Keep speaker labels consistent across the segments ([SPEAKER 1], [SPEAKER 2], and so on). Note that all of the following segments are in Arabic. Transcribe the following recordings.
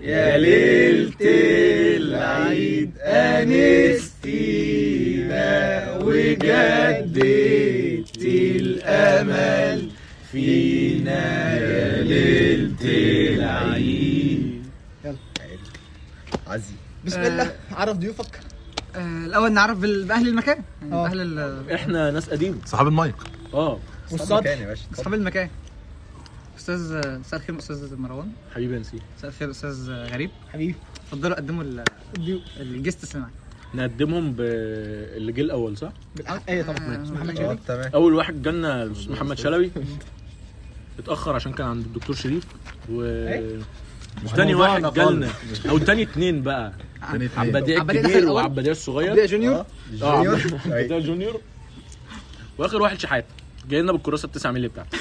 [SPEAKER 1] يا ليلة العيد أنستينا وجدت الأمل فينا يا ليلة العيد
[SPEAKER 2] يلا.
[SPEAKER 1] عزي
[SPEAKER 2] بسم الله عرف ضيوفك
[SPEAKER 3] آه، الاول نعرف ال- باهل المكان يعني
[SPEAKER 2] آه.
[SPEAKER 3] باهل ال-
[SPEAKER 4] احنا ناس قديمة
[SPEAKER 5] صحاب المايك
[SPEAKER 4] اه
[SPEAKER 1] مكان يا باشا
[SPEAKER 3] اصحاب المكان استاذ آه، مساء الخير استاذ مروان
[SPEAKER 4] حبيبي نسي
[SPEAKER 3] مساء الخير استاذ آه، غريب
[SPEAKER 2] حبيبي
[SPEAKER 3] اتفضلوا قدموا ال-
[SPEAKER 2] الضيوف
[SPEAKER 3] الجستس اللي معاك
[SPEAKER 4] نقدمهم باللي جه الاول صح؟
[SPEAKER 2] بالحق ايه طبعا
[SPEAKER 3] آه،
[SPEAKER 2] محمد
[SPEAKER 1] اه
[SPEAKER 2] شريف
[SPEAKER 1] تمام
[SPEAKER 4] اول واحد جالنا الأستاذ محمد شلبي اتاخر عشان كان عند الدكتور شريف و تاني واحد جالنا او تاني اتنين بقى
[SPEAKER 5] إيه؟
[SPEAKER 4] عبديع
[SPEAKER 3] عبديع دخل
[SPEAKER 4] الكبير
[SPEAKER 3] الأول.
[SPEAKER 4] وعبديع الصغير
[SPEAKER 2] بدأ جونيور
[SPEAKER 4] اه
[SPEAKER 1] جونيور.
[SPEAKER 4] عبديع جونيور واخر واحد شحات جاي لنا بالكراسه التسعة مللي بتاعته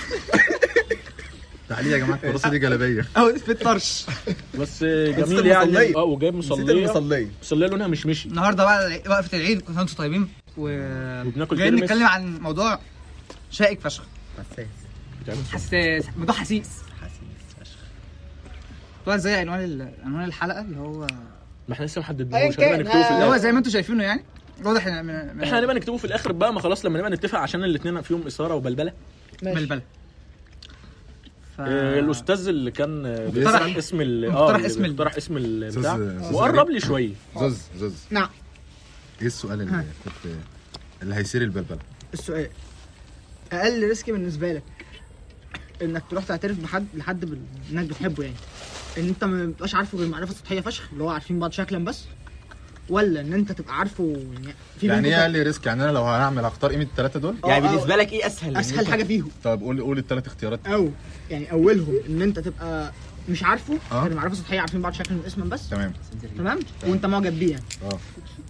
[SPEAKER 5] تعالي يا جماعه الكراسه دي جلابيه
[SPEAKER 3] اهو في الطرش
[SPEAKER 4] بس
[SPEAKER 1] نسيت
[SPEAKER 4] جميل
[SPEAKER 1] المصلية.
[SPEAKER 4] يعني اه وجايب
[SPEAKER 1] نسيت
[SPEAKER 4] مصليه
[SPEAKER 1] المصلية
[SPEAKER 4] مصليه لونها مش مشي
[SPEAKER 3] النهارده بقى العيد- وقفه العيد كنتوا انتوا طيبين و
[SPEAKER 4] وبناكل
[SPEAKER 3] جايين
[SPEAKER 4] ترمس.
[SPEAKER 3] نتكلم عن موضوع شائك فشخ
[SPEAKER 1] حساس
[SPEAKER 3] حساس موضوع حسيس
[SPEAKER 1] حساس فشخ.
[SPEAKER 3] هو زي عنوان ال- عنوان الحلقه اللي هو
[SPEAKER 4] ما احنا لسه ما
[SPEAKER 2] أيا
[SPEAKER 4] حددناهوش هنبقى
[SPEAKER 2] كان،
[SPEAKER 4] نكتبه في
[SPEAKER 2] آه،
[SPEAKER 3] اللي هو
[SPEAKER 4] الاخر
[SPEAKER 3] زي ما انتوا شايفينه يعني واضح ان من- من-
[SPEAKER 4] احنا هنبقى نكتبه في الاخر بقى ما خلاص لما نبقى نتفق عشان الاثنين فيهم اثاره وبلبله
[SPEAKER 2] ماشي
[SPEAKER 3] بلبله ف...
[SPEAKER 4] آه، الاستاذ اللي كان آه،
[SPEAKER 5] مقترح.
[SPEAKER 4] بيطرح اسم ال اه
[SPEAKER 3] مقترح
[SPEAKER 4] اللي
[SPEAKER 3] اسم ال-
[SPEAKER 4] بيقترح اسم البتاع
[SPEAKER 5] أستاذ- أستاذ
[SPEAKER 4] وقرب
[SPEAKER 5] غريب.
[SPEAKER 4] لي شويه
[SPEAKER 5] زوز زوز
[SPEAKER 2] نعم
[SPEAKER 5] ايه السؤال اللي كنت اللي هيصير البلبله
[SPEAKER 2] السؤال اقل ريسك بالنسبه لك انك تروح تعترف بحد لحد بال- انك بتحبه يعني ان انت ما بتبقاش عارفه غير معرفه سطحيه فشخ اللي هو عارفين بعض شكلا بس ولا ان انت تبقى عارفه يعني في
[SPEAKER 5] يعني
[SPEAKER 2] بينكم
[SPEAKER 5] ايه قال لي ريسك يعني انا لو هنعمل هختار قيمه الثلاثه دول
[SPEAKER 2] آه،
[SPEAKER 6] يعني
[SPEAKER 2] آه،
[SPEAKER 6] بالنسبه لك ايه اسهل
[SPEAKER 2] اسهل حاجه فيهم
[SPEAKER 5] طب قول قول الثلاث اختيارات
[SPEAKER 2] او يعني اولهم ان انت تبقى مش عارفه
[SPEAKER 5] آه.
[SPEAKER 2] غير معرفه سطحيه عارفين بعض شكلا واسما بس
[SPEAKER 5] تمام
[SPEAKER 2] تمام وانت معجب بيه يعني
[SPEAKER 5] اه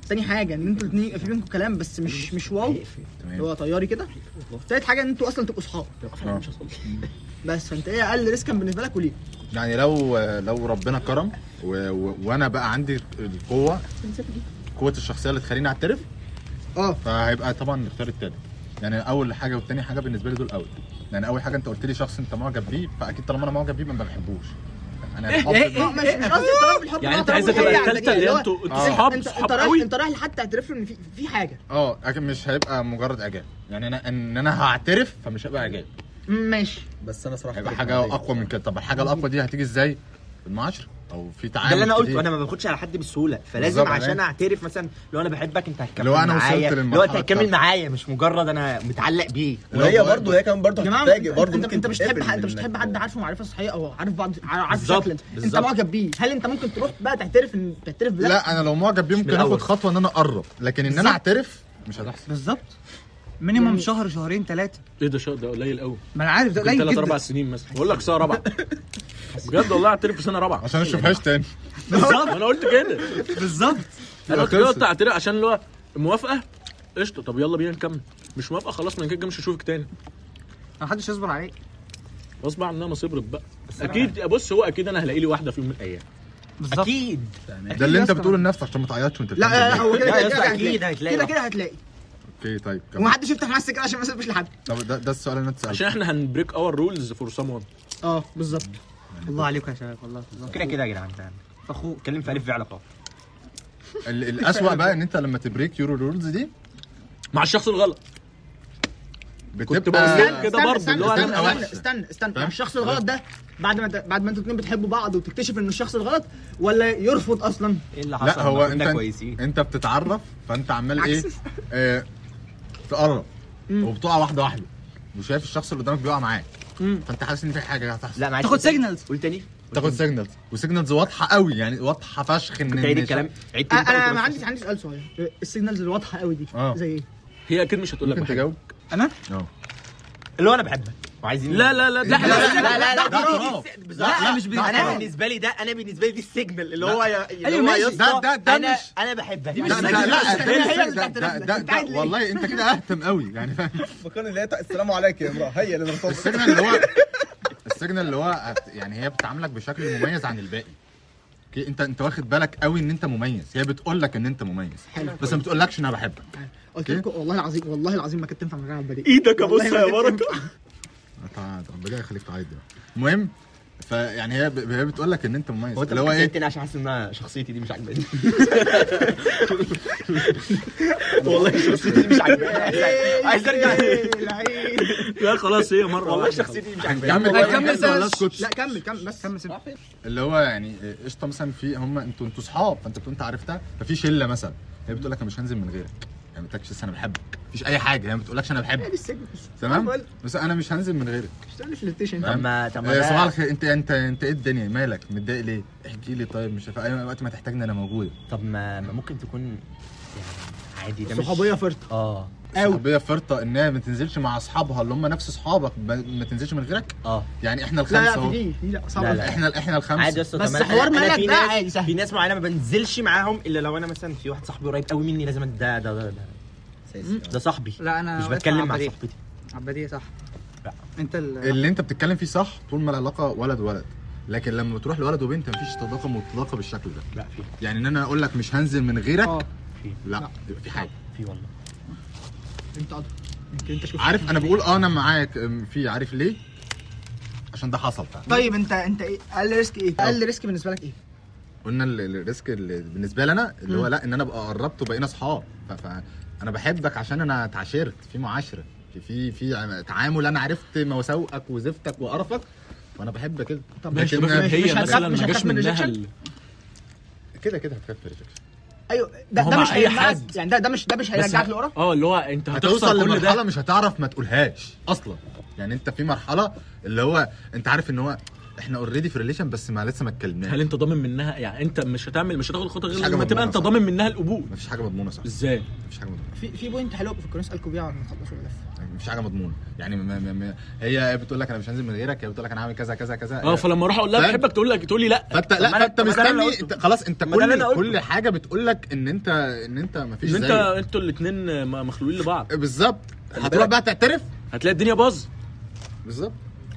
[SPEAKER 2] تاني حاجه ان انتوا الاثنين يبقى في بينكم كلام بس مش مش واو اللي
[SPEAKER 5] تمام
[SPEAKER 2] هو طياري كده تالت حاجه ان انتوا اصلا تبقوا اصحاب تبقى أصحاب
[SPEAKER 5] آه.
[SPEAKER 6] اه.
[SPEAKER 2] مش اصحاب بس فانت ايه اقل ريسك كان بالنسبه لك وليه؟
[SPEAKER 5] يعني لو لو ربنا كرم و... و... وانا بقى عندي القوه قوه الشخصيه اللي تخليني اعترف
[SPEAKER 6] آه.
[SPEAKER 2] اه
[SPEAKER 5] فهيبقى طبعا نختار التالت يعني اول حاجه والتاني حاجه بالنسبه لي دول اول يعني اول حاجه انت قلت لي شخص انت معجب بيه فاكيد طالما انا معجب بيه ما بحبوش انا حافظ
[SPEAKER 2] لا، مش مش قصدي الطلاق بالحب
[SPEAKER 4] يعني
[SPEAKER 2] لا،
[SPEAKER 4] انت
[SPEAKER 2] طلاق
[SPEAKER 4] عايز تبقى
[SPEAKER 2] بالحب يعني
[SPEAKER 4] الثالثه اللي هو
[SPEAKER 2] هو
[SPEAKER 4] انتوا انتوا
[SPEAKER 5] آه.
[SPEAKER 4] صحاب
[SPEAKER 2] انت
[SPEAKER 4] صحاب
[SPEAKER 2] انت رايح
[SPEAKER 4] قوي
[SPEAKER 2] انت رايح لحد تعترف له ان في في حاجه
[SPEAKER 5] اه لكن مش هيبقى مجرد اعجاب يعني انا ان انا هعترف فمش هيبقى اعجاب
[SPEAKER 2] مم، ماشي
[SPEAKER 1] بس انا صراحة
[SPEAKER 5] هيبقى حاجه اقوى من كده طب الحاجه الاقوى دي هتيجي ازاي؟ بالمعاشره او في تعامل
[SPEAKER 6] ده اللي انا
[SPEAKER 5] كتير.
[SPEAKER 6] قلته انا ما باخدش على حد بسهوله فلازم
[SPEAKER 5] بالظبط،
[SPEAKER 6] عشان
[SPEAKER 5] أيوة.
[SPEAKER 6] اعترف مثلا لو انا بحبك انت هتكمل
[SPEAKER 5] لو
[SPEAKER 6] معايا
[SPEAKER 5] أنا وصلت
[SPEAKER 6] لو انت
[SPEAKER 5] للمرحلة
[SPEAKER 6] هتكمل
[SPEAKER 5] التالتة.
[SPEAKER 6] معايا مش مجرد انا متعلق بيه
[SPEAKER 1] وهي برضه هي كمان برضه
[SPEAKER 2] يا جماعه
[SPEAKER 1] هتتفاجئ برضه
[SPEAKER 2] انت
[SPEAKER 1] ممكن
[SPEAKER 2] انت مش تحب
[SPEAKER 1] تتقفل
[SPEAKER 2] حد انت مش
[SPEAKER 1] منك.
[SPEAKER 2] تحب حد عارفه معرفه صحيه او عارف بعض عارف
[SPEAKER 6] بالظبط،
[SPEAKER 2] شكلا انت
[SPEAKER 6] بالظبط.
[SPEAKER 2] معجب بيه هل انت ممكن تروح بقى تعترف ان تعترف بده؟
[SPEAKER 5] لا انا لو معجب بيه ممكن
[SPEAKER 6] الأول.
[SPEAKER 5] اخد خطوه ان انا اقرب لكن ان انا اعترف مش هتحصل
[SPEAKER 3] بالظبط مينيمم
[SPEAKER 2] يعني-
[SPEAKER 3] شهر شهرين ثلاثه
[SPEAKER 4] ايه ده شا- ده قليل قوي
[SPEAKER 3] ما انا عارف ده قليل
[SPEAKER 4] ثلاث
[SPEAKER 3] جدا
[SPEAKER 4] اربع سنين مثلا بقول لك سنه رابعه بجد والله اعترف في سنه رابعه
[SPEAKER 5] عشان ما اشوفهاش تاني
[SPEAKER 4] بالظبط انا قلت كده
[SPEAKER 3] بالظبط
[SPEAKER 4] انا
[SPEAKER 5] يبقى
[SPEAKER 4] قلت كده
[SPEAKER 5] خلصت.
[SPEAKER 4] قلت اعترف عشان اللي هو موافقه قشطه طب يلا بينا نكمل مش موافقه خلاص من كده مش هشوفك تاني
[SPEAKER 3] ما حدش يصبر عليك
[SPEAKER 4] غصب عنها ما صبرت بقى اكيد بص هو اكيد انا هلاقي لي واحده في يوم من الايام
[SPEAKER 3] بالظبط
[SPEAKER 6] اكيد
[SPEAKER 5] ده اللي
[SPEAKER 3] يا
[SPEAKER 5] انت
[SPEAKER 3] اسطى.
[SPEAKER 5] بتقوله لنفسك عشان ما تعيطش وانت
[SPEAKER 2] لا
[SPEAKER 5] بتعمل
[SPEAKER 2] لا لا
[SPEAKER 5] ده.
[SPEAKER 2] هو كده
[SPEAKER 6] لا يا
[SPEAKER 2] كده
[SPEAKER 6] اسطى،
[SPEAKER 2] كده
[SPEAKER 6] أكيد
[SPEAKER 2] هتلاقي
[SPEAKER 6] هتلاقي
[SPEAKER 2] كده
[SPEAKER 6] واحد.
[SPEAKER 2] كده هتلاقي
[SPEAKER 5] اوكي طيب كمل.
[SPEAKER 2] ومحدش يفتح معاه السكه عشان ما يسيبش لحد
[SPEAKER 5] طب ده, ده السؤال اللي انا
[SPEAKER 4] عشان
[SPEAKER 5] اتسالته
[SPEAKER 4] احنا هنبريك اور رولز فور سام ون
[SPEAKER 2] اه بالظبط
[SPEAKER 3] الله عليكم يا شباب والله بالظبط.
[SPEAKER 6] كده كده يا جدعان انت
[SPEAKER 3] اخوك
[SPEAKER 6] اتكلم في الف في علاقات
[SPEAKER 5] ال- الاسوأ بقى ان انت لما تبريك يورو رولز دي
[SPEAKER 4] مع الشخص الغلط كنت بقول
[SPEAKER 5] بتبقى
[SPEAKER 4] لك كده برضه اللي هو
[SPEAKER 2] استنى
[SPEAKER 5] أنا
[SPEAKER 4] انا
[SPEAKER 2] استنى
[SPEAKER 5] وحشة.
[SPEAKER 2] استنى استنى
[SPEAKER 5] فاهم؟
[SPEAKER 2] مع الشخص الغلط ده بعد ما بعد ما انتوا الاثنين بتحبوا بعض وتكتشف ان الشخص الغلط ولا يرفض اصلا
[SPEAKER 1] إيه
[SPEAKER 6] ايه اللي حصل
[SPEAKER 5] لا هو
[SPEAKER 6] كنا
[SPEAKER 5] انت
[SPEAKER 6] كويسين
[SPEAKER 5] انت بتتعرف فانت عمال ايه
[SPEAKER 2] عكس.
[SPEAKER 5] آه، تقرب وبتقع واحده واحده وشايف الشخص اللي قدامك بيقع معاك فانت حاسس ان في حاجه هتحصل
[SPEAKER 6] لا معلش
[SPEAKER 3] تاخد
[SPEAKER 6] قول تاني.
[SPEAKER 3] signals.
[SPEAKER 6] قول تاني
[SPEAKER 5] تاخد سيجنالز وسيجنالز واضحه قوي يعني واضحه فشخ ان
[SPEAKER 6] تعيد
[SPEAKER 5] إن-
[SPEAKER 6] الكلام عيد
[SPEAKER 2] آه،
[SPEAKER 6] تاني.
[SPEAKER 2] انا ما عندي عندي سؤال صغير السيجنالز الواضحه قوي دي
[SPEAKER 5] آه.
[SPEAKER 2] زي ايه؟
[SPEAKER 4] هي اكيد مش هتقول لك
[SPEAKER 5] ممكن
[SPEAKER 4] بحاجة.
[SPEAKER 5] تجاوب
[SPEAKER 3] انا
[SPEAKER 5] اه
[SPEAKER 6] اللي هو انا بحبك وعايزين
[SPEAKER 4] لا لا لا ده
[SPEAKER 6] لا
[SPEAKER 4] احنا
[SPEAKER 6] لا لا لا
[SPEAKER 5] ده
[SPEAKER 6] دي- دي-
[SPEAKER 5] اعتراف.
[SPEAKER 6] دي-
[SPEAKER 3] لا،
[SPEAKER 6] بالظبط.
[SPEAKER 3] مش بي-
[SPEAKER 6] انا
[SPEAKER 3] اعتراف.
[SPEAKER 6] بالنسبه لي ده انا بالنسبه لي دي السيجنال اللي هو يا- اللي
[SPEAKER 3] ايوه
[SPEAKER 6] هو
[SPEAKER 3] ماشي.
[SPEAKER 6] يا
[SPEAKER 5] ده-
[SPEAKER 6] اسطى
[SPEAKER 5] أيوة، ده- ده
[SPEAKER 6] انا
[SPEAKER 5] مش-
[SPEAKER 6] انا بحبك
[SPEAKER 3] دي مش
[SPEAKER 5] لا لا
[SPEAKER 3] سيجنال.
[SPEAKER 5] لا
[SPEAKER 3] ده-
[SPEAKER 5] ده مش
[SPEAKER 2] هي
[SPEAKER 5] سيجنال،
[SPEAKER 2] اللي
[SPEAKER 5] ده-
[SPEAKER 2] بتعترف.
[SPEAKER 5] ده-
[SPEAKER 2] انت
[SPEAKER 5] ده-
[SPEAKER 2] عايز ليه؟
[SPEAKER 5] والله انت كده اهتم قوي يعني فاهم
[SPEAKER 1] مكان اللي هي تا- السلام عليكم يا امرأة هي اللي مرتبطة
[SPEAKER 5] السيجنال اللي هو السيجنال اللي هو هت- يعني هي بتعاملك بشكل مميز عن الباقي اوكي انت انت واخد بالك قوي ان انت مميز هي بتقول لك ان انت مميز
[SPEAKER 2] حلو.
[SPEAKER 5] بس ما بتقولكش ان انا بحبك
[SPEAKER 2] قلت
[SPEAKER 5] أوكي.
[SPEAKER 2] لكم والله العظيم والله العظيم ما كنت تنفع من غير عبد البديع
[SPEAKER 6] ايدك يا بص يا بركه
[SPEAKER 5] طبعاً ربنا يخليك تعيط ده المهم فيعني هي ب- هي بتقول لك ان انت مميز
[SPEAKER 6] هو انت
[SPEAKER 5] اللي هو ايه
[SPEAKER 6] كلمتني عشان حاسس ان انا شخصيتي دي مش عاجباني والله شخصيتي دي مش عاجباني
[SPEAKER 5] إيه،
[SPEAKER 6] عايز ارجع
[SPEAKER 4] لا خلاص هي مره
[SPEAKER 6] والله
[SPEAKER 4] واحدة.
[SPEAKER 6] شخصيتي دي مش
[SPEAKER 5] يا عم
[SPEAKER 6] عاجباني
[SPEAKER 5] والله
[SPEAKER 2] كمل
[SPEAKER 5] بجد والله
[SPEAKER 2] بس.
[SPEAKER 5] اسكت.
[SPEAKER 2] لا كمل كمل بس
[SPEAKER 3] كمل سيب
[SPEAKER 5] اللي هو يعني قشطه مثلا في هم انتوا انتوا صحاب فانت بتقول انت عرفتها ففي شله مثلا هي بتقول لك انا مش هنزل من غيرك يعني ما بتقولكش لسه انا بحبك مفيش اي حاجه هي ما بتقولكش انا
[SPEAKER 2] إيه،
[SPEAKER 5] بحبك تمام بس انا مش هنزل من غيرك
[SPEAKER 2] اشتغل فليرتيشن
[SPEAKER 5] طب
[SPEAKER 6] ما طب
[SPEAKER 5] إيه، صباح الخير انت انت انت ايه الدنيا مالك متضايق ليه احكي لي طيب مش عارف اي وقت ما تحتاجني انا موجود
[SPEAKER 6] طب ما ما ممكن تكون يعني عادي ده مش-
[SPEAKER 2] صحوبيه فرطه
[SPEAKER 6] اه
[SPEAKER 2] أوي.
[SPEAKER 5] صحوبيه فرطه انها ما تنزلش مع اصحابها اللي هم نفس اصحابك ما- ما تنزلش من غيرك
[SPEAKER 6] اه
[SPEAKER 5] يعني احنا
[SPEAKER 2] لا
[SPEAKER 5] الخمسه
[SPEAKER 2] لا
[SPEAKER 5] اهو
[SPEAKER 2] دي دي لا
[SPEAKER 6] لا،
[SPEAKER 2] صعبه
[SPEAKER 6] لا.
[SPEAKER 5] احنا احنا
[SPEAKER 6] عادي يا
[SPEAKER 5] الخمسه
[SPEAKER 6] اسطى
[SPEAKER 2] بس
[SPEAKER 6] كمان.
[SPEAKER 2] حوار
[SPEAKER 6] أنا- أنا
[SPEAKER 2] مالك
[SPEAKER 6] في
[SPEAKER 2] ده
[SPEAKER 6] ناس-
[SPEAKER 2] عادي سهل.
[SPEAKER 6] في ناس معينه ما بنزلش معاهم الا لو انا مثلا في واحد صاحبي قريب قوي مني لازم أد- ده ده ده ده, ده صاحبي
[SPEAKER 3] لا انا
[SPEAKER 6] مش
[SPEAKER 3] واقف
[SPEAKER 6] بتكلم مع
[SPEAKER 3] عبدية.
[SPEAKER 6] صاحبتي
[SPEAKER 3] عبدية صح
[SPEAKER 6] لا.
[SPEAKER 3] انت ال
[SPEAKER 5] اللي انت بتتكلم فيه صح طول ما العلاقه ولد ولد لكن لما بتروح لولد وبنت مفيش تضاقم وتضاقه بالشكل ده
[SPEAKER 6] لا في
[SPEAKER 5] يعني ان انا اقول لك مش هنزل من غيرك
[SPEAKER 3] اه
[SPEAKER 5] لا يبقى في حاجه
[SPEAKER 6] في والله
[SPEAKER 2] انت ادرى يمكن انت شوف
[SPEAKER 5] عارف انا بقول اه انا معاك أم، في عارف ليه عشان ده حصل فعلا
[SPEAKER 2] طيب انت انت ايه اقل ريسك ايه اقل ريسك بالنسبه لك ايه
[SPEAKER 5] قلنا ال- ال- الريسك اللي بالنسبه لي انا اللي هو لا ان انا ابقى قربت وبقينا اصحاب ف- ف- انا بحبك عشان انا اتعاشرت في معاشره في في في عم- تعامل انا عرفت مساوئك وزفتك وقرفك وانا بحب كده
[SPEAKER 2] طب
[SPEAKER 5] ماشي،
[SPEAKER 4] لكن
[SPEAKER 5] ماشي.
[SPEAKER 2] مش
[SPEAKER 4] هي
[SPEAKER 2] هتخاف-
[SPEAKER 4] مثلا
[SPEAKER 2] مش
[SPEAKER 4] ما
[SPEAKER 2] هتخاف
[SPEAKER 4] جاش
[SPEAKER 2] من
[SPEAKER 4] منها
[SPEAKER 2] rejection؟
[SPEAKER 4] ال-
[SPEAKER 5] كده كده هتخاف في rejection.
[SPEAKER 2] ايوه ده,
[SPEAKER 4] هو
[SPEAKER 2] ده
[SPEAKER 4] مع
[SPEAKER 2] مش
[SPEAKER 4] أي
[SPEAKER 2] هيمنعك
[SPEAKER 4] حد.
[SPEAKER 2] يعني ده ده مش ده
[SPEAKER 4] بس
[SPEAKER 2] مش هيرجعك
[SPEAKER 4] ه-
[SPEAKER 2] لورا
[SPEAKER 4] اه اللي هو انت هتخسر
[SPEAKER 5] هتوصل
[SPEAKER 4] كل
[SPEAKER 5] لمرحله
[SPEAKER 4] ده
[SPEAKER 5] مش هتعرف ما تقولهاش اصلا يعني انت في مرحله اللي هو انت عارف ان هو احنا اوريدي في ريليشن بس ما لسه ما اتكلمناش
[SPEAKER 4] هل انت ضامن منها يعني انت مش هتعمل مش هتاخد خطوه
[SPEAKER 5] مفيش
[SPEAKER 4] غير
[SPEAKER 5] حاجة
[SPEAKER 4] لما
[SPEAKER 5] مضمونة
[SPEAKER 4] تبقى انت
[SPEAKER 5] صح.
[SPEAKER 4] ضامن منها القبول
[SPEAKER 5] مفيش حاجه مضمونه صح
[SPEAKER 4] ازاي
[SPEAKER 5] مفيش حاجه مضمونه
[SPEAKER 2] في في بوينت حلو كانوا اسالكم بيها لما تخلصوا الغرفه
[SPEAKER 5] مفيش حاجه مضمونه يعني ما ما ما هي بتقول لك انا مش هنزل من غيرك هي بتقول لك انا هعمل كذا كذا كذا
[SPEAKER 4] اه فلما اروح اقول لها
[SPEAKER 5] فاهم؟
[SPEAKER 4] بحبك تقول لك تقول لي لا
[SPEAKER 5] فانت
[SPEAKER 4] طب ما
[SPEAKER 5] لا
[SPEAKER 4] انا-
[SPEAKER 5] فانت
[SPEAKER 4] طب ما ده اللي
[SPEAKER 5] مستني
[SPEAKER 4] انا قلته.
[SPEAKER 5] انت خلاص انت
[SPEAKER 4] طب ما ده اللي انا
[SPEAKER 5] كل
[SPEAKER 4] قلته.
[SPEAKER 5] كل حاجه بتقول لك ان انت ان انت مفيش
[SPEAKER 4] ان انت
[SPEAKER 5] زيك
[SPEAKER 4] انتوا الاثنين مخلوقين لبعض
[SPEAKER 5] بالظبط هتروح
[SPEAKER 1] بالك.
[SPEAKER 5] بقى تعترف
[SPEAKER 4] هتلاقي الدنيا باظ
[SPEAKER 5] بالظبط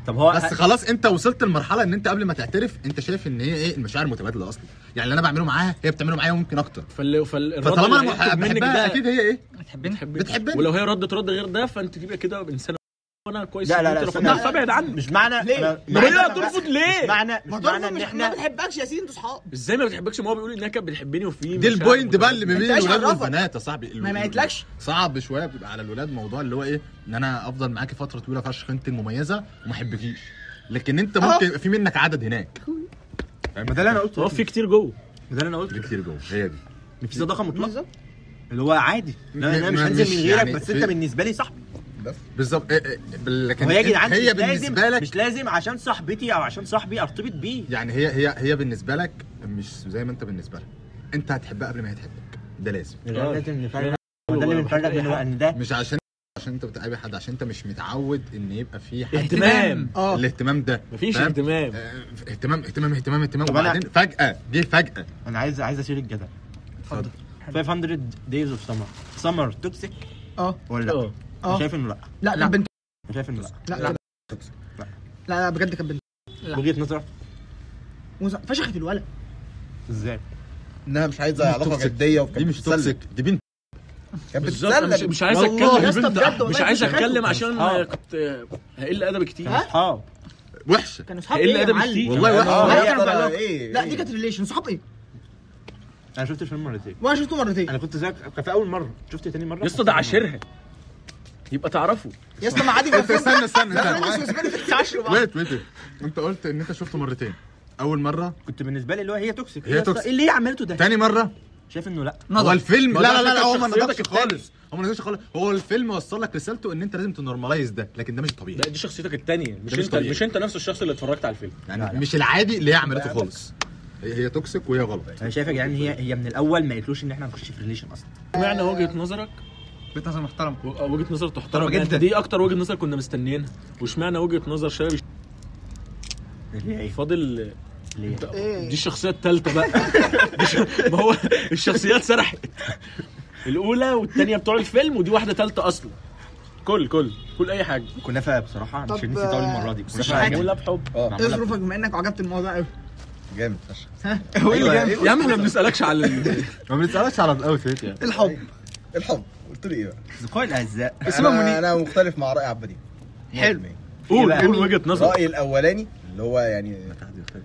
[SPEAKER 6] طب هو
[SPEAKER 5] بس خلاص انت وصلت لمرحله ان انت قبل ما تعترف انت شايف ان هي ايه المشاعر متبادله اصلا يعني اللي انا بعمله معاها هي بتعمله معايا وممكن اكتر
[SPEAKER 4] فال فالرد
[SPEAKER 5] فطالما
[SPEAKER 4] اللي
[SPEAKER 5] انا
[SPEAKER 4] هيطلب منك
[SPEAKER 5] بحبها
[SPEAKER 4] ده
[SPEAKER 5] اكيد هي ايه
[SPEAKER 3] بتحبني
[SPEAKER 4] بتحبني
[SPEAKER 5] بتحبني.
[SPEAKER 4] ولو هي ردت رد غير ده فانت تبقى كده انسان وانا كويس
[SPEAKER 6] لا،
[SPEAKER 4] إن
[SPEAKER 6] لا،
[SPEAKER 4] انت
[SPEAKER 6] لا،
[SPEAKER 4] رفضتها،
[SPEAKER 6] استنى.
[SPEAKER 4] فابعد عني
[SPEAKER 6] مش معنى ليه؟
[SPEAKER 4] ليه ترفض ليه؟
[SPEAKER 6] مش معنى مش معنى ان
[SPEAKER 2] ما
[SPEAKER 6] احنا
[SPEAKER 2] بنحبكش ياسين انتوا صحاب
[SPEAKER 4] ازاي ما بتحبكش ما هو بيقول انها كانت بتحبني وفي
[SPEAKER 5] دي
[SPEAKER 4] مشاعر
[SPEAKER 5] البوينت بقى اللي ما
[SPEAKER 4] متبادلة.
[SPEAKER 5] بين
[SPEAKER 2] انت ايش
[SPEAKER 5] الولاد
[SPEAKER 2] عرفك؟
[SPEAKER 5] والبنات يا صاحبي
[SPEAKER 2] ما- ما قلتلكش.
[SPEAKER 5] صعب شويه بيبقى على الولاد موضوع اللي هو ايه ان انا افضل معاكي فتره طويله فشخ انت المميزه وما احبكيش لكن انت ممكن يبقى في منك عدد هناك
[SPEAKER 6] ما ده اللي انا قلته
[SPEAKER 4] هو في كتير جوه
[SPEAKER 6] ما ده اللي انا قلته
[SPEAKER 5] اللي كتير جوه هي دي
[SPEAKER 6] ان في صداقه مطلقه اللي هو عادي لا انا
[SPEAKER 5] م-
[SPEAKER 6] مش
[SPEAKER 5] م-
[SPEAKER 6] هنزل
[SPEAKER 5] مش
[SPEAKER 6] من غيرك
[SPEAKER 5] يعني
[SPEAKER 6] بس
[SPEAKER 5] في-
[SPEAKER 6] انت بالنسبه لي صاحبي
[SPEAKER 5] بالظبط إيه- إيه، لكن
[SPEAKER 6] هو يا
[SPEAKER 5] انت-
[SPEAKER 6] جدعان مش
[SPEAKER 5] هي
[SPEAKER 6] لازم
[SPEAKER 5] بالنسبه لك
[SPEAKER 6] مش لازم عشان صاحبتي او عشان صاحبي ارتبط بيه
[SPEAKER 5] يعني هي هي هي بالنسبه لك مش زي ما انت بالنسبه لها انت هتحبها قبل ما هي تحبك ده لازم
[SPEAKER 4] لا،
[SPEAKER 6] يعني لازم
[SPEAKER 4] لا،
[SPEAKER 6] نفرق وده اللي
[SPEAKER 4] لا،
[SPEAKER 6] بنفرق
[SPEAKER 4] بحب أي
[SPEAKER 6] بينه
[SPEAKER 4] حد.
[SPEAKER 6] وان ده
[SPEAKER 5] مش عشان عشان انت بتقابل حد عشان انت مش متعود ان يبقى في حد
[SPEAKER 4] اهتمام
[SPEAKER 2] اه
[SPEAKER 5] الاهتمام ده
[SPEAKER 4] إيه، مفيش
[SPEAKER 5] فاهم؟
[SPEAKER 4] اهتمام
[SPEAKER 5] آه، اهتمام اهتمام اهتمام اهتمام
[SPEAKER 6] طب أنا-
[SPEAKER 5] وبعدين فجأة جه فجأة
[SPEAKER 6] انا عايز عايز اشيل الجدل
[SPEAKER 5] اتفضل
[SPEAKER 6] 500 دايز اوف سمر سمر توكسيك
[SPEAKER 2] اه
[SPEAKER 6] ولا لا؟
[SPEAKER 4] اه.
[SPEAKER 6] أنا
[SPEAKER 2] اه
[SPEAKER 6] شايف انه لا
[SPEAKER 2] لا كانت بنت
[SPEAKER 6] أنا شايف انه لا
[SPEAKER 2] لا لا لا لا بجد كانت بنت
[SPEAKER 6] وجهه نظرك
[SPEAKER 2] وز- فشخت الولد
[SPEAKER 6] ازاي؟
[SPEAKER 1] انها مش عايزه
[SPEAKER 5] دي مش
[SPEAKER 1] علاقه
[SPEAKER 5] توكسيك.
[SPEAKER 1] جديه وكانت
[SPEAKER 5] دي مش
[SPEAKER 1] بتتسلى.
[SPEAKER 5] توكسيك دي بنت
[SPEAKER 1] كانت
[SPEAKER 4] بالظبط أنا مش-
[SPEAKER 1] بتتسلى
[SPEAKER 4] مش عايز
[SPEAKER 5] والله يا
[SPEAKER 4] اتكلم
[SPEAKER 2] اسطى
[SPEAKER 4] بنت.
[SPEAKER 2] بجد والله
[SPEAKER 4] مش عايز
[SPEAKER 2] كنت
[SPEAKER 4] اتكلم
[SPEAKER 2] بخاف.
[SPEAKER 4] عشان
[SPEAKER 6] آه.
[SPEAKER 4] كنت هقل ادبي كتير
[SPEAKER 6] كانوا صحاب
[SPEAKER 5] وحشة
[SPEAKER 2] كانوا صحاب
[SPEAKER 4] هقل
[SPEAKER 2] ايه يا
[SPEAKER 4] ادبي
[SPEAKER 2] معلم
[SPEAKER 4] كتير
[SPEAKER 5] والله
[SPEAKER 1] اه،
[SPEAKER 5] وحشة
[SPEAKER 2] لا،
[SPEAKER 1] يا
[SPEAKER 2] كانوا
[SPEAKER 1] ترى
[SPEAKER 2] بعلاقة.
[SPEAKER 1] ايه
[SPEAKER 2] لا دي كانت ريليشن صحاب ايه
[SPEAKER 6] انا شفت الفيلم مرتين
[SPEAKER 2] وانا شفته مرتين
[SPEAKER 6] انا كنت زيك كان في اول مره شفت تاني مره
[SPEAKER 4] يا اسطى ده عاشرها يبقى تعرفه
[SPEAKER 2] يا اسطى ما عادي
[SPEAKER 5] انت استنى استنى
[SPEAKER 2] بس
[SPEAKER 5] استنى
[SPEAKER 2] بالنسبه لي
[SPEAKER 5] ويت ويت انت قلت ان انت شفته مرتين اول مرة
[SPEAKER 6] كنت بالنسبه لي اللي هو هي
[SPEAKER 5] هي
[SPEAKER 6] توكسيك
[SPEAKER 5] طيب.
[SPEAKER 6] إيه يا اسطى؟
[SPEAKER 5] توكسيك.
[SPEAKER 6] إيه اللي هي عملته ده
[SPEAKER 5] تاني مرة
[SPEAKER 6] شايف انه لا
[SPEAKER 5] هو الفيلم
[SPEAKER 4] ما
[SPEAKER 5] لا لا
[SPEAKER 4] ده
[SPEAKER 5] لا, لا
[SPEAKER 4] فكرة
[SPEAKER 5] هو ما
[SPEAKER 4] شخصيتك
[SPEAKER 5] نضفش
[SPEAKER 4] التاني.
[SPEAKER 5] خالص هو ما نضفش خالص هو الفيلم وصل لك رسالته ان انت لازم تنورماليز ده لكن ده مش طبيعي
[SPEAKER 4] لا دي شخصيتك التانية مش
[SPEAKER 5] ده مش طيب.
[SPEAKER 4] انت
[SPEAKER 5] طبيعي.
[SPEAKER 4] مش انت نفس الشخص اللي اتفرجت على الفيلم
[SPEAKER 5] يعني مش العادي اللي هي عملته خالص هي هي توكسيك وهي غلط
[SPEAKER 6] انا شايف يا جدعان يعني هي هي من الاول ما قالتلوش ان احنا هنخش في ريليشن اصلا
[SPEAKER 4] معنى وجهه نظرك
[SPEAKER 3] بيت نظر محترم
[SPEAKER 4] و- وجهه نظر تحترم
[SPEAKER 6] جداً.
[SPEAKER 4] جدا دي اكتر وجهه نظر كنا مستنيينها واشمعنى وجهه نظر شباب
[SPEAKER 6] اللي هي ايه
[SPEAKER 4] فاضل
[SPEAKER 6] اللي هي
[SPEAKER 2] إيه.
[SPEAKER 4] دي الشخصيه الثالثه بقى دي ش- ما هو الشخصيات سرحت الاولى والثانيه بتوع الفيلم ودي واحده ثالثه اصلا كل كل كل اي حاجه
[SPEAKER 6] كنافه بصراحه مش
[SPEAKER 2] طب،
[SPEAKER 6] هنسي اول المره دي
[SPEAKER 2] بس مش
[SPEAKER 6] كنافه
[SPEAKER 2] حاجة.
[SPEAKER 6] جامدة.
[SPEAKER 4] معموله بحب
[SPEAKER 1] اه
[SPEAKER 2] ايه ظروفك بما انك عجبت الموضوع قوي
[SPEAKER 1] جامد فشخ
[SPEAKER 4] يا عم احنا ما بنسالكش على ال-
[SPEAKER 5] ما بنسألكش على الاوت هيت يعني
[SPEAKER 2] الحب
[SPEAKER 1] الحب قلت له ايه بقى
[SPEAKER 6] اصدقائي الاعزاء
[SPEAKER 1] انا, أنا مختلف مع راي عبدي
[SPEAKER 2] حلو.
[SPEAKER 1] مية في المية.
[SPEAKER 4] قول قول وجهه نظر
[SPEAKER 1] أه، رايي الاولاني اللي هو يعني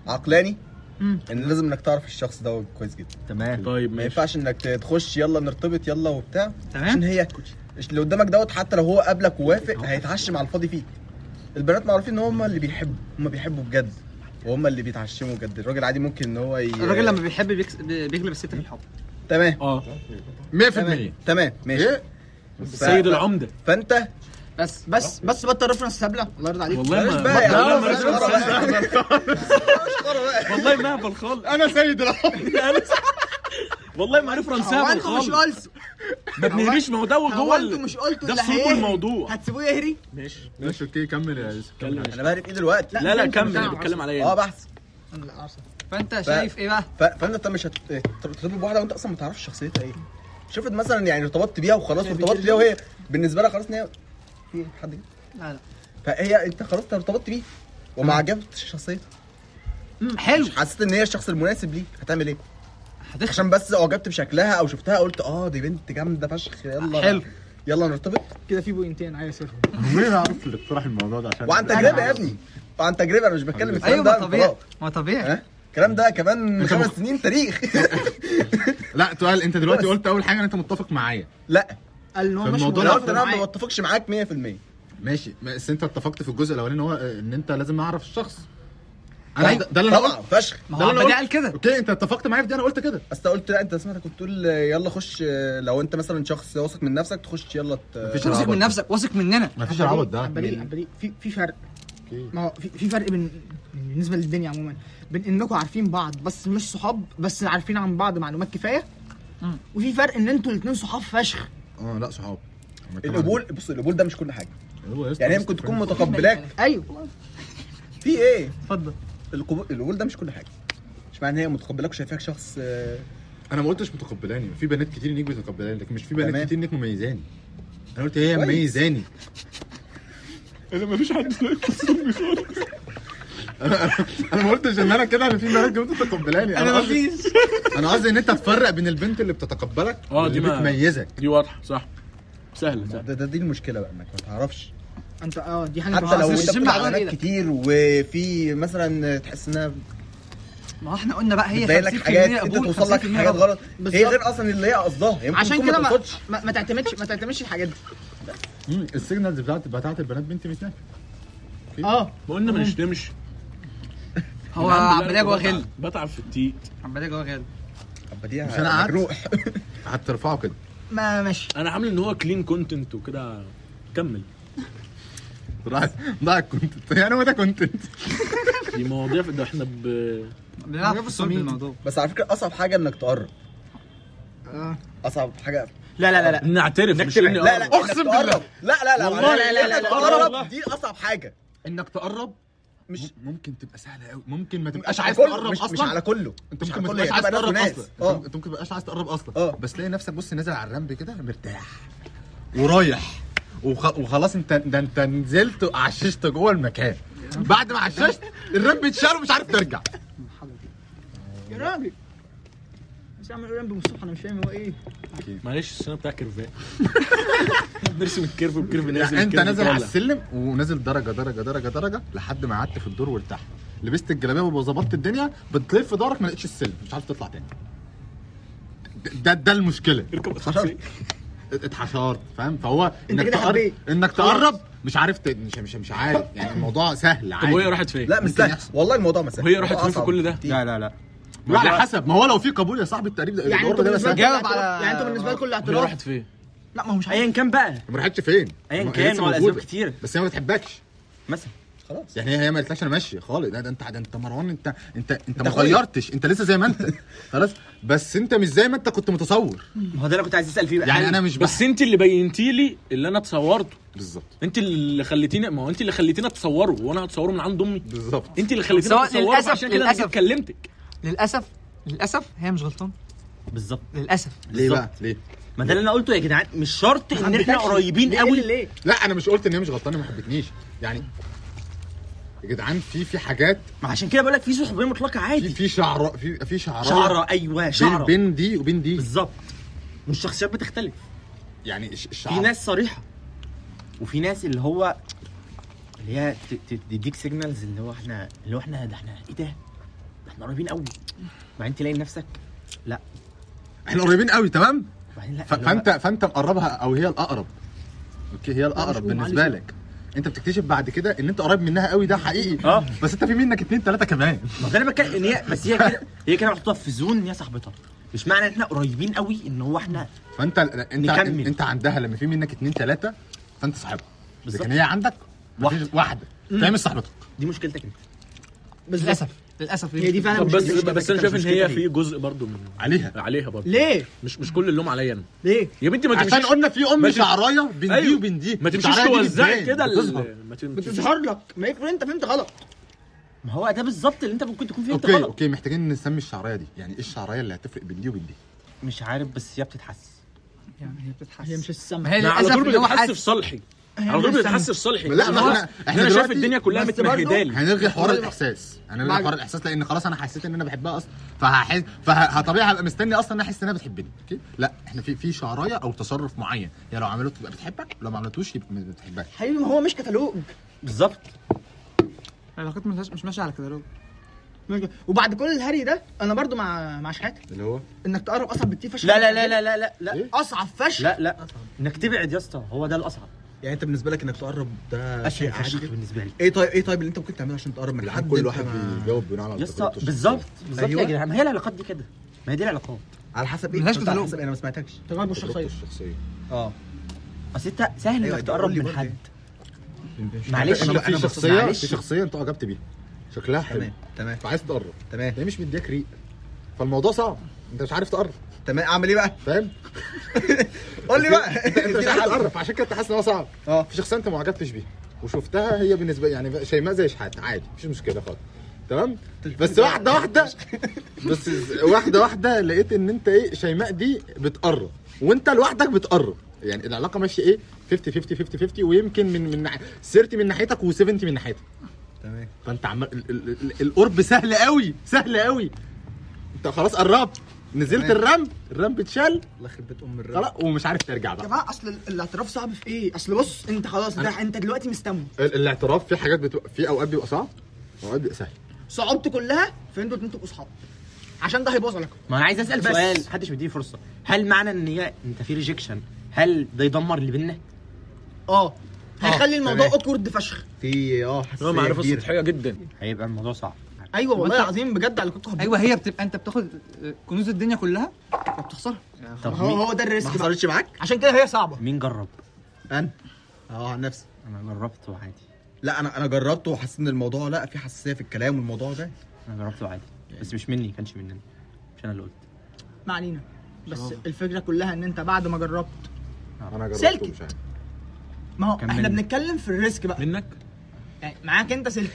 [SPEAKER 1] عقلاني
[SPEAKER 2] مم.
[SPEAKER 1] ان لازم انك تعرف الشخص ده كويس جدا
[SPEAKER 5] تمام
[SPEAKER 4] طيب
[SPEAKER 1] ما
[SPEAKER 4] ماشي
[SPEAKER 1] ينفعش انك تخش يلا نرتبط يلا وبتاع عشان
[SPEAKER 3] تمام
[SPEAKER 1] هي اللي قدامك دوت حتى لو هو قابلك ووافق هيتعشم على الفاضي فيك البنات معروفين ان هم اللي بيحبوا هم بيحبوا بجد وهم اللي بيتعشموا بجد الراجل عادي ممكن ان هو ي...
[SPEAKER 3] الراجل لما بيحب بيكس- بيغلب الست في الحب
[SPEAKER 1] تمام
[SPEAKER 4] اه
[SPEAKER 5] 100%
[SPEAKER 1] تمام تمام ماشي
[SPEAKER 5] ايه
[SPEAKER 4] السيد
[SPEAKER 1] ف-
[SPEAKER 4] العمده
[SPEAKER 1] فانت
[SPEAKER 2] بس بس بس بطل ريفرنس هبله الله يرضى عليك
[SPEAKER 4] والله ما
[SPEAKER 1] بلاش بقى يا
[SPEAKER 4] والله
[SPEAKER 1] عم،
[SPEAKER 4] ما-
[SPEAKER 1] بلاش خرا بقى.
[SPEAKER 4] والله ما هبل خالص
[SPEAKER 5] انا سيد العمر
[SPEAKER 4] والله ما ريفرنس
[SPEAKER 2] هو
[SPEAKER 4] هبل
[SPEAKER 2] انتوا مش
[SPEAKER 4] خالص
[SPEAKER 2] قلتوا
[SPEAKER 4] ما بنهريش ما هو ده
[SPEAKER 2] هو
[SPEAKER 4] جوه
[SPEAKER 2] انتوا
[SPEAKER 4] ال-
[SPEAKER 2] مش قلتوا
[SPEAKER 4] ده
[SPEAKER 2] اللي
[SPEAKER 4] في صلب
[SPEAKER 2] هيهري
[SPEAKER 4] الموضوع.
[SPEAKER 2] هتسيبوه يهري
[SPEAKER 4] ماشي
[SPEAKER 5] ماشي اوكي كمل يا يوسف كمل
[SPEAKER 1] انا بهري بايدي الوقت
[SPEAKER 4] لا لا
[SPEAKER 2] مش
[SPEAKER 4] كمل إيه؟
[SPEAKER 2] بتاع
[SPEAKER 4] انا بتكلم عليا
[SPEAKER 1] اه
[SPEAKER 4] أنا.
[SPEAKER 1] إيه بحث
[SPEAKER 3] فانت شايف ايه بقى؟
[SPEAKER 1] ف- فانت انت مش هترتبط بواحده وانت اصلا ما تعرفش شخصيتها ايه شفت مثلا يعني ارتبطت بيها وخلاص ارتبطت بيها وهي بالنسبه لها خلاص ان هي في إيه؟ حد جه؟
[SPEAKER 3] لا آه. لا
[SPEAKER 1] فهي انت خلاص أنت ارتبطت بيه وما عجبتش شخصيته
[SPEAKER 3] مم، حلو
[SPEAKER 1] مش حسيت ان هي الشخص المناسب ليك هتعمل ايه؟
[SPEAKER 3] هتخشى
[SPEAKER 1] عشان بس اعجبت بشكلها او شفتها قلت اه دي بنت جامده فشخ يلا
[SPEAKER 3] حلو.
[SPEAKER 1] يلا نرتبط
[SPEAKER 2] كده في بوينتين عايز اسيرهم
[SPEAKER 5] عمري ما اعرف اللي اقترح الموضوع ده عشان
[SPEAKER 1] وعن تجربه يا ابني وعن تجربه انا مش بتكلم
[SPEAKER 3] ايوه
[SPEAKER 1] الكلام ده
[SPEAKER 3] ما
[SPEAKER 1] من
[SPEAKER 3] طبيعي
[SPEAKER 1] فراغ.
[SPEAKER 3] ما طبيعي
[SPEAKER 1] ها؟ الكلام ده كمان خمس سنين تاريخ
[SPEAKER 3] إيه؟
[SPEAKER 5] لا سؤال انت دلوقتي قلت اول حاجه ان انت متفق معايا
[SPEAKER 1] لا
[SPEAKER 2] قال ان هو
[SPEAKER 5] في
[SPEAKER 2] مش
[SPEAKER 5] الموضوع
[SPEAKER 1] انا
[SPEAKER 5] ده
[SPEAKER 2] موافق
[SPEAKER 1] قلت انا ما
[SPEAKER 2] معايا.
[SPEAKER 1] بتفقش معاك 100%
[SPEAKER 5] ماشي بس انت اتفقت في الجزء الاولاني ان هو آه، ان انت لازم اعرف الشخص انا ده ده اللي انا
[SPEAKER 1] طبعا
[SPEAKER 5] قلت
[SPEAKER 1] فشخ
[SPEAKER 3] طيب. ما
[SPEAKER 5] ده
[SPEAKER 3] هو
[SPEAKER 5] اللي
[SPEAKER 3] عمال
[SPEAKER 5] أنا
[SPEAKER 3] قال كده
[SPEAKER 5] اوكي انت اتفقت معايا في دي انا قلت كده
[SPEAKER 1] بس قلت لا انت سمعتك كنت تقول يلا خش لو انت مثلا شخص واثق من نفسك تخش يلا ت...
[SPEAKER 5] مفيش
[SPEAKER 3] واثق من
[SPEAKER 5] العبط ده.
[SPEAKER 3] نفسك واثق مننا
[SPEAKER 5] مفيش العبط ده
[SPEAKER 2] عبالي عبالي في في فرق ما هو في في فرق بين بالنسبه للدنيا عموما بين انكم عارفين بعض بس مش صحاب بس عارفين عن بعض معلومات كفايه
[SPEAKER 3] مم.
[SPEAKER 2] وفي فرق ان انتوا الاثنين صحاب فشخ
[SPEAKER 5] اه لا صحاب
[SPEAKER 1] القبول بص القبول ده مش كل حاجه يعني هي ممكن تكون متقبلاك
[SPEAKER 2] ايوه
[SPEAKER 1] في ايه
[SPEAKER 3] اتفضل
[SPEAKER 1] القبول القبول ده مش كل حاجه مش معنى ان هي متقبلاك وشايفاك شخص آه،
[SPEAKER 5] انا ما قلتش متقبلاني في بنات كتير انك بتقبلاني لكن مش في بنات
[SPEAKER 1] تمام.
[SPEAKER 5] كتير انك مميزاني انا قلت هي
[SPEAKER 1] كويس.
[SPEAKER 5] مميزاني
[SPEAKER 4] انا ما فيش حد
[SPEAKER 5] انا ما قلتش ان انا كده انا في بنات كتير بتتقبلاني انا قصدي
[SPEAKER 3] فيش
[SPEAKER 5] انا قصدي ان انت تفرق بين البنت اللي بتتقبلك
[SPEAKER 4] اه،
[SPEAKER 5] واللي
[SPEAKER 4] دي ما-
[SPEAKER 5] بتميزك
[SPEAKER 4] دي واضحه صح سهله سهله
[SPEAKER 1] ده, ده دي المشكله بقى انك ما تعرفش
[SPEAKER 2] انت اه دي حاجه
[SPEAKER 1] حتى لو
[SPEAKER 2] بس
[SPEAKER 1] انت
[SPEAKER 3] الجيم
[SPEAKER 1] بتلعب
[SPEAKER 3] عمل ايه
[SPEAKER 1] بنات
[SPEAKER 3] ده؟
[SPEAKER 1] كتير وفي مثلا تحس انها
[SPEAKER 3] ما هو احنا قلنا بقى هي
[SPEAKER 1] بتبين لك
[SPEAKER 3] 50%
[SPEAKER 1] حاجات انت
[SPEAKER 3] قبول،
[SPEAKER 1] توصل لك
[SPEAKER 3] 50%
[SPEAKER 1] حاجات
[SPEAKER 3] رفض.
[SPEAKER 1] غلط هي
[SPEAKER 2] بالظبط.
[SPEAKER 1] غير اصلا اللي هي قصدها هي ممكن
[SPEAKER 2] عشان
[SPEAKER 1] تكون
[SPEAKER 2] كده ما,
[SPEAKER 1] ما تقصدش.
[SPEAKER 2] ما, ما تعتمدش ما تعتمدش الحاجات دي
[SPEAKER 5] مم، السيجنالز بتاعت بتاعت البنات بنت مثلك
[SPEAKER 2] اه
[SPEAKER 4] وقلنا ما نشتمش
[SPEAKER 3] هو
[SPEAKER 4] الحمد لله
[SPEAKER 3] عباليه
[SPEAKER 4] أنا
[SPEAKER 3] جوه
[SPEAKER 4] بتعب-
[SPEAKER 3] غل
[SPEAKER 4] بتعب في التيت
[SPEAKER 3] عباليه جوه غل
[SPEAKER 1] بديها
[SPEAKER 5] مش أنا قعدت.
[SPEAKER 1] مجروح
[SPEAKER 5] هترفعه كده
[SPEAKER 2] ما ماشي
[SPEAKER 4] انا عامل ان هو كلين كونتنت وكده كمل
[SPEAKER 5] راح ضاع الكونتنت يعني هو ده كونتنت
[SPEAKER 4] دي مواضيع ده احنا ب
[SPEAKER 3] بنلعب في صلب الموضوع
[SPEAKER 1] بس على فكره اصعب حاجه انك تقرب
[SPEAKER 2] آه.
[SPEAKER 1] اصعب حاجه
[SPEAKER 6] لا لا لا لا
[SPEAKER 4] نعترف مش
[SPEAKER 6] نكتب-
[SPEAKER 4] اني
[SPEAKER 1] لا لا
[SPEAKER 4] أقرب.
[SPEAKER 1] اقسم بالله لا لا لا
[SPEAKER 4] والله
[SPEAKER 1] لا لا لا
[SPEAKER 4] والله.
[SPEAKER 1] تقرب دي اصعب حاجه
[SPEAKER 5] انك تقرب
[SPEAKER 1] مش-
[SPEAKER 5] مش ممكن تبقى سهله قوي ممكن ما تبقاش
[SPEAKER 1] على
[SPEAKER 5] عايز
[SPEAKER 1] كله،
[SPEAKER 5] تقرب
[SPEAKER 1] مش
[SPEAKER 5] اصلا
[SPEAKER 1] مش على كله
[SPEAKER 5] انت
[SPEAKER 1] مش
[SPEAKER 5] ممكن ما
[SPEAKER 1] على كله،
[SPEAKER 5] تبقاش
[SPEAKER 1] هي
[SPEAKER 5] عايز
[SPEAKER 1] بتبقى ناس
[SPEAKER 5] تقرب
[SPEAKER 1] وناس.
[SPEAKER 5] اصلا
[SPEAKER 1] اه
[SPEAKER 5] انت- انت ممكن ما تبقاش عايز تقرب اصلا
[SPEAKER 1] اه.
[SPEAKER 5] بس تلاقي نفسك بص نازل على الرمل كده مرتاح ورايح وخ... وخلاص انت ده انت نزلت وعششت جوه المكان بعد ما عششت الرمل اتشال ومش عارف ترجع
[SPEAKER 2] يا راجل بس اعمل اورامب من الصبح انا مش فاهم هو ايه
[SPEAKER 4] معلش السنه بتاع كيرفات نرسم الكيرف والكيرف نازل
[SPEAKER 5] يعني انت
[SPEAKER 4] الكيرف
[SPEAKER 5] نازل على
[SPEAKER 4] طالع.
[SPEAKER 5] السلم ونازل درجه درجه درجه درجه لحد ما قعدت في الدور وارتحت لبست الجلابيه وظبطت الدنيا بتلف في دارك ما لقيتش السلم مش عارف تطلع تاني ده- ده ده المشكله
[SPEAKER 4] اركب الخمسة.
[SPEAKER 5] اتحشرت فاهم فهو
[SPEAKER 2] انت
[SPEAKER 5] انك
[SPEAKER 2] كده
[SPEAKER 5] تقرب
[SPEAKER 2] حبيت.
[SPEAKER 5] انك تقرب مش عارف ت... مش مش مش عارف يعني الموضوع سهل عادي
[SPEAKER 4] طب وهي راحت فين؟
[SPEAKER 1] لا مش
[SPEAKER 5] ممكن
[SPEAKER 1] سهل
[SPEAKER 5] يحصل.
[SPEAKER 1] والله الموضوع مسافه
[SPEAKER 4] وهي راحت فين في كل ده؟
[SPEAKER 5] لا لا لا ما على حسب ما هو لو في قبول يا صاحبي التقريب ده
[SPEAKER 2] يعني
[SPEAKER 5] الدور
[SPEAKER 2] انتوا
[SPEAKER 5] ده
[SPEAKER 2] بالنسبه
[SPEAKER 5] بس
[SPEAKER 2] لكم
[SPEAKER 5] ما
[SPEAKER 3] جاوب
[SPEAKER 2] اعتراف-
[SPEAKER 3] على-
[SPEAKER 2] يعني انتوا بالنسبه لكم
[SPEAKER 4] هي
[SPEAKER 2] الاعتراف
[SPEAKER 4] راحت فين؟
[SPEAKER 2] لا ما هو مش عارف
[SPEAKER 6] ايا كان بقى
[SPEAKER 5] راحتش فين
[SPEAKER 6] ايا
[SPEAKER 5] ما هي
[SPEAKER 6] كان
[SPEAKER 5] لسه
[SPEAKER 6] وعلى
[SPEAKER 5] موجودة.
[SPEAKER 6] اسباب كتير.
[SPEAKER 5] بس هي ما بتحبكش
[SPEAKER 6] مثلا
[SPEAKER 1] خلاص
[SPEAKER 5] يعني هي هي ما قالتلكش انا ماشي خالص لا ده انت ده انت مروان انت انت انت ما
[SPEAKER 1] أخويا.
[SPEAKER 5] غيرتش انت لسه زي ما انت خلاص بس انت مش زي ما انت كنت متصور
[SPEAKER 6] ما هو ده اللي كنت عايز اسال فيه بقى
[SPEAKER 5] يعني
[SPEAKER 6] هل-
[SPEAKER 5] انا مش
[SPEAKER 4] بس انت اللي بينتي لي اللي انا اتصورته
[SPEAKER 5] بالظبط
[SPEAKER 4] انت اللي خليتيني ما هو انت اللي خليتيني اتصوره وانا هتصوره من عند امي
[SPEAKER 5] بالظبط
[SPEAKER 2] إيه؟
[SPEAKER 4] انت اللي خليتيني
[SPEAKER 3] سواء
[SPEAKER 4] اتصوره
[SPEAKER 3] للأسف-
[SPEAKER 4] عشان كده انا
[SPEAKER 3] للأسف.
[SPEAKER 4] كلمتك
[SPEAKER 3] للاسف للاسف هي مش غلطانه
[SPEAKER 6] بالظبط
[SPEAKER 3] للاسف
[SPEAKER 5] ليه
[SPEAKER 6] بالظبط.
[SPEAKER 5] بقى ليه
[SPEAKER 6] ما ده اللي انا قلته يا جدعان مش شرط ان احنا قريبين قوي
[SPEAKER 2] ليه
[SPEAKER 5] لا انا مش قلت ان هي مش غلطانه ما حبتنيش يعني يا جدعان في في حاجات
[SPEAKER 6] ما عشان كده بقول لك في صحوبيه مطلقه
[SPEAKER 5] في
[SPEAKER 6] عادي
[SPEAKER 5] في شعراء في في شعراء
[SPEAKER 6] شعره ايوه
[SPEAKER 5] بين,
[SPEAKER 6] شعره
[SPEAKER 5] بين دي وبين دي
[SPEAKER 6] بالظبط والشخصيات بتختلف
[SPEAKER 5] يعني الش- الشعراء
[SPEAKER 6] في ناس صريحه وفي ناس اللي هو اللي هي ت- ت- تديك سيجنالز اللي هو احنا اللي هو احنا ده احنا ايه ده؟ ده احنا قريبين قوي بعدين تلاقي نفسك
[SPEAKER 5] احنا قريبين قوي تمام
[SPEAKER 6] بعدين لا
[SPEAKER 5] ف-
[SPEAKER 6] اللي هو-
[SPEAKER 5] فانت فانت مقربها او هي الاقرب اوكي هي الاقرب
[SPEAKER 2] مشؤوم،
[SPEAKER 5] بالنسبه
[SPEAKER 2] معلش.
[SPEAKER 5] لك انت بتكتشف بعد كده ان انت قريب منها قوي ده حقيقي
[SPEAKER 6] آه.
[SPEAKER 5] بس انت في منك اتنين تلاته كمان
[SPEAKER 6] ما ده انا بتكلم ان هي بس هي كده هي كده محطوطه في زون ان هي صاحبتها مش معنى ان احنا قريبين قوي ان هو احنا
[SPEAKER 5] فانت انت
[SPEAKER 6] نكمل.
[SPEAKER 5] انت عندها لما في منك اتنين تلاته فانت صاحبها
[SPEAKER 6] بالظبط.
[SPEAKER 5] لكن هي عندك
[SPEAKER 6] واحدة.
[SPEAKER 5] مفيش واحده فهي مش صاحبتك
[SPEAKER 6] دي مشكلتك انت
[SPEAKER 2] للاسف
[SPEAKER 3] للاسف
[SPEAKER 2] هي دي فعلا
[SPEAKER 4] طب بس
[SPEAKER 2] مشكلتك.
[SPEAKER 4] بس انا شايف ان
[SPEAKER 6] مشكلتها
[SPEAKER 4] هي
[SPEAKER 6] هي.
[SPEAKER 4] في جزء برضو من
[SPEAKER 5] عليها
[SPEAKER 4] عليها برضو
[SPEAKER 2] ليه؟
[SPEAKER 4] مش مش كل اللوم عليا انا
[SPEAKER 2] ليه؟
[SPEAKER 4] يا بنتي ما
[SPEAKER 5] عشان
[SPEAKER 4] تمشيش
[SPEAKER 5] قلنا في ام
[SPEAKER 4] ماشي.
[SPEAKER 5] شعرايه بين دي
[SPEAKER 4] أيوة.
[SPEAKER 5] وبين دي
[SPEAKER 4] ما تمشيش
[SPEAKER 5] شعراية دي
[SPEAKER 4] توزعي
[SPEAKER 5] بتبان،
[SPEAKER 4] كده ال-
[SPEAKER 5] بتظهر.
[SPEAKER 4] ما تمشيش
[SPEAKER 2] بتظهر لك ما يكفي انت فهمت غلط
[SPEAKER 6] ما هو ده بالظبط اللي انت ممكن تكون فيه انت
[SPEAKER 5] اوكي
[SPEAKER 6] غلط
[SPEAKER 5] اوكي محتاجين نسمي الشعرايه دي يعني ايه الشعرايه اللي هتفرق بين دي وبين دي
[SPEAKER 6] مش عارف بس هي بتتحس
[SPEAKER 3] يعني هي بتتحسن
[SPEAKER 2] هي مش السما
[SPEAKER 3] ما هي
[SPEAKER 4] أنا على
[SPEAKER 3] للاسف
[SPEAKER 4] طول
[SPEAKER 3] اللي هو
[SPEAKER 4] بتتحس في
[SPEAKER 3] حاسس
[SPEAKER 4] صالحي على طول بتتحس في صالحي
[SPEAKER 5] لا، ما
[SPEAKER 4] أنا-
[SPEAKER 5] إحنا- إحنا
[SPEAKER 4] انا شايف
[SPEAKER 5] دلوقتي-
[SPEAKER 4] الدنيا كلها
[SPEAKER 2] بس برضه-
[SPEAKER 4] متمهدالي
[SPEAKER 5] هنلغي حوار الاحساس هنلغي
[SPEAKER 2] بعد-
[SPEAKER 5] حوار الاحساس لان خلاص انا حسيت ان انا بحبها اصلا فهحس فطبيعي هبقى مستني اصلا ان أنا احس انها بتحبني اوكي لا احنا في في شعرايه او تصرف معين يا لو عملته تبقى بتحبك لو ما عملتوش يبقى ما بتحبكش
[SPEAKER 2] حبيبي ما هو مش كتالوج
[SPEAKER 6] بالظبط
[SPEAKER 3] العلاقات مش مش ماشيه على كده
[SPEAKER 2] وبعد كل الهري ده انا برضو مع مع شحاته
[SPEAKER 5] اللي هو
[SPEAKER 2] انك تقرب اصعب بكتير فشخ
[SPEAKER 6] لا لا
[SPEAKER 1] يعني
[SPEAKER 6] لا لا لا لا لا
[SPEAKER 5] إيه؟
[SPEAKER 2] اصعب فشخ
[SPEAKER 6] لا لا انك تبعد يا اسطى هو ده الاصعب
[SPEAKER 1] يعني انت بالنسبه لك انك تقرب ده
[SPEAKER 6] اشهر
[SPEAKER 1] آه، شيء عادي
[SPEAKER 6] فشخ
[SPEAKER 1] جدا
[SPEAKER 6] بالنسبه لي
[SPEAKER 1] ايه طيب ايه طيب اللي انت ممكن تعمله عشان تقرب من حد
[SPEAKER 5] كل
[SPEAKER 1] انت
[SPEAKER 5] واحد
[SPEAKER 1] ما-
[SPEAKER 5] بيجاوب بناء على
[SPEAKER 6] يا اسطى
[SPEAKER 5] تجربته
[SPEAKER 6] بالظبط بالظبط
[SPEAKER 1] أيوة.
[SPEAKER 6] يا جدعان ما هي العلاقات دي كده ما هي دي العلاقات
[SPEAKER 1] على حسب ايه
[SPEAKER 3] ملهاش
[SPEAKER 1] أنت على
[SPEAKER 3] كتالوج.
[SPEAKER 1] حسب انا ما سمعتكش
[SPEAKER 2] تجاربه
[SPEAKER 5] تجربته
[SPEAKER 2] الشخصيه
[SPEAKER 5] الشخصيه
[SPEAKER 1] اه
[SPEAKER 6] اصل انت سهل
[SPEAKER 1] أيوة،
[SPEAKER 6] انك
[SPEAKER 1] ده
[SPEAKER 6] تقرب
[SPEAKER 1] قول لي
[SPEAKER 6] من
[SPEAKER 1] برضه.
[SPEAKER 6] حد معلش
[SPEAKER 5] انا
[SPEAKER 6] في
[SPEAKER 5] انا
[SPEAKER 6] شخص-
[SPEAKER 5] شخصيه
[SPEAKER 6] معلش.
[SPEAKER 5] في شخصيه انت اعجبت بيها شكلها حلو
[SPEAKER 1] تمام تمام
[SPEAKER 5] فعايز تقرب
[SPEAKER 1] تمام
[SPEAKER 5] هي مش مدياك ريق فالموضوع صعب انت مش عارف تقرب
[SPEAKER 1] تمام اعمل ايه بقى
[SPEAKER 5] فاهم
[SPEAKER 1] قول لي بقى
[SPEAKER 5] انت مش
[SPEAKER 1] ادينا
[SPEAKER 5] عارف
[SPEAKER 1] حل.
[SPEAKER 5] تقرب عشان كده انت حاسس ان هو صعب
[SPEAKER 1] اه
[SPEAKER 5] في شخصيه انت ما عجبتش بيها وشفتها هي بالنسبه يعني شيماء زي شحات عادي مفيش مشكله خالص تمام بس واحده واحده بس واحده واحده لقيت ان انت ايه شيماء دي بتقرب وانت لوحدك بتقرب يعني العلاقه ماشيه ايه 50 50 50 50 ويمكن من من ناح- 30 من ناحيتك و70 من ناحيتك
[SPEAKER 1] تمام
[SPEAKER 5] فانت عمال ال- ال- ال- القرب سهل قوي سهل قوي انت خلاص قربت نزلت
[SPEAKER 1] تمام.
[SPEAKER 5] الرمل الرمل اتشال
[SPEAKER 1] الله يخرب بيت ام الرب
[SPEAKER 5] خلاص ومش عارف ترجع
[SPEAKER 2] يا
[SPEAKER 5] بقى
[SPEAKER 2] جماعه اصل ال- الاعتراف صعب في ايه؟ اصل بص انت خلاص ده انت دلوقتي مستمع
[SPEAKER 5] ال- الاعتراف في حاجات بتبقى في اوقات بيبقى صعب اوقات بيبقى سهل
[SPEAKER 2] صعوبتي كلها في انتوا الاتنين تبقوا صحاب عشان ده هيبوظ علاقتكم
[SPEAKER 6] ما انا عايز اسال
[SPEAKER 2] بس.
[SPEAKER 6] سؤال محدش مديني فرصه هل معنى ان هي انت في ريجكشن هل ده يدمر اللي بينا
[SPEAKER 2] اه هيخلي الموضوع
[SPEAKER 1] تمام.
[SPEAKER 2] اوكورد فشخ
[SPEAKER 1] في اه
[SPEAKER 4] هو معرفه
[SPEAKER 1] كبيرة.
[SPEAKER 4] سطحيه جدا
[SPEAKER 6] هيبقى الموضوع صعب
[SPEAKER 2] ايوه والله
[SPEAKER 3] وأنت-
[SPEAKER 2] العظيم بجد علاقتكم هتبوظ.
[SPEAKER 3] ايوه هي بتبقى انت بتاخد آه، كنوز الدنيا كلها وبتخسرها
[SPEAKER 6] طب
[SPEAKER 2] هو
[SPEAKER 6] مين
[SPEAKER 2] هو ده
[SPEAKER 1] ما
[SPEAKER 2] الريسك بقى.
[SPEAKER 1] حصلتش معاك
[SPEAKER 2] عشان كده هي صعبه
[SPEAKER 6] مين جرب
[SPEAKER 1] انا اه عن نفسي
[SPEAKER 6] انا جربته عادي
[SPEAKER 1] لا انا انا جربته وحسيت ان الموضوع لا في حساسيه في الكلام والموضوع ده
[SPEAKER 6] انا جربته عادي
[SPEAKER 2] يعني
[SPEAKER 6] بس مش مني كانش مننا مش انا اللي قلت
[SPEAKER 2] ما علينا بس الفكره كلها ان انت بعد ما جربت
[SPEAKER 5] انا جربت
[SPEAKER 2] سلكي.
[SPEAKER 5] ومش عارف
[SPEAKER 2] ما هو
[SPEAKER 6] كمل.
[SPEAKER 2] احنا بنتكلم في الريسك بقى
[SPEAKER 4] منك
[SPEAKER 2] يعني معاك انت سلك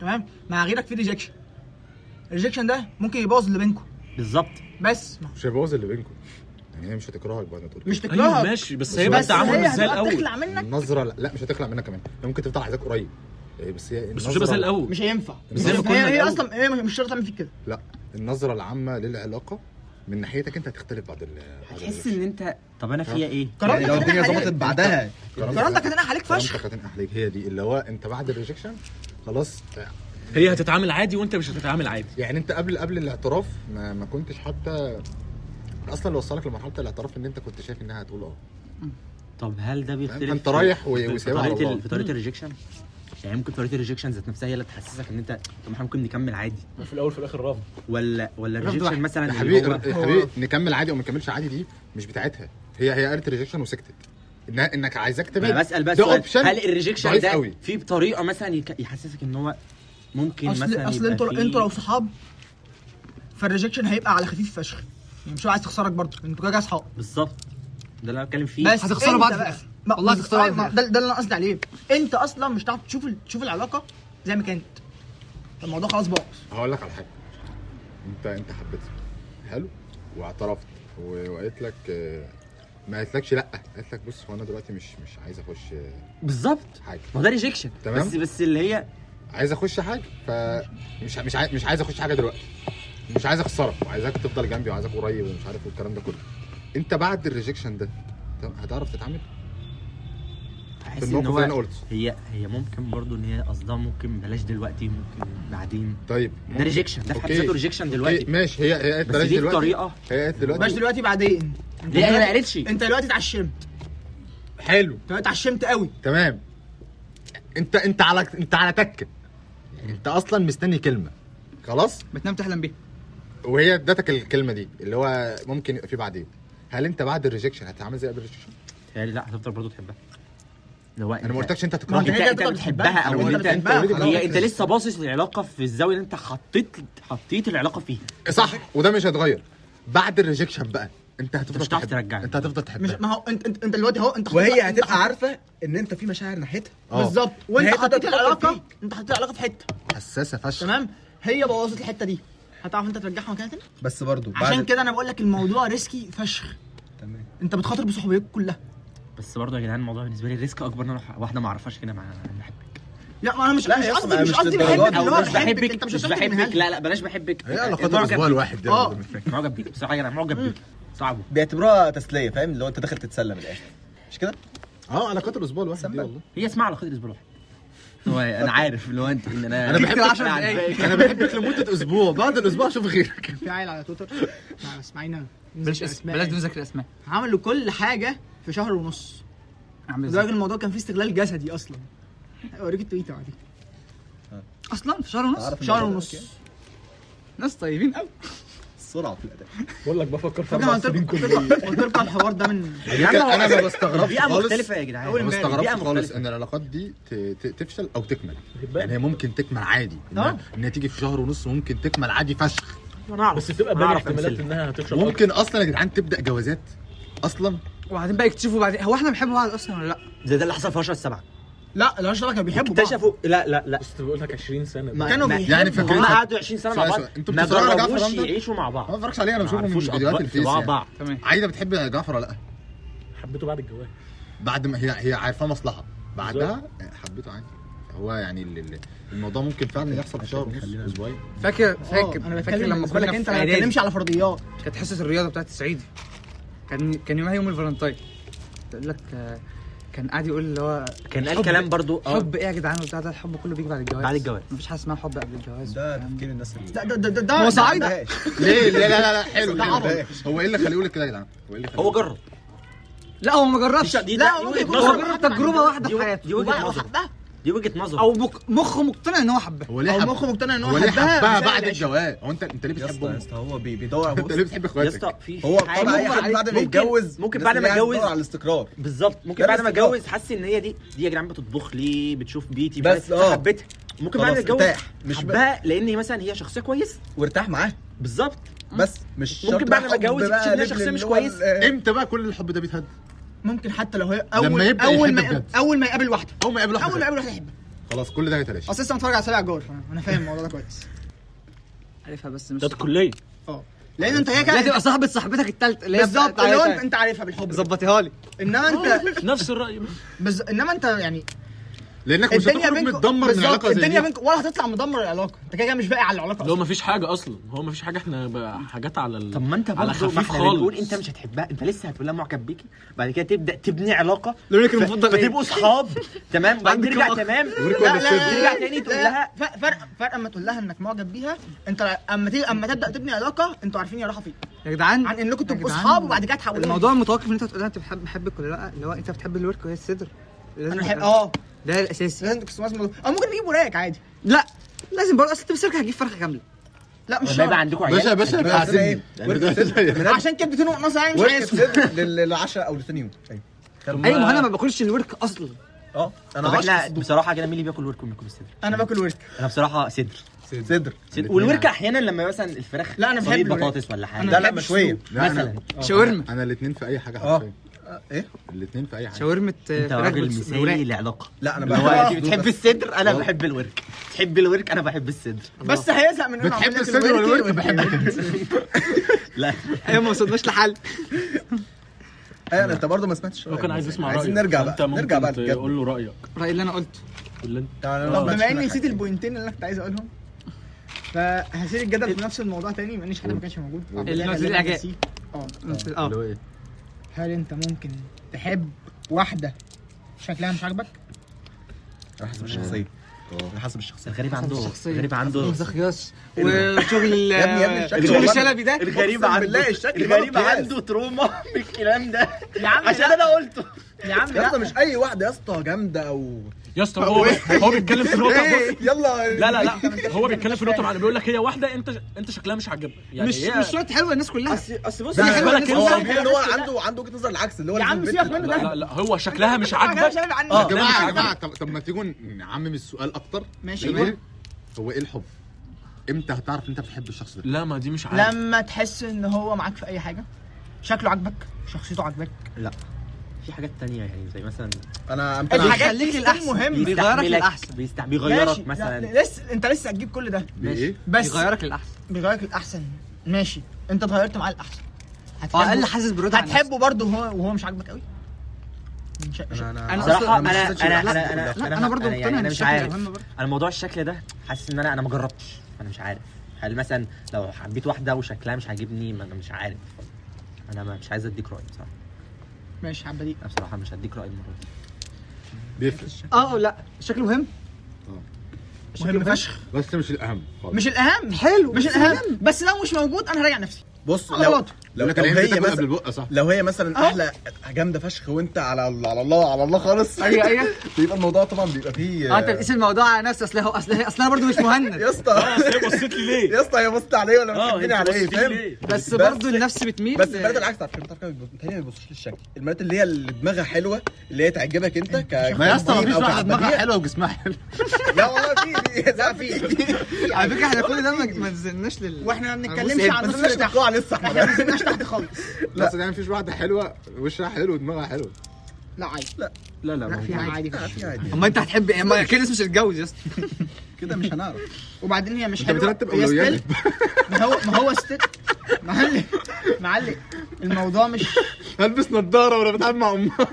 [SPEAKER 2] تمام مع غيرك في ريجكشن الريجكشن ده ممكن يبوظ اللي بينكم
[SPEAKER 6] بالظبط
[SPEAKER 2] بس ما-
[SPEAKER 5] مش هيبوظ اللي بينكم يعني هي مش هتكرهك بعد ما تقول
[SPEAKER 2] مش
[SPEAKER 5] كده.
[SPEAKER 4] ايوه
[SPEAKER 2] تكرهك
[SPEAKER 4] ماشي بس
[SPEAKER 5] بس
[SPEAKER 4] هيبقى
[SPEAKER 5] بقى
[SPEAKER 2] بس
[SPEAKER 4] التعامل
[SPEAKER 2] هي
[SPEAKER 4] مش زي
[SPEAKER 2] هتبقى
[SPEAKER 4] الاول
[SPEAKER 2] تخلع منك
[SPEAKER 5] النظره لا, لا مش هتخلع منك كمان هي ممكن تفضل عايزاك قريب إيه، بس هي
[SPEAKER 4] بس مش
[SPEAKER 5] النظرة-
[SPEAKER 4] هيبقى زي الاول
[SPEAKER 2] مش هينفع
[SPEAKER 5] بس زي يعني ما
[SPEAKER 2] هي-
[SPEAKER 4] كنا
[SPEAKER 2] هي
[SPEAKER 4] الأول.
[SPEAKER 2] اصلا هي مش شرط تعمل فيك كده
[SPEAKER 5] لا النظره العامه للعلاقه من ناحيتك انت هتختلف بعد ال بعد
[SPEAKER 6] هتحس
[SPEAKER 5] ال-
[SPEAKER 6] ان انت طب انا فيها ايه
[SPEAKER 1] يعني
[SPEAKER 2] كرامتك
[SPEAKER 1] لو الدنيا
[SPEAKER 2] هتنقح
[SPEAKER 1] ظبطت
[SPEAKER 2] عليك
[SPEAKER 1] بعدها
[SPEAKER 2] كرامتك هتنقح عليك فشخ
[SPEAKER 5] كرامتك هتنقح عليك هي دي اللي هو انت بعد الريجكشن خلاص
[SPEAKER 4] هي هتتعامل عادي وانت مش هتتعامل عادي
[SPEAKER 5] يعني انت قبل قبل الاعتراف ما, ما كنتش حتى اصلا اللي وصلك لمرحله الاعتراف ان انت كنت شايف انها هتقول اه
[SPEAKER 6] طب هل ده بيختلف
[SPEAKER 5] فانت
[SPEAKER 6] في-
[SPEAKER 5] رايح و-
[SPEAKER 6] في- في
[SPEAKER 5] وسايبها على
[SPEAKER 6] طريقه ال-
[SPEAKER 5] الله.
[SPEAKER 6] في طريقه الريجكشن يعني ممكن طريقه الريجكشن ذات نفسها هي اللي تحسسك ان انت طب ما احنا ممكن نكمل عادي
[SPEAKER 4] في الاول في الاخر رافض
[SPEAKER 6] ولا ولا
[SPEAKER 3] رفض
[SPEAKER 6] الريجكشن
[SPEAKER 3] واحد.
[SPEAKER 6] مثلا
[SPEAKER 5] يا
[SPEAKER 6] اللي
[SPEAKER 5] حبيبي
[SPEAKER 6] هو-
[SPEAKER 5] يا حبيبي نكمل عادي او ما نكملش عادي دي مش بتاعتها هي هي قالت ريجكشن وسكتت انها انك عايزاك تبعد
[SPEAKER 6] انا بسال بس
[SPEAKER 5] ده
[SPEAKER 6] سؤال،
[SPEAKER 5] اوبشن
[SPEAKER 6] هل الريجكشن
[SPEAKER 5] ضعيف
[SPEAKER 6] ده
[SPEAKER 5] قوي.
[SPEAKER 6] في طريقه مثلا يك- يحسسك ان هو ممكن
[SPEAKER 2] اصل
[SPEAKER 6] مثلا
[SPEAKER 2] اصل
[SPEAKER 6] يبقى
[SPEAKER 2] انتوا
[SPEAKER 6] في-
[SPEAKER 2] انتوا لو صحاب فالريجكشن هيبقى على خفيف فشخ يعني مش هو عايز تخسرك برضه انتوا كده كده صحاب
[SPEAKER 6] بالظبط ده اللي انا بتكلم فيه
[SPEAKER 2] بس
[SPEAKER 3] هتخسروا
[SPEAKER 2] انت
[SPEAKER 3] بعض في
[SPEAKER 2] بقى-
[SPEAKER 3] الآخر.
[SPEAKER 2] ما-
[SPEAKER 3] والله
[SPEAKER 2] بس-
[SPEAKER 3] هتخسروا بعض
[SPEAKER 2] آه،
[SPEAKER 3] في
[SPEAKER 2] ما-
[SPEAKER 3] الآخر.
[SPEAKER 2] ده, ده اللي انا قصدي عليه انت اصلا مش هتعرف تشوف ال- تشوف العلاقه زي ما كانت الموضوع خلاص باظ
[SPEAKER 5] هقول لك على حاجه انت انت حبيتها حلو واعترفت و- وقالت لك آه، ما قالتلكش لا قالت لك بص هو انا دلوقتي مش مش عايز اخش آه،
[SPEAKER 6] بالظبط
[SPEAKER 5] حاجه
[SPEAKER 6] ما هو ده ريجكشن
[SPEAKER 5] تمام.
[SPEAKER 6] بس بس اللي هي
[SPEAKER 5] عايز اخش حاجه فمش مش عايز مش عايز اخش حاجه دلوقتي مش عايز اخسرك وعايزك تفضل جنبي وعايزك قريب ومش عارف والكلام ده كله انت بعد الريجكشن ده طب هتعرف تتعامل
[SPEAKER 6] هحس
[SPEAKER 5] في
[SPEAKER 6] ان
[SPEAKER 5] الموقف اللي انا
[SPEAKER 6] هو
[SPEAKER 5] قلته
[SPEAKER 6] هي هي ممكن برضو ان هي قصدها ممكن بلاش دلوقتي ممكن بعدين
[SPEAKER 5] طيب
[SPEAKER 6] ده ريجكشن ده في حد
[SPEAKER 5] أوكي.
[SPEAKER 6] ذاته ريجكشن
[SPEAKER 5] إيه،
[SPEAKER 6] دلوقتي
[SPEAKER 5] ماشي هي هي قالت
[SPEAKER 6] بس
[SPEAKER 5] بلاش
[SPEAKER 6] دي
[SPEAKER 5] دلوقتي
[SPEAKER 6] الطريقه
[SPEAKER 5] هي قالت
[SPEAKER 1] طيب.
[SPEAKER 2] باش
[SPEAKER 5] دلوقتي
[SPEAKER 2] دلوقتي بعدين انت
[SPEAKER 6] ليه هي ما
[SPEAKER 2] دلوقتي-
[SPEAKER 6] قالتش
[SPEAKER 2] انت دلوقتي اتعشمت
[SPEAKER 5] حلو
[SPEAKER 2] انت اتعشمت قوي
[SPEAKER 5] تمام انت انت على انت على تكه انت اصلا مستني كلمه خلاص
[SPEAKER 2] بتنام تحلم بيها
[SPEAKER 5] وهي ادتك الكلمه دي اللي هو ممكن يبقى في بعدين هل انت بعد الريجكشن هتتعامل زي قبل الريجكشن؟
[SPEAKER 6] تهيألي لا هتفضل برضه تحبها لو
[SPEAKER 5] انا ما قلتكش انت
[SPEAKER 6] ما
[SPEAKER 5] هتكرهها
[SPEAKER 2] هي كده
[SPEAKER 6] انت انت
[SPEAKER 2] بتبقى
[SPEAKER 6] بتحبها
[SPEAKER 2] بتحبها.
[SPEAKER 6] او
[SPEAKER 2] انت
[SPEAKER 6] انت انت
[SPEAKER 2] بتحبها.
[SPEAKER 5] على
[SPEAKER 6] هي
[SPEAKER 5] فكرة.
[SPEAKER 6] انت لسه باصص للعلاقه في الزاويه اللي انت حطيت حطيت العلاقه فيها
[SPEAKER 5] صح وده مش هيتغير بعد الريجكشن بقى انت هتفضل
[SPEAKER 6] مش هتعرف
[SPEAKER 5] تحبها.
[SPEAKER 6] ترجعها.
[SPEAKER 5] انت هتفضل
[SPEAKER 2] مش
[SPEAKER 5] تحبها
[SPEAKER 2] ما هو انت انت, انت دلوقتي اهو انت
[SPEAKER 1] وهي
[SPEAKER 2] انت
[SPEAKER 1] هتبقى
[SPEAKER 2] حط-
[SPEAKER 1] عارفه ان انت في مشاعر ناحيتها
[SPEAKER 5] اه.
[SPEAKER 2] بالظبط
[SPEAKER 1] وهي
[SPEAKER 2] وانت
[SPEAKER 1] تقدر
[SPEAKER 2] حطيت
[SPEAKER 1] تفكر
[SPEAKER 2] العلاقه
[SPEAKER 1] فيك.
[SPEAKER 2] انت حطيت العلاقه في حته
[SPEAKER 5] حساسه فشخ
[SPEAKER 2] تمام هي بوظت الحته دي هتعرف انت ترجعها مكانها تاني
[SPEAKER 1] بس برضو بعد-
[SPEAKER 2] عشان كده انا بقول لك الموضوع ريسكي فشخ
[SPEAKER 1] تمام
[SPEAKER 2] انت بتخاطر بصحوبيتك كلها
[SPEAKER 6] بس برضه يا جدعان الموضوع بالنسبه لي الريسك اكبر ان انا أروح واحده ما اعرفش كده مع بحبك
[SPEAKER 2] لا ما انا مش
[SPEAKER 1] لا
[SPEAKER 2] مش
[SPEAKER 1] يا اسطى،
[SPEAKER 2] قصدي
[SPEAKER 1] مش
[SPEAKER 2] مش قصدي
[SPEAKER 1] للدرجة
[SPEAKER 2] بحبك
[SPEAKER 1] دي.
[SPEAKER 2] اللي هو
[SPEAKER 1] مش
[SPEAKER 2] بحبك انت مش
[SPEAKER 6] مش
[SPEAKER 2] هتاخد منها
[SPEAKER 6] بحبك لا لا بلاش بحبك
[SPEAKER 5] هي علاقات
[SPEAKER 6] معجب
[SPEAKER 5] اسبوع
[SPEAKER 6] بيك.
[SPEAKER 5] الواحد دي
[SPEAKER 2] اه.
[SPEAKER 6] معجب بيك بصراحه يا جدعان معجب بيك صعبه
[SPEAKER 1] بيعتبروها تسليه فاهم اللي هو انت داخل تتسلى من الاخر مش كده؟
[SPEAKER 5] اه علاقات الاسبوع الواحد دي والله
[SPEAKER 6] هي اسمها على قدر اسبوع الواحد هو انا عارف اللي هو انت ان انا
[SPEAKER 5] انا بحبك
[SPEAKER 6] أنا عارفاك.
[SPEAKER 5] انا بحبك لمده اسبوع بعد الاسبوع اشوف غيرك
[SPEAKER 2] في عيل على تويتر مع اسماعيل
[SPEAKER 3] بلاش اسم بلاش
[SPEAKER 2] اسماء
[SPEAKER 3] ذكر اسماء
[SPEAKER 2] عملوا كل حاجه في شهر ونص
[SPEAKER 3] عامل
[SPEAKER 2] لدرجه
[SPEAKER 3] ازاي
[SPEAKER 2] الموضوع كان فيه استغلال جسدي اصلا اوريك التويته بعدين
[SPEAKER 3] اصلا في شهر ونص
[SPEAKER 1] تعرف
[SPEAKER 2] شهر
[SPEAKER 1] الموضوع ده
[SPEAKER 2] ونص
[SPEAKER 1] كده؟
[SPEAKER 3] ناس طيبين قوي
[SPEAKER 1] السرعه في الاداء
[SPEAKER 4] بقول لك بفكر في
[SPEAKER 2] فاكر
[SPEAKER 4] اربع
[SPEAKER 2] أنا قلت
[SPEAKER 4] سنين
[SPEAKER 2] لكم-
[SPEAKER 4] كليه
[SPEAKER 2] قلت لكم على الحوار ده من
[SPEAKER 6] يا جدعان، هو
[SPEAKER 5] انا ما
[SPEAKER 6] أصلاً
[SPEAKER 5] بستغربش
[SPEAKER 6] بيئه
[SPEAKER 5] خالص
[SPEAKER 6] مختلفه يا جدعان
[SPEAKER 5] ما
[SPEAKER 6] بيئة
[SPEAKER 5] استغربتش خالص
[SPEAKER 6] مختلفة.
[SPEAKER 5] ان العلاقات دي ت- ت- تفشل او تكمل يعني هي ممكن تكمل عادي
[SPEAKER 2] آه.
[SPEAKER 5] انها إنها تيجي في شهر ونص ممكن تكمل عادي فشخ
[SPEAKER 4] بس بتبقى باين
[SPEAKER 6] أعرف
[SPEAKER 4] احتمالات
[SPEAKER 6] أمثلة.
[SPEAKER 4] انها هتفشل أكتر.
[SPEAKER 5] ممكن اصلا يا جدعان تبدا جوازات اصلا
[SPEAKER 3] وبعدين بقى يكتشفوا بعدين هو احنا بنحب بعض اصلا ولا لا
[SPEAKER 6] زي ده اللي حصل في 10 7
[SPEAKER 2] لا لا مش كانوا بيحبوا بعض
[SPEAKER 6] اكتشفوا لا لا لا
[SPEAKER 4] بس بقول لك 20 سنه
[SPEAKER 2] ما-
[SPEAKER 4] بقى.
[SPEAKER 2] كانوا بيحبوا
[SPEAKER 5] يعني فاكرين-
[SPEAKER 6] هم قعدوا 20 سنه مع
[SPEAKER 5] سؤال-
[SPEAKER 6] بعض
[SPEAKER 5] سؤال. أنتوا
[SPEAKER 6] ما
[SPEAKER 5] بتتفرجوا على جعفر
[SPEAKER 6] جربوش
[SPEAKER 5] العمدة؟
[SPEAKER 6] يعيشوا مع بعض
[SPEAKER 5] ما بتفرجش عليها انا
[SPEAKER 6] ما
[SPEAKER 5] بشوفه من
[SPEAKER 6] عرفوش
[SPEAKER 5] فيديوهات
[SPEAKER 6] أطباق
[SPEAKER 5] الفيس
[SPEAKER 6] طباع
[SPEAKER 5] يعني.
[SPEAKER 6] بعض
[SPEAKER 3] تمام
[SPEAKER 5] عايده بتحب جعفر ولا لا
[SPEAKER 4] حبيته بعد الجواز
[SPEAKER 5] بعد ما هي هي عارفاه مصلحه بعدها حبيته عادي هو يعني ال- ال- الموضوع ممكن فعلا يحصل في شهر ونص اسبوعين
[SPEAKER 3] فاكر
[SPEAKER 2] آه،
[SPEAKER 3] فاكر
[SPEAKER 2] انا
[SPEAKER 3] فاكر
[SPEAKER 2] بتكلم
[SPEAKER 3] لما
[SPEAKER 2] لما بقول لك
[SPEAKER 3] كنا
[SPEAKER 2] انت
[SPEAKER 3] في
[SPEAKER 2] ما
[SPEAKER 3] اعدادي
[SPEAKER 2] بتتكلمش على فرضيات
[SPEAKER 3] كانت حصص الرياضه بتاعت الصعيدي كان كان يومها يوم الفالنتاين تقول لك آه، كان قاعد يقول اللي هو
[SPEAKER 6] كان قال
[SPEAKER 3] الحب-
[SPEAKER 6] كلام برضو اه
[SPEAKER 3] حب ايه يا جدعان وبتاع ده الحب كله بيجي بعد الجواز
[SPEAKER 6] بعد الجواز.
[SPEAKER 3] مفيش حاجه اسمها حب قبل الجواز
[SPEAKER 1] ده
[SPEAKER 3] والكلام
[SPEAKER 1] تفكير الناس اللي
[SPEAKER 2] ده ده ده ده- ده
[SPEAKER 3] هو
[SPEAKER 2] ده-
[SPEAKER 3] صعيد.
[SPEAKER 2] ده-
[SPEAKER 5] ليه ليه لا لا لا حلو
[SPEAKER 1] ده
[SPEAKER 5] حلو.
[SPEAKER 1] عبط.
[SPEAKER 5] هو ايه اللي خليه يقول لك كده يا جدعان هو ايه اللي خليه
[SPEAKER 6] هو جرب
[SPEAKER 3] لا هو ما جربش
[SPEAKER 6] دي-
[SPEAKER 3] لا
[SPEAKER 6] لا،
[SPEAKER 3] هو
[SPEAKER 6] دي وجهة
[SPEAKER 3] هو
[SPEAKER 6] نظر.
[SPEAKER 3] جرب تجربه واحده
[SPEAKER 6] دي
[SPEAKER 3] في
[SPEAKER 6] وجهة-
[SPEAKER 3] حياته
[SPEAKER 6] دي وجهة
[SPEAKER 3] وبقى
[SPEAKER 6] نظر.
[SPEAKER 3] حبها.
[SPEAKER 6] دي وجهه نظر
[SPEAKER 3] او مك- مخه مقتنع ان هو حبها
[SPEAKER 5] هو ليه
[SPEAKER 2] هو
[SPEAKER 5] حب-
[SPEAKER 2] مخه مقتنع ان هو
[SPEAKER 5] هو ليه
[SPEAKER 2] حبها
[SPEAKER 5] حبها
[SPEAKER 2] بسبب
[SPEAKER 5] بعد
[SPEAKER 2] العشق.
[SPEAKER 5] الجواز هو انت انت ليه
[SPEAKER 1] يا
[SPEAKER 5] بتحب
[SPEAKER 1] اسطى يا
[SPEAKER 5] امك
[SPEAKER 1] اسطى هو بي- بيدور على
[SPEAKER 5] انت ليه بتحب
[SPEAKER 6] يا
[SPEAKER 5] اخواتك
[SPEAKER 6] اسطى في
[SPEAKER 1] هو
[SPEAKER 6] حاجة-
[SPEAKER 1] طبعا اي حد بعد ما
[SPEAKER 6] ممكن-
[SPEAKER 1] يتجوز
[SPEAKER 6] ممكن
[SPEAKER 1] الناس
[SPEAKER 6] بعد
[SPEAKER 1] اللي
[SPEAKER 6] ما
[SPEAKER 1] هي
[SPEAKER 6] يتجوز
[SPEAKER 1] بتدور على الاستقرار
[SPEAKER 6] بالظبط ممكن
[SPEAKER 1] ده
[SPEAKER 6] بعد ما
[SPEAKER 1] الاستقرار.
[SPEAKER 6] اتجوز حاسس ان هي دي دي يا جدعان بتطبخ لي بتشوف بيتي
[SPEAKER 1] بس،
[SPEAKER 6] بس
[SPEAKER 1] اه.
[SPEAKER 6] حبيتها ممكن بعد
[SPEAKER 1] خلاص،
[SPEAKER 6] ما اتجوز
[SPEAKER 1] ارتاح. مش
[SPEAKER 6] مش بقى لان مثلا هي شخصيه كويسه
[SPEAKER 1] وارتاح معاه
[SPEAKER 6] بالظبط
[SPEAKER 1] بس مش
[SPEAKER 6] ممكن
[SPEAKER 1] شرط
[SPEAKER 6] بعد
[SPEAKER 1] بقى
[SPEAKER 6] ما اتجوز
[SPEAKER 1] حب بقى
[SPEAKER 6] يكتشف إنها
[SPEAKER 1] ليفل
[SPEAKER 6] شخصية مش
[SPEAKER 1] اللي هو
[SPEAKER 6] كويسة.
[SPEAKER 1] ال-
[SPEAKER 5] امتى بقى كل الحب ده بيتهد
[SPEAKER 2] ممكن حتى لو هي اول
[SPEAKER 5] لما يبدأ
[SPEAKER 2] اول
[SPEAKER 5] يحب
[SPEAKER 2] ما
[SPEAKER 5] بجد.
[SPEAKER 2] اول ما يقابل واحده
[SPEAKER 5] اول ما يقابل واحده
[SPEAKER 2] اول ما يقابل واحده يحبها
[SPEAKER 5] خلاص كل ده هيتلاشى
[SPEAKER 2] اصل لسه متفرج على سابع جول انا فاهم الموضوع ده كويس
[SPEAKER 3] عارفها بس مش
[SPEAKER 4] ده الكليه
[SPEAKER 2] اه لان انت هي
[SPEAKER 3] لا
[SPEAKER 2] كده
[SPEAKER 3] تبقى صاحبه صاحبتك التالتة اللي هي
[SPEAKER 2] بالظبط
[SPEAKER 3] بتاعت-
[SPEAKER 2] اللي هو انت انت عارفها بالحب
[SPEAKER 3] ظبطيها لي
[SPEAKER 2] انما انت
[SPEAKER 4] نفس الراي بقى.
[SPEAKER 2] بز... انما انت يعني
[SPEAKER 5] لانك مش
[SPEAKER 2] الدنيا
[SPEAKER 5] هتخرج
[SPEAKER 2] بينكم
[SPEAKER 5] متدمر من
[SPEAKER 2] بالظبط،
[SPEAKER 5] علاقه زي دي
[SPEAKER 2] الدنيا بينكم ولا هتطلع مدمر العلاقه انت كده كده مش باقي على العلاقه
[SPEAKER 4] لو
[SPEAKER 2] اصلا
[SPEAKER 4] ما فيش حاجه اصلا هو ما فيش حاجه احنا بقى حاجات على ال...
[SPEAKER 6] طب ما انت
[SPEAKER 4] على
[SPEAKER 6] برضه ما
[SPEAKER 4] خفيف
[SPEAKER 6] احنا بنقول
[SPEAKER 4] خالص
[SPEAKER 6] انت مش هتحبها انت لسه هتقول لها معجب بيكي بعد كده تبدا تبني علاقه
[SPEAKER 3] لونك
[SPEAKER 6] ف-
[SPEAKER 3] المفضل
[SPEAKER 5] إيه؟
[SPEAKER 3] ايه؟
[SPEAKER 6] فتبقوا اصحاب تمام بعدين
[SPEAKER 3] عندك
[SPEAKER 6] ترجع
[SPEAKER 3] كم أخ؟
[SPEAKER 6] تمام
[SPEAKER 5] وركوا
[SPEAKER 2] لا لا
[SPEAKER 5] الأستاذ.
[SPEAKER 2] لا
[SPEAKER 6] ترجع تاني تقول
[SPEAKER 2] لا،
[SPEAKER 6] لها
[SPEAKER 2] ف- فرق فرق اما تقول لها انك معجب بيها انت اما تي... اما تبدا تبني علاقه انتوا عارفين يا راحه فين
[SPEAKER 3] يا جدعان
[SPEAKER 2] عن انكم
[SPEAKER 3] يا
[SPEAKER 2] تبقوا
[SPEAKER 3] جدعان،
[SPEAKER 2] اصحاب وبعد كده تحولوا
[SPEAKER 3] الموضوع متوقف ان انت هتقول لها انت بتحب بحبك ولا لا اللي هو انت بتحب الورك وهي الصدر لازم
[SPEAKER 2] انا بحب
[SPEAKER 3] تبقى-
[SPEAKER 2] اه
[SPEAKER 3] ده الاساسي
[SPEAKER 2] لازم تكسر راس الموضوع او ممكن نجيب وراك عادي
[SPEAKER 3] لا لازم برضه اصل انت بسلكها هتجيب فرخه كامله
[SPEAKER 2] لا مش
[SPEAKER 6] لما يبقى
[SPEAKER 2] شرط
[SPEAKER 6] عندكم
[SPEAKER 5] باشا يا
[SPEAKER 6] عيال
[SPEAKER 5] باشا
[SPEAKER 1] الدنيا بتبقى
[SPEAKER 5] عازمني
[SPEAKER 1] ايه؟
[SPEAKER 5] يعني ده-
[SPEAKER 2] عشان كبدتين ونقصها يعني مش
[SPEAKER 1] ورك
[SPEAKER 2] عايز
[SPEAKER 1] سيب لل- للعشاء او لثاني يوم أيوة.
[SPEAKER 4] طب
[SPEAKER 3] ايوه ما انا ما باكلش الورك اصلا
[SPEAKER 1] اه انا
[SPEAKER 6] طب احنا
[SPEAKER 1] عشرة
[SPEAKER 6] بصراحه كده مين اللي بياكل ورك منكم الصدر
[SPEAKER 2] انا باكل ورك
[SPEAKER 6] انا بصراحه صدر
[SPEAKER 1] صدر
[SPEAKER 6] صدر والورك احيانا لما مثلا الفراخ
[SPEAKER 2] لا، أنا بحب
[SPEAKER 6] صينية
[SPEAKER 2] الورك.
[SPEAKER 6] بطاطس ولا
[SPEAKER 2] أنا
[SPEAKER 6] حاجه
[SPEAKER 1] لا لا
[SPEAKER 2] بحب
[SPEAKER 1] مشويه
[SPEAKER 5] لا، أنا-
[SPEAKER 6] مثلا
[SPEAKER 3] آه. شاورما
[SPEAKER 5] انا الاثنين في اي حاجه
[SPEAKER 1] اه.
[SPEAKER 5] حرفيا
[SPEAKER 1] ايه
[SPEAKER 5] الاثنين في اي حاجه
[SPEAKER 3] شاورمه آه،
[SPEAKER 6] انت
[SPEAKER 3] فراخ
[SPEAKER 6] راجل
[SPEAKER 3] بس-
[SPEAKER 6] مثالي
[SPEAKER 3] بالوراق.
[SPEAKER 6] لعلاقه
[SPEAKER 1] لا انا
[SPEAKER 6] لو انت
[SPEAKER 1] بحب
[SPEAKER 6] بتحب الصدر انا بحب الورك تحب الورك انا بحب الصدر
[SPEAKER 2] بس هيزهق من إن أنا
[SPEAKER 5] بتحب
[SPEAKER 2] عمال آكل
[SPEAKER 5] الصدر ولا
[SPEAKER 2] ورك.
[SPEAKER 5] الورك بحب
[SPEAKER 6] لا
[SPEAKER 3] ايوه ما وصلناش لحل
[SPEAKER 1] ايوه أنا- انت برضه ما سمعتش
[SPEAKER 4] هو كان عايز يسمع رايك
[SPEAKER 1] عايزين نرجع
[SPEAKER 4] انت
[SPEAKER 1] بقى
[SPEAKER 4] ممكن
[SPEAKER 1] نرجع بقى للجد.
[SPEAKER 4] تقول له رايك
[SPEAKER 3] الراي اللي انا قلته
[SPEAKER 4] ولا انت
[SPEAKER 1] تعالى أنا ما
[SPEAKER 2] طب
[SPEAKER 1] سمعتش
[SPEAKER 2] بما اني
[SPEAKER 1] منك
[SPEAKER 2] نسيت
[SPEAKER 1] حاجة.
[SPEAKER 2] البوينتين اللي انا كنت عايز اقولهم فهسيب الجدل في نفس الموضوع تاني مع انش حد ما كانش موجود
[SPEAKER 3] اللي هو
[SPEAKER 2] أنا
[SPEAKER 3] زي
[SPEAKER 2] أنا
[SPEAKER 3] الإعجاب.
[SPEAKER 2] نسيه. اه
[SPEAKER 3] اه
[SPEAKER 5] اللي هو ايه
[SPEAKER 2] هل انت ممكن تحب واحده شكلها مش عاجبك
[SPEAKER 1] على حسب الشخصيه على حسب الشخصيه
[SPEAKER 6] الغريب
[SPEAKER 3] حسب
[SPEAKER 6] عنده
[SPEAKER 3] الشخصية.
[SPEAKER 6] الغريب عنده
[SPEAKER 3] مزخياش وشغل
[SPEAKER 1] يا ابني- يا ابني الشكل
[SPEAKER 3] الشغل
[SPEAKER 1] والله-
[SPEAKER 3] الشلبي ده
[SPEAKER 1] الغريب
[SPEAKER 6] أقسم
[SPEAKER 1] عنده
[SPEAKER 6] بالله
[SPEAKER 1] الشكل
[SPEAKER 6] الغريب
[SPEAKER 1] برضه
[SPEAKER 6] عنده تروما بالكلام ده
[SPEAKER 2] يا عم
[SPEAKER 6] عشان
[SPEAKER 2] لا.
[SPEAKER 6] انا قلته
[SPEAKER 2] يا عم
[SPEAKER 1] يا
[SPEAKER 2] لا
[SPEAKER 1] اسطى مش اي واحده يا اسطى جامده او
[SPEAKER 4] يا اسطى هو هو بيتكلم في نقطه بص-
[SPEAKER 1] إيه؟ يلا
[SPEAKER 4] لا لا لا هو بيتكلم في نقطه معينه بيقول لك هي واحده انت انت شكلها مش عاجبك يعني
[SPEAKER 2] مش
[SPEAKER 4] هي-
[SPEAKER 2] مش شرط حلوه الناس كلها
[SPEAKER 1] اصل بص
[SPEAKER 4] ده
[SPEAKER 1] هي
[SPEAKER 4] بالنسبة
[SPEAKER 1] حلوة
[SPEAKER 4] لك
[SPEAKER 1] الناس
[SPEAKER 4] انت.
[SPEAKER 1] كلها، هو عنده عنده وجهه نظر العكس اللي هو
[SPEAKER 2] يا
[SPEAKER 1] لازم
[SPEAKER 2] عم
[SPEAKER 1] البنت
[SPEAKER 2] سيبك
[SPEAKER 1] تبقى-
[SPEAKER 2] منه
[SPEAKER 4] لا لا
[SPEAKER 2] ده
[SPEAKER 4] لا هو شكلها مش
[SPEAKER 2] انا
[SPEAKER 4] عاجبك
[SPEAKER 2] شايف عني
[SPEAKER 5] يا
[SPEAKER 4] اه ده مش
[SPEAKER 5] جماعه يا
[SPEAKER 4] عاجبك
[SPEAKER 5] جماعه طب طب ما تيجوا نعمم السؤال اكتر
[SPEAKER 2] ماشي.
[SPEAKER 5] جميل هو ايه الحب؟ امتى هتعرف انت بتحب الشخص ده؟
[SPEAKER 4] لا ما دي مش عاجبك
[SPEAKER 2] لما تحس ان هو معاك في اي حاجه شكله عاجبك شخصيته عاجباك
[SPEAKER 6] في حاجات تانية يعني زي مثلا
[SPEAKER 1] انا أنا-
[SPEAKER 2] الحاجات
[SPEAKER 3] بيخليك
[SPEAKER 2] دي
[SPEAKER 3] للأحسن.
[SPEAKER 2] مهم
[SPEAKER 6] بيستحملك،
[SPEAKER 3] للأحسن.
[SPEAKER 6] بيستح
[SPEAKER 2] ماشي،
[SPEAKER 6] بيغيرك
[SPEAKER 2] لا،
[SPEAKER 6] مثلا
[SPEAKER 2] لسه انت لسه هتجيب كل ده
[SPEAKER 5] بايه؟
[SPEAKER 2] بس
[SPEAKER 3] يغيرك للاحسن
[SPEAKER 2] بيغيرك الاحسن ماشي انت اتغيرت معاه الاحسن هتحبه-
[SPEAKER 3] اه اقل حاسس برضا عن نفسه.
[SPEAKER 2] هتحبه برضه وهو وهو مش عاجبك قوي مش- مش-
[SPEAKER 1] انا
[SPEAKER 3] أنا
[SPEAKER 6] بصراحة
[SPEAKER 1] ما
[SPEAKER 6] أنا
[SPEAKER 1] حسيتش
[SPEAKER 6] أنا
[SPEAKER 1] بالعكس
[SPEAKER 6] أنا أنا
[SPEAKER 1] كلها.
[SPEAKER 3] لا،
[SPEAKER 6] أنا
[SPEAKER 3] أنا برضه
[SPEAKER 6] يعني
[SPEAKER 3] مقتنع
[SPEAKER 6] أنا
[SPEAKER 3] إن
[SPEAKER 6] مش
[SPEAKER 3] الشكل
[SPEAKER 6] عارف
[SPEAKER 3] مهم برضه.
[SPEAKER 6] أنا موضوع الشكل ده حاسس إن أنا أنا ما جربتش أنا مش عارف هل مثلا لو حبيت واحدة وشكلها مش عاجبني ما أنا مش عارف أنا ما- مش عايز أديك رأي بصراحة
[SPEAKER 2] ماشي حبه دي
[SPEAKER 6] أنا بصراحة مش هديك رأي المرة دي
[SPEAKER 5] بيفرق
[SPEAKER 3] اه لا شكله مهم
[SPEAKER 2] مهم فشخ
[SPEAKER 5] بس مش الاهم خالص
[SPEAKER 2] مش الاهم حلو مش الاهم بس لو مش موجود انا هراجع نفسي
[SPEAKER 1] بص لو
[SPEAKER 2] غلط.
[SPEAKER 1] لو,
[SPEAKER 5] يقول
[SPEAKER 1] لو
[SPEAKER 5] لك العين
[SPEAKER 1] هي
[SPEAKER 5] بتاكل قبل
[SPEAKER 1] مثلا
[SPEAKER 5] البق صح
[SPEAKER 1] لو هي مثلا احلى جامده فشخ وانت على على الله على الله خالص
[SPEAKER 3] ايوه ايوه
[SPEAKER 1] بيبقى الموضوع طبعا بيبقى فيه
[SPEAKER 3] اه انت بتقيس الموضوع على نفسه اصل هو اصل هي اصل انا برضه مش مهند
[SPEAKER 1] يا اسطى
[SPEAKER 4] بصيت لي ليه؟
[SPEAKER 1] يا اسطى هي بصت عليا ولا
[SPEAKER 4] اه
[SPEAKER 1] بتحبني على ايه فاهم
[SPEAKER 3] بس
[SPEAKER 1] بس-
[SPEAKER 3] برضه النفس بتميل
[SPEAKER 1] بس البنات العكس على فكره بتعرف كده بتبص- متهيألي ما بيبصوش للشكل البنات اللي هي اللي دماغها حلوه اللي هي تعجبك انت ك
[SPEAKER 5] ما يا اسطى ما فيش
[SPEAKER 1] أو
[SPEAKER 5] واحده دماغها
[SPEAKER 1] كعبدية.
[SPEAKER 5] حلوه وجسمها حلو
[SPEAKER 1] لا والله في لا في
[SPEAKER 3] على فكره احنا كل ده ما ما نزلناش لل
[SPEAKER 2] واحنا ما
[SPEAKER 3] بص،
[SPEAKER 2] بنتكلمش
[SPEAKER 3] هي
[SPEAKER 1] ما
[SPEAKER 2] عن الناس اللي
[SPEAKER 1] نزلناش
[SPEAKER 2] إيه، تحت
[SPEAKER 1] القاعه لسه
[SPEAKER 2] احنا ما
[SPEAKER 1] احمد
[SPEAKER 2] نزلناش تحت خالص
[SPEAKER 5] لا اصل يعني ما فيش واحده حلوه وشها حلو ودماغها حلو
[SPEAKER 2] لا عادي
[SPEAKER 4] لا لا
[SPEAKER 2] لا
[SPEAKER 4] ما
[SPEAKER 2] في
[SPEAKER 4] هو-
[SPEAKER 2] عادي
[SPEAKER 1] لا،
[SPEAKER 2] فشخ.
[SPEAKER 1] في عادي.
[SPEAKER 3] اما انت هتحب اما كده مش هتتجوز يا اسطى
[SPEAKER 1] كده مش هنعرف
[SPEAKER 2] وبعدين هي مش
[SPEAKER 5] انت
[SPEAKER 2] حلوه
[SPEAKER 5] بترتب
[SPEAKER 2] هي
[SPEAKER 5] اولوياتك
[SPEAKER 2] still- ما هو ما هو ستيل معلق معلق الموضوع مش
[SPEAKER 5] هلبس نظاره ولا بتعامل مع امها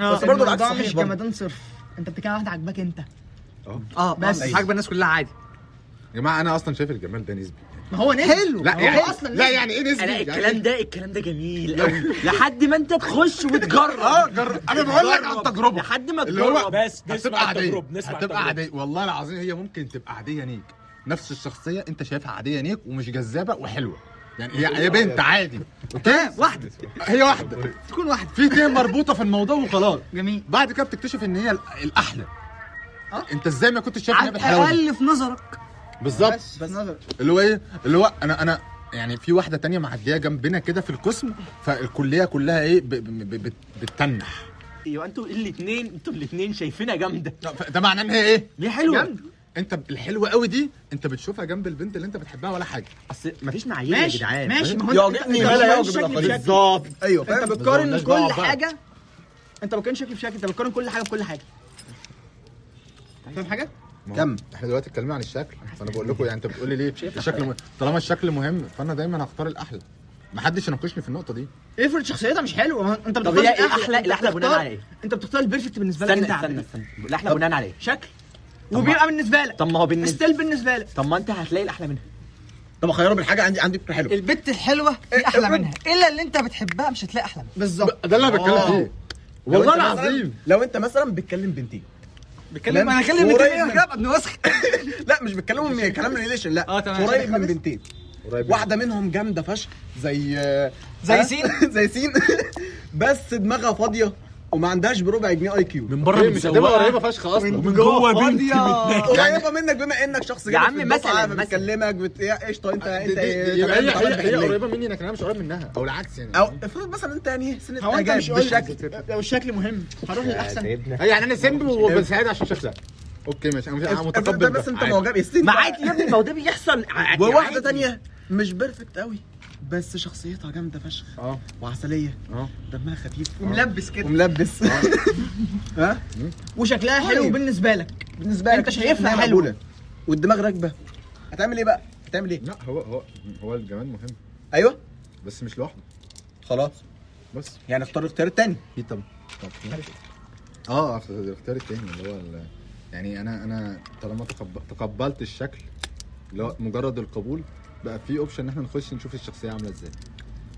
[SPEAKER 6] اه.
[SPEAKER 1] بس برضه العكس
[SPEAKER 2] الموضوع
[SPEAKER 1] صحيح
[SPEAKER 2] مش
[SPEAKER 1] برضه.
[SPEAKER 2] جمدان صرف انت بتتكلم عن واحده عاجباك انت
[SPEAKER 3] اه
[SPEAKER 2] آه، بس.
[SPEAKER 3] بس عاجبه الناس كلها عادي
[SPEAKER 5] يا جماعه انا اصلا شايف الجمال ده نسبي
[SPEAKER 2] ما هو نسبي
[SPEAKER 3] حلو.
[SPEAKER 2] ما
[SPEAKER 5] لا
[SPEAKER 2] هو إيه؟
[SPEAKER 5] يعني
[SPEAKER 2] اصلا
[SPEAKER 5] لا
[SPEAKER 2] نسبي.
[SPEAKER 5] يعني ايه نسبي
[SPEAKER 6] لا
[SPEAKER 5] يعني-
[SPEAKER 6] الكلام ده الكلام ده جميل قوي لحد ما انت تخش وتجرب
[SPEAKER 5] اه جرب انا بقول لك عن تجربه
[SPEAKER 6] لحد ما
[SPEAKER 5] اللي هو
[SPEAKER 6] تجرب
[SPEAKER 4] بس نسمع
[SPEAKER 5] هتبقى عادية
[SPEAKER 4] التجربة، نسمع
[SPEAKER 5] هتبقى
[SPEAKER 4] التجربة.
[SPEAKER 5] عادية والله العظيم هي ممكن تبقى عادية ليك نفس الشخصية انت شايفها عادية ليك ومش جذابة وحلوة يعني هي هي بنت عادي اوكي
[SPEAKER 3] واحده
[SPEAKER 5] هي واحدة
[SPEAKER 3] تكون واحده
[SPEAKER 5] في اتنين مربوطة في الموضوع وخلاص
[SPEAKER 3] جميل
[SPEAKER 5] بعد كده بتكتشف ان هي ال- الاحلى انت ازاي ما كنتش شايف ان
[SPEAKER 3] على
[SPEAKER 5] هي بالحلاوة دي
[SPEAKER 3] الاقل في نظرك
[SPEAKER 5] بالظبط
[SPEAKER 2] بس بس نظر
[SPEAKER 5] اللي هو ايه اللي هو انا انا يعني في واحدة تانية معدية جنبنا كده في القسم فالكلية كلها ايه ب- ب- ب- بتتنح
[SPEAKER 6] ايوه انتوا الاثنين انتوا الاثنين شايفينها جامده
[SPEAKER 5] ده معناه ان هي ايه؟
[SPEAKER 6] ليه حلوه
[SPEAKER 5] جامدة. انت الحلوة قوي دي انت بتشوفها جنب البنت اللي انت بتحبها ولا حاجه
[SPEAKER 6] اصل مفيش معايير يا
[SPEAKER 2] ماشي
[SPEAKER 6] جدعان
[SPEAKER 2] ماشي ما هو انت-
[SPEAKER 1] يعجبني
[SPEAKER 2] انت
[SPEAKER 1] ما لا
[SPEAKER 2] بتقارن
[SPEAKER 1] يعجب
[SPEAKER 2] شكلي
[SPEAKER 1] الآخرين.
[SPEAKER 2] بشكل.
[SPEAKER 6] بالظبط
[SPEAKER 5] أيوة،
[SPEAKER 1] ايوه فاهم
[SPEAKER 2] انت بتقارن
[SPEAKER 5] مالناش دعوة
[SPEAKER 2] كل
[SPEAKER 5] بقى.
[SPEAKER 2] حاجه انت بتقارن شكلي بشكل انت بتقارن كل حاجه بكل حاجه فاهم حاجه؟
[SPEAKER 5] ما هو
[SPEAKER 1] كم؟
[SPEAKER 5] احنا دلوقتي اتكلمنا عن الشكل فانا بقول لكم يعني انت بتقول لي ليه الشكل مهم. طالما الشكل مهم فانا دايما هختار الاحلى ما حدش يناقشني في النقطه دي
[SPEAKER 2] افرض شخصيتها مش حلوه ما هو انت
[SPEAKER 6] طب
[SPEAKER 2] بتختار
[SPEAKER 6] هي ايه
[SPEAKER 2] الأحلى.
[SPEAKER 6] الأحلى-
[SPEAKER 2] انت
[SPEAKER 6] الأحلى بناء
[SPEAKER 2] بتختار-
[SPEAKER 6] على ايه؟
[SPEAKER 2] انت بتختار البيرفكت بالنسبه لك
[SPEAKER 6] استنى
[SPEAKER 2] انت
[SPEAKER 6] استنى
[SPEAKER 2] عاجبك.
[SPEAKER 6] استنى الاحلى بناء على ايه؟
[SPEAKER 2] شكل
[SPEAKER 6] ما-
[SPEAKER 2] وبيبقى بالنسبه لك
[SPEAKER 6] طب ما هو بالنسبه
[SPEAKER 2] ستيل بالنسبه لك
[SPEAKER 6] طب ما انت هتلاقي الاحلى منها
[SPEAKER 1] طب اخيره بالحاجه عندي عندي فكره حلوه
[SPEAKER 3] البت الحلوه
[SPEAKER 2] إيه،
[SPEAKER 3] في احلى منها الا اللي انت بتحبها مش هتلاقي احلى منها
[SPEAKER 2] بالظبط
[SPEAKER 5] ده اللي انا بتكلم
[SPEAKER 1] آه.
[SPEAKER 5] فيه
[SPEAKER 1] لو
[SPEAKER 5] والله
[SPEAKER 1] أنت مثلاً-
[SPEAKER 5] العظيم
[SPEAKER 1] لو انت مثلا بتكلم بنتين
[SPEAKER 3] بتكلم
[SPEAKER 1] تمام.
[SPEAKER 3] انا اكلم
[SPEAKER 1] قريب
[SPEAKER 3] الدنيا
[SPEAKER 1] من-
[SPEAKER 3] كده ابن وسخ
[SPEAKER 1] لا مش بتكلمهم من كلام ريليشن لا
[SPEAKER 6] اه،
[SPEAKER 3] آه، تمام.
[SPEAKER 1] قريب من بنتين
[SPEAKER 5] قريب
[SPEAKER 1] واحده منهم جامده فشخ زي
[SPEAKER 3] زي
[SPEAKER 1] آه،
[SPEAKER 3] سين.
[SPEAKER 1] زي سين بس دماغها فاضيه وما عندهاش بربع جنيه اي كيو
[SPEAKER 4] من
[SPEAKER 5] هي
[SPEAKER 4] بره
[SPEAKER 5] إيه، مش هتبقى
[SPEAKER 4] متسوقه
[SPEAKER 5] قريبه فشخ اصلا
[SPEAKER 4] ومن جوه بنت
[SPEAKER 1] قريبه منك بما انك شخص جامد
[SPEAKER 6] عم
[SPEAKER 1] في الدفعة،
[SPEAKER 6] مثلاً،
[SPEAKER 1] ما
[SPEAKER 6] مثلاً.
[SPEAKER 1] بتكلمك بت... يا قشطه انت
[SPEAKER 5] دي- دي-
[SPEAKER 1] انت
[SPEAKER 5] آه، دي-
[SPEAKER 1] تمام،
[SPEAKER 5] يبقى هي
[SPEAKER 1] أنت عملت
[SPEAKER 5] هي هي
[SPEAKER 1] حلمك.
[SPEAKER 5] قريبه مني لكن انا مش قريب منها او العكس يعني
[SPEAKER 1] او افرض مثلا انت يعني سنه
[SPEAKER 2] هو انت
[SPEAKER 1] اعجاب
[SPEAKER 2] مش قلت
[SPEAKER 1] بالشكل
[SPEAKER 2] لو الشكل مهم هروح للاحسن
[SPEAKER 5] هي يعني انا سمب وبساعدها عشان شكلها اوكي ماشي انا مش أنا
[SPEAKER 1] افرض ده
[SPEAKER 5] متقبل
[SPEAKER 1] بس
[SPEAKER 5] ده.
[SPEAKER 1] انت
[SPEAKER 5] عادي.
[SPEAKER 1] معجب السين
[SPEAKER 6] ما
[SPEAKER 1] بقى.
[SPEAKER 6] عادي يا ابني ما هو ده بيحصل عادي،
[SPEAKER 1] وواحده
[SPEAKER 6] عادي.
[SPEAKER 1] تانية مش بيرفكت قوي بس شخصيتها جامده فشخ
[SPEAKER 5] اه
[SPEAKER 1] وعسليه
[SPEAKER 5] اه
[SPEAKER 1] دمها خفيف
[SPEAKER 2] وملبس كده
[SPEAKER 1] آه. وملبس ها
[SPEAKER 2] وشكلها حلو
[SPEAKER 1] طيب.
[SPEAKER 2] بالنسبه لك
[SPEAKER 1] بالنسبه
[SPEAKER 2] انت شايفها
[SPEAKER 1] إنها
[SPEAKER 2] حلوة.
[SPEAKER 1] مقبولة. والدماغ راكبه هتعمل ايه بقى هتعمل ايه
[SPEAKER 5] لا هو هو هو الجمال مهم
[SPEAKER 1] ايوه
[SPEAKER 5] بس مش لوحده
[SPEAKER 1] خلاص
[SPEAKER 5] بس
[SPEAKER 1] يعني اختار الاختيار التاني
[SPEAKER 5] في طب طب اه أصل الاختيار التاني اللي هو ال- يعني انا انا طالما تقب- تقبلت الشكل اللي هو مجرد القبول بقى في اوبشن ان آه، احنا نخش نشوف الشخصيه عامله ازاي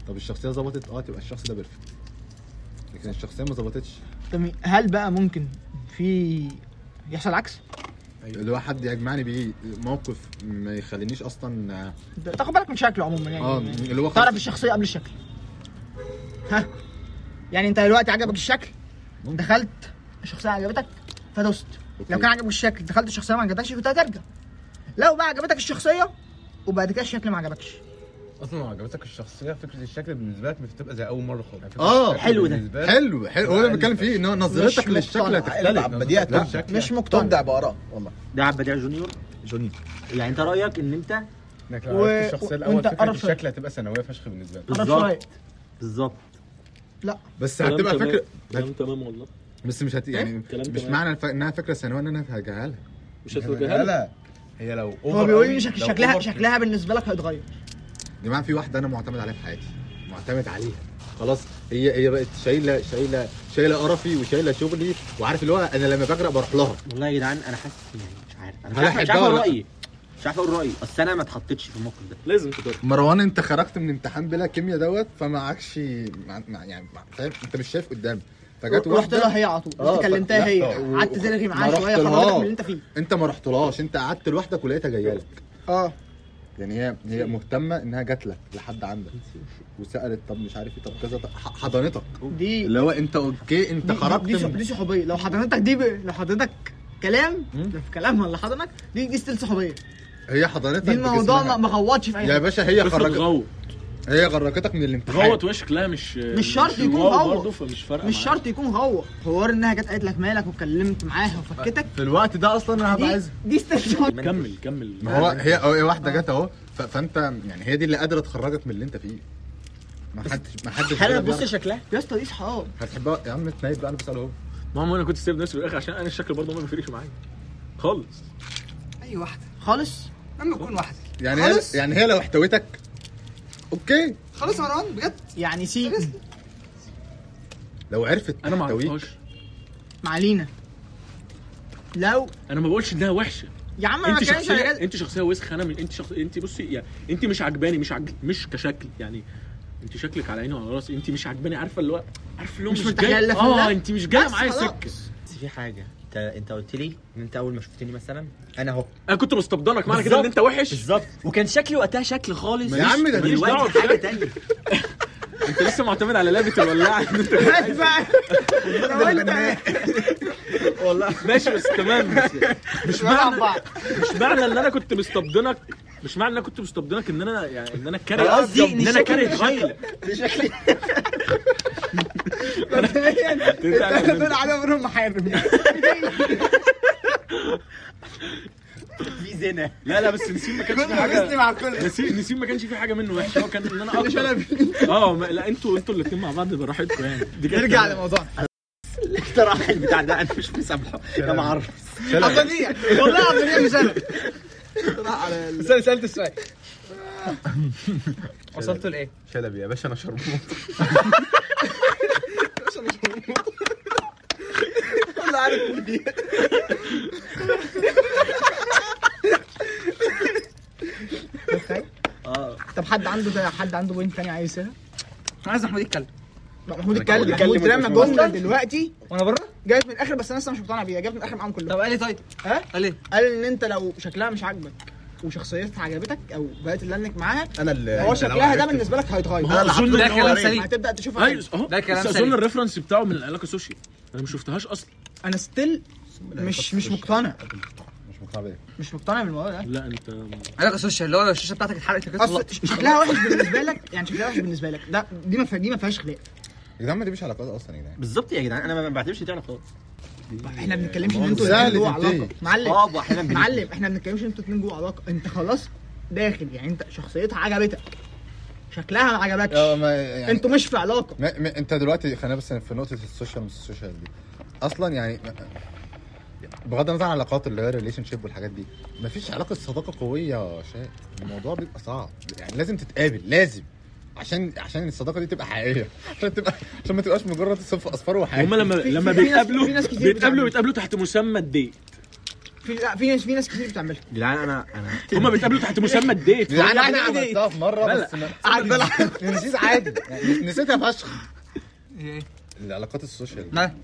[SPEAKER 5] طب الشخصيه ظبطت اه تبقى الشخص ده بيرفكت لكن لكن الشخصيه ما ظبطتش
[SPEAKER 2] طب هل بقى ممكن في يحصل عكس؟
[SPEAKER 5] اللي هو حد يجمعني بيه موقف ما يخلينيش اصلا
[SPEAKER 2] ده- تاخد بالك من شكله عموما يعني
[SPEAKER 5] اه اللي هو
[SPEAKER 2] تعرف
[SPEAKER 5] خلاص
[SPEAKER 2] الشخصية قبل الشكل ها يعني انت دلوقتي عجبك الشكل دخلت الشخصية عجبتك فدوست لو كان عجبك الشكل دخلت الشخصية ما عجبتكش كنت هترجع لو بقى عجبتك الشخصية وبعد كده الشكل ما عجبكش
[SPEAKER 7] اصلا لو عجبتك الشخصيه فكره الشكل بالنسبه لك بتبقى زي اول مره خالص
[SPEAKER 5] آه،
[SPEAKER 6] حلو ده.
[SPEAKER 5] حلو حلو هو
[SPEAKER 2] يعني
[SPEAKER 5] اللي بتكلم فيه ان هو نظرتك
[SPEAKER 1] مش
[SPEAKER 5] للشكل
[SPEAKER 1] مقتنع.
[SPEAKER 2] أيوة،
[SPEAKER 5] هتختلف
[SPEAKER 1] العب دي
[SPEAKER 5] لا. يعني.
[SPEAKER 1] هتبدع مش مقتنع تبدع باراء والله
[SPEAKER 6] ده عبد الرحمن جونيور
[SPEAKER 1] جوني
[SPEAKER 6] يعني انت رايك ان انت
[SPEAKER 7] انك
[SPEAKER 2] و-
[SPEAKER 7] لو عرفت الشخصيه الاول
[SPEAKER 2] وأنت
[SPEAKER 7] فكره
[SPEAKER 2] قرف.
[SPEAKER 7] الشكل هتبقى ثانويه فشخ بالنسبه لك
[SPEAKER 2] أنا
[SPEAKER 6] بالظبط.
[SPEAKER 2] شوية
[SPEAKER 6] بالظبط
[SPEAKER 5] بس
[SPEAKER 4] كلام
[SPEAKER 5] هتبقى
[SPEAKER 4] تمام.
[SPEAKER 5] فكره
[SPEAKER 4] كلام تمام والله
[SPEAKER 5] بس مش هت يعني
[SPEAKER 4] كلام
[SPEAKER 5] مش
[SPEAKER 4] تمام.
[SPEAKER 5] معنى الف... انها فكره ثانويه ان انا هرجعها لها
[SPEAKER 4] مش
[SPEAKER 7] يعني
[SPEAKER 4] هتوجهها لي.
[SPEAKER 7] هي لو
[SPEAKER 2] هو
[SPEAKER 7] over
[SPEAKER 2] بيقول لي
[SPEAKER 7] قوي،
[SPEAKER 2] شك-
[SPEAKER 7] لو
[SPEAKER 2] شكلها
[SPEAKER 7] over-
[SPEAKER 2] شكلها بالنسبة لك هيتغير
[SPEAKER 5] يا جماعه في واحده انا معتمد عليها في حياتي معتمد عليها خلاص هي هي بقت شايله شايله شايله قرفي وشايله شغلي وعارف اللي هو انا لما بغرق بروح لها
[SPEAKER 6] والله يا جدعان انا حاسس يعني مش عارف انا مش
[SPEAKER 5] هل
[SPEAKER 6] عارف مش
[SPEAKER 5] أحبها
[SPEAKER 6] عارف اقول
[SPEAKER 5] ولا لأ؟
[SPEAKER 6] رايي مش عارف اقول رايي اصل انا ما اتحطيتش في الموقف ده
[SPEAKER 4] لازم تجرب
[SPEAKER 5] مروان انت خرجت من امتحان بلا كيمياء دوت فما عادش مع... مع... يعني مع... فاهم انت مش شايف قدامك فجت
[SPEAKER 2] رحت
[SPEAKER 5] واحده
[SPEAKER 2] لها هي على طول
[SPEAKER 5] آه،
[SPEAKER 2] رحت كلمتها
[SPEAKER 5] لا،
[SPEAKER 2] هي
[SPEAKER 3] طيب.
[SPEAKER 5] و-
[SPEAKER 2] قعدت ترغي
[SPEAKER 5] ما
[SPEAKER 2] معاها شوية
[SPEAKER 5] رحت
[SPEAKER 2] خرجتك
[SPEAKER 5] لها.
[SPEAKER 2] من اللي انت فيه
[SPEAKER 5] انت ما رحتلهاش انت قعدت لوحدك ولقيتها جايه لك
[SPEAKER 2] اه
[SPEAKER 5] يعني هي هي مهتمه انها جات لك لحد عندك وسالت طب مش عارف ايه طب كذا طب ح- حضنتك
[SPEAKER 2] دي
[SPEAKER 5] اللي هو انت اوكي انت
[SPEAKER 2] دي-
[SPEAKER 5] خرجت
[SPEAKER 2] دي,
[SPEAKER 5] من-
[SPEAKER 2] دي صحوبيه لو حضرتك دي ب... لو حضرتك كلام ده في كلام ولا حضنك دي دي ستيل صحوبيه
[SPEAKER 5] هي حضنتك
[SPEAKER 2] دي الموضوع
[SPEAKER 5] بجسمها.
[SPEAKER 2] ما ما غوطش في اي
[SPEAKER 5] يا
[SPEAKER 2] حاجه
[SPEAKER 5] باشا هي
[SPEAKER 4] افرض
[SPEAKER 5] خرجت
[SPEAKER 4] غوط
[SPEAKER 5] هي غرقتك من الامتحان
[SPEAKER 4] غوط وشك لا مش
[SPEAKER 2] مش شرط يكون
[SPEAKER 4] واو
[SPEAKER 2] غوط.
[SPEAKER 4] برضه فمش فارقه
[SPEAKER 2] مش
[SPEAKER 4] معايا.
[SPEAKER 2] شرط يكون غوط حوار انها جت قالت لك مالك واتكلمت معاها وفكتك
[SPEAKER 5] في الوقت ده اصلا انا هبقى
[SPEAKER 2] دي
[SPEAKER 5] عايزها
[SPEAKER 2] دي ستيل صحوبيه
[SPEAKER 4] كمل كمل
[SPEAKER 5] ما هو هي أو هي واحده جت اهو ف- فانت يعني هي دي اللي قادره تخرجك من اللي انت فيه ما حدش ما حدش
[SPEAKER 6] حالا
[SPEAKER 5] كده
[SPEAKER 6] بص
[SPEAKER 5] بيعرف.
[SPEAKER 6] شكلها
[SPEAKER 2] يا اسطى دي صحاب
[SPEAKER 5] هتحبها يا عم تنايب بقى انا بساله اهو
[SPEAKER 4] ما هو انا كنت سايب نفسي في الاخر عشان انا الشكل برضه ما بيفرقش معايا خالص
[SPEAKER 8] اي واحده
[SPEAKER 2] خالص
[SPEAKER 8] لما تكون واحده
[SPEAKER 5] يعني هي
[SPEAKER 8] خالص؟
[SPEAKER 5] يعني هي لو احتويتك اوكي
[SPEAKER 8] خلاص يا مروان بجد
[SPEAKER 2] يعني سي
[SPEAKER 5] لو عرفت
[SPEAKER 4] انا ما
[SPEAKER 5] تحتويك،
[SPEAKER 4] عرفتهاش
[SPEAKER 2] مع لينا لو
[SPEAKER 4] انا ما بقولش انها وحشه
[SPEAKER 2] يا عم انا ما
[SPEAKER 4] انت
[SPEAKER 2] بتكلمش على
[SPEAKER 4] شخصيه
[SPEAKER 2] جد
[SPEAKER 4] انت شخصيه وسخه انا من انت شخص انت بصي يعني انت مش عجباني مش عج... مش كشكل يعني انت شكلك على عيني وعلى راسي انت مش عجباني عارفه اللي هو عارف اللي هو
[SPEAKER 2] مش
[SPEAKER 4] مش,
[SPEAKER 2] مرتاح لها
[SPEAKER 4] جاي
[SPEAKER 2] في اللعب.
[SPEAKER 4] اه انت مش جايه
[SPEAKER 2] بس
[SPEAKER 4] معايا
[SPEAKER 2] خلاص.
[SPEAKER 4] سكه
[SPEAKER 6] بس في حاجه انت انت قلت لي ان انت اول ما شفتني مثلا انا اهو
[SPEAKER 4] انا كنت مستبدلك معنى كده ان انت وحش
[SPEAKER 6] بالظبط وكان شكلي وقتها شكل خالص
[SPEAKER 5] يا عم ده
[SPEAKER 4] ماليش دعوه
[SPEAKER 6] دلوقتي حاجه تانية
[SPEAKER 4] انت لسه معتمد على لعبه الولاعه ان انت
[SPEAKER 2] بس بقى انا قلت
[SPEAKER 4] والله ماشي بس تمام بس يعني.
[SPEAKER 2] مش مع بعض
[SPEAKER 4] مش معنى ان انا كنت مستبدلك مش معنى ان انا كنت مستبدلك ان انا يعني ان انا كاره
[SPEAKER 6] أنا قصدي إن
[SPEAKER 4] ان انا
[SPEAKER 6] شكلي-
[SPEAKER 4] كاره اتغير
[SPEAKER 2] دول على منهم محارم
[SPEAKER 6] في زنا
[SPEAKER 4] لا لا بس نسيم ما كانش في حاجه
[SPEAKER 2] مع كل
[SPEAKER 4] نسيم نسيم ما كانش في حاجه منه وحشه هو كان ان انا اكتر اه ما- لا انتوا انتوا الاثنين مع بعض براحتكم يعني دي كانت
[SPEAKER 2] نرجع لموضوعنا
[SPEAKER 6] اقتراح البتاع ده انا مش مسامحه يا معرف
[SPEAKER 2] عبدانية والله عبدانية مش انا
[SPEAKER 7] استنى سالت السؤال وصلت لايه؟
[SPEAKER 1] شلبي يا باشا انا شرموط
[SPEAKER 2] طب حد عنده ده حد عنده بوينت تاني عايز يسألها؟
[SPEAKER 7] انا عايز محمود يتكلم
[SPEAKER 2] لا، محمود
[SPEAKER 1] اتكلم.
[SPEAKER 2] اتكلم محمود رمى
[SPEAKER 1] اتكلم.
[SPEAKER 2] جملة دلوقتي
[SPEAKER 7] وانا بره؟
[SPEAKER 2] جابت من الاخر بس انا لسه مش مقتنع بيها جابت من الاخر معاهم كلهم
[SPEAKER 7] طب قال لي طيب
[SPEAKER 2] ها؟
[SPEAKER 7] قال ايه؟
[SPEAKER 2] قال ان انت لو شكلها مش عاجبك وشخصيتها عجبتك او بقيت اللي لانك معاها
[SPEAKER 5] يعني
[SPEAKER 1] انا اللي
[SPEAKER 2] هو شكلها ده بالنسبه لك هيتغير
[SPEAKER 4] اظن
[SPEAKER 7] ده
[SPEAKER 4] ده
[SPEAKER 7] كلام
[SPEAKER 4] كلام
[SPEAKER 7] سليم
[SPEAKER 2] هتبدا تشوفها
[SPEAKER 4] ايوه
[SPEAKER 5] أيوه.
[SPEAKER 2] تاني.
[SPEAKER 4] اهو
[SPEAKER 7] ده كلام
[SPEAKER 4] بس
[SPEAKER 7] سليم.
[SPEAKER 4] اظن الريفرنس بتاعه من العلاقه السوشيال انا ما شفتهاش اصلا
[SPEAKER 2] انا ستيل مش مش مقتنع
[SPEAKER 5] مش مقتنع بيا
[SPEAKER 2] مش مقتنع بالموضوع ده
[SPEAKER 4] لا انت
[SPEAKER 7] علاقه سوشيال اللي هو لو الشاشه بتاعتك اتحرقت كده
[SPEAKER 2] اصل شكلها وحش بالنسبه لك يعني شكلها وحش بالنسبه لك ده دي ما فيها- دي ما فيهاش خلاف
[SPEAKER 5] يا جدعان ما دي مش يعني. علاقات اصلا يا جدعان
[SPEAKER 6] بالظبط يا جدعان انا ما بعتبرش دي علاقات
[SPEAKER 2] احنا بنتكلمش ان انتوا
[SPEAKER 5] سهل
[SPEAKER 2] الاتنين جوه
[SPEAKER 5] تنتهي.
[SPEAKER 2] علاقه معلم
[SPEAKER 6] اه
[SPEAKER 5] آه،
[SPEAKER 6] واحيانا بنت-
[SPEAKER 2] معلم احنا بنتكلمش انتوا اتنين جوه علاقه انت خلاص داخل يعني انت شخصيتها عجبتك شكلها ما عجبكش
[SPEAKER 5] اه، ما- يعني
[SPEAKER 2] انتوا مش في علاقه
[SPEAKER 5] ما ما انت دلوقتي خلينا بس في نقطه السوشيال مش السوشيال دي اصلا يعني بغض النظر عن العلاقات اللي هي ريليشن شيب والحاجات دي مفيش علاقه صداقه قويه يا شاهد الموضوع بيبقى صعب يعني لازم تتقابل لازم عشان عشان الصداقه دي تبقى حقيقيه عشان تبقى عشان ما تبقاش مجرد صف اصفار وحاجه
[SPEAKER 4] هما لما
[SPEAKER 2] في-
[SPEAKER 4] لما
[SPEAKER 2] في ناس-
[SPEAKER 4] بيتقابلوا
[SPEAKER 2] في ناس كتير
[SPEAKER 4] بيتقابلوا
[SPEAKER 2] بتعمل.
[SPEAKER 4] بيتقابلوا تحت مسمى الديت
[SPEAKER 2] في لا في ناس في ناس كتير بتعملها
[SPEAKER 6] يا جدعان انا انا
[SPEAKER 4] هما بيتقابلوا تحت مسمى الديت ايه؟
[SPEAKER 5] يعني
[SPEAKER 2] يعني
[SPEAKER 5] انا
[SPEAKER 2] عادي.
[SPEAKER 5] عملتها في مره
[SPEAKER 4] لا،
[SPEAKER 5] بس ما- نسيت عادي يعني نسيتها فشخ
[SPEAKER 7] ايه
[SPEAKER 5] يعني العلاقات السوشيال
[SPEAKER 3] ما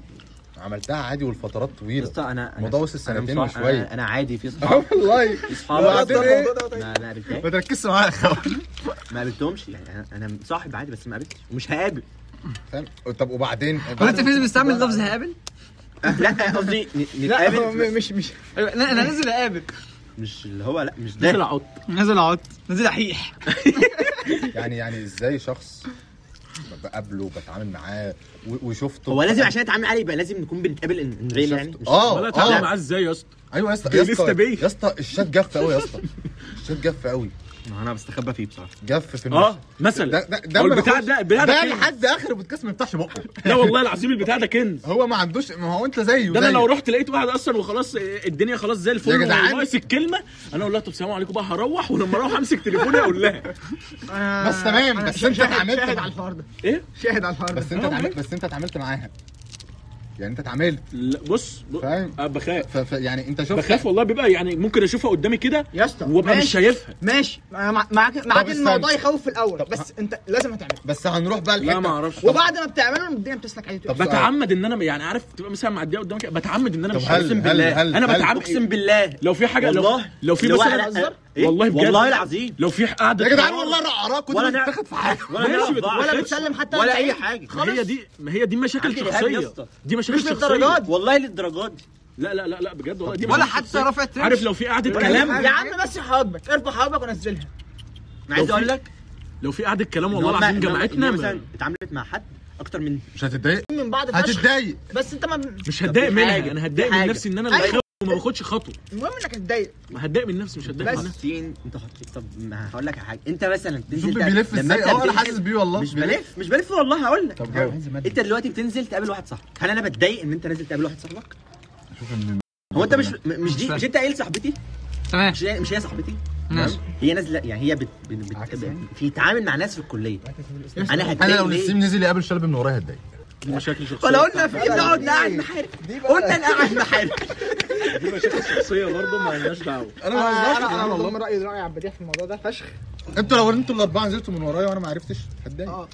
[SPEAKER 5] عملتها عادي والفترات
[SPEAKER 6] يا
[SPEAKER 5] طويله
[SPEAKER 6] اسطى انا انا
[SPEAKER 5] الموضوع وصل
[SPEAKER 6] أنا
[SPEAKER 5] سنتين
[SPEAKER 6] بصراحة-
[SPEAKER 5] وشوية.
[SPEAKER 6] أنا- انا عادي في
[SPEAKER 5] اه
[SPEAKER 6] اصحاب
[SPEAKER 5] والله
[SPEAKER 6] في
[SPEAKER 5] وبعدين
[SPEAKER 6] اصحاب
[SPEAKER 5] إيه؟
[SPEAKER 6] ما ما قابلتهاش
[SPEAKER 5] ما تركزش معايا يا اخوان
[SPEAKER 6] ما قابلتهمش يعني انا انا صاحب عادي بس ما قابلتش ومش هقابل
[SPEAKER 5] فاهم طب وبعدين
[SPEAKER 2] هو انت فين بتستعمل لفظ هقابل؟
[SPEAKER 6] لا قصدي ن-
[SPEAKER 2] هو
[SPEAKER 6] نتقابل
[SPEAKER 2] م- مش مش أيوة، لا انا نازل اقابل
[SPEAKER 6] مش اللي هو لا مش ده
[SPEAKER 4] داخل عط
[SPEAKER 2] نازل اقعد نازل احيح
[SPEAKER 5] يعني يعني ازاي شخص بقابله بتعامل معاه و- وشفته
[SPEAKER 6] هو لازم عشان اتعامل عليه يبقى لازم نكون بنتقابل ان ريل يعني
[SPEAKER 5] شفته.
[SPEAKER 6] مش-
[SPEAKER 5] اه
[SPEAKER 4] ولا اتعامل
[SPEAKER 5] اه
[SPEAKER 4] معاه ازاي يا اسطى
[SPEAKER 5] ايوه يا اسطى يا
[SPEAKER 4] لسه
[SPEAKER 5] اسطى
[SPEAKER 4] بيه.
[SPEAKER 5] يا اسطى الشات جف قوي يا اسطى الشات جف قوي
[SPEAKER 6] انا بستخبى فيه بصراحه
[SPEAKER 5] جف في
[SPEAKER 6] آه.
[SPEAKER 5] المشهد.
[SPEAKER 4] اه مثلا
[SPEAKER 5] ده ده ده
[SPEAKER 4] هو
[SPEAKER 5] ما
[SPEAKER 4] البتاع
[SPEAKER 5] بياخدش-
[SPEAKER 4] ده- البتاع ده
[SPEAKER 5] ده
[SPEAKER 4] كنز.
[SPEAKER 5] لحد اخر البودكاست ما بيفتحش بقه
[SPEAKER 4] لا والله العظيم البتاع ده كنز
[SPEAKER 5] هو ما عندوش ما هو انت زيه
[SPEAKER 4] ده انا
[SPEAKER 5] زيه.
[SPEAKER 4] لو رحت لقيت واحد اصلا وخلاص الدنيا خلاص زي الفل
[SPEAKER 5] يا جدعان.
[SPEAKER 4] وهو ناقص الكلمه انا اقول لها طب سلام عليكم بقى هروح ولما اروح امسك تليفوني اقول لها
[SPEAKER 5] بس تمام بس انت
[SPEAKER 2] شاهد على
[SPEAKER 5] اتعاملت
[SPEAKER 2] الحوار ده
[SPEAKER 4] إيه؟
[SPEAKER 2] شاهد على الحوار ده
[SPEAKER 5] بس انت اتعاملت بس انت اتعاملت معاها يعني انت اتعاملت
[SPEAKER 4] لا، بص ب-
[SPEAKER 5] فاهم.
[SPEAKER 4] أه بخاف
[SPEAKER 5] ف- ف- يعني انت شفت
[SPEAKER 4] بخاف والله بيبقى يعني ممكن اشوفها قدامي كده
[SPEAKER 2] يا اسطى
[SPEAKER 4] وابقى مش
[SPEAKER 2] ماشي
[SPEAKER 4] شايفها
[SPEAKER 2] ماشي مع- معاك معاك
[SPEAKER 5] طب
[SPEAKER 2] الموضوع
[SPEAKER 5] استنى.
[SPEAKER 2] يخوف في الاول
[SPEAKER 5] طب
[SPEAKER 2] بس انت لازم هتعمله
[SPEAKER 5] بس هنروح بقى
[SPEAKER 4] لا ما
[SPEAKER 5] الحته
[SPEAKER 4] اعرفش
[SPEAKER 2] وبعد ما بتعمله الدنيا بتسلك عليه
[SPEAKER 5] طب
[SPEAKER 4] بتعمد ان انا يعني عارف تبقى مثلا معديه قدامك بتعمد ان انا
[SPEAKER 5] طب
[SPEAKER 4] مش
[SPEAKER 5] هل-
[SPEAKER 4] عارف.
[SPEAKER 5] هل- هل-
[SPEAKER 4] انا
[SPEAKER 5] هل-
[SPEAKER 4] بتعمد
[SPEAKER 6] اقسم بالله
[SPEAKER 4] لو في حاجه لو
[SPEAKER 6] والله
[SPEAKER 4] لو في
[SPEAKER 6] لو
[SPEAKER 4] مثلا
[SPEAKER 6] أنا- أه، إيه؟
[SPEAKER 4] والله بجد
[SPEAKER 6] والله العظيم
[SPEAKER 4] لو في قعده
[SPEAKER 5] يا جدعان
[SPEAKER 4] قرار-
[SPEAKER 5] والله انا اراك كنت
[SPEAKER 6] ولا نعرف-
[SPEAKER 5] بتاخد في حاجه
[SPEAKER 6] ولا
[SPEAKER 4] ماشي،
[SPEAKER 6] نعرف
[SPEAKER 4] بت-
[SPEAKER 6] بعض.
[SPEAKER 2] ولا بتسلم حتى
[SPEAKER 6] ولا
[SPEAKER 2] أنت
[SPEAKER 6] اي
[SPEAKER 2] إيه؟
[SPEAKER 6] حاجه
[SPEAKER 4] ما هي دي ما هي دي مشاكل
[SPEAKER 6] عندي إرهاب يا
[SPEAKER 4] شخصيه
[SPEAKER 6] اسطى.
[SPEAKER 4] دي مشاكل
[SPEAKER 2] مش
[SPEAKER 4] شخصيه
[SPEAKER 2] للدرجات
[SPEAKER 6] والله للدرجات دي
[SPEAKER 4] لا لا لا لا بجد والله دي
[SPEAKER 2] ولا
[SPEAKER 4] مشاكل
[SPEAKER 2] حتى
[SPEAKER 4] شخصية.
[SPEAKER 2] رفع ترش.
[SPEAKER 4] عارف لو في قعده كلام
[SPEAKER 2] يا عم بس حواجبك ارفع حواجبك ونزلها
[SPEAKER 6] انا عايز
[SPEAKER 4] لو في-
[SPEAKER 6] اقول لك
[SPEAKER 4] لو في قعده كلام
[SPEAKER 6] إن
[SPEAKER 4] والله
[SPEAKER 6] هما-
[SPEAKER 4] العظيم
[SPEAKER 6] إن هما-
[SPEAKER 4] جمعتنا
[SPEAKER 6] إن هي
[SPEAKER 4] ما-
[SPEAKER 6] مثلا اتعاملت مع حد اكتر من
[SPEAKER 5] مش هتتضايق
[SPEAKER 2] من بعد فشخ
[SPEAKER 5] هتتضايق
[SPEAKER 2] بس انت ما
[SPEAKER 4] مش هتضايق منها
[SPEAKER 6] حاجة،
[SPEAKER 4] انا
[SPEAKER 6] في
[SPEAKER 4] هتضايق من
[SPEAKER 6] حاجة.
[SPEAKER 4] نفسي ان انا اللي
[SPEAKER 2] أيوة.
[SPEAKER 4] اخاف وما باخدش خطوه
[SPEAKER 2] المهم انك هتضايق
[SPEAKER 4] هتضايق من نفسي مش هتضايق من نفسي
[SPEAKER 6] حاطين انت حاطين طب ما هقول لك على حاجه انت مثلا
[SPEAKER 5] شوف
[SPEAKER 6] تنزل تق-
[SPEAKER 5] بيلف
[SPEAKER 6] لما
[SPEAKER 5] ازاي
[SPEAKER 6] أنت
[SPEAKER 5] اه انا
[SPEAKER 6] بتنزل-
[SPEAKER 5] حاسس بيه والله
[SPEAKER 6] مش بلف مش بلف والله هقول لك
[SPEAKER 5] طب جاوب.
[SPEAKER 6] انت دلوقتي بتنزل تقابل واحد صاحبك هل انا بتضايق ان انت نازل تقابل واحد صاحبك هو انت مش م- مش دي مش انت قايل صاحبتي
[SPEAKER 3] تمام
[SPEAKER 6] مش هي مش هي صاحبتي
[SPEAKER 3] ماشي
[SPEAKER 6] هي نازله يعني هي بت بت بت في تعامل مع ناس في الكليه انا
[SPEAKER 5] انا
[SPEAKER 6] هتضايق
[SPEAKER 5] لو
[SPEAKER 6] ليه؟
[SPEAKER 5] نسيم نزل يقابل شلبي من ورايا هتضايق
[SPEAKER 4] دي مشاكل شخصيه
[SPEAKER 6] ولا قلنا في ايه نقعد نقعد نحارب قلنا نقعد نحارب
[SPEAKER 4] دي مشاكل شخصيه برضه ما لناش دعوه
[SPEAKER 5] انا
[SPEAKER 2] انا
[SPEAKER 5] ما
[SPEAKER 2] انا
[SPEAKER 5] والله
[SPEAKER 2] والله رايي رايي عبديه في الموضوع ده فشخ
[SPEAKER 5] انتوا لو انتوا الاربعه نزلتوا من ورايا وانا ما عرفتش هتضايق
[SPEAKER 2] اه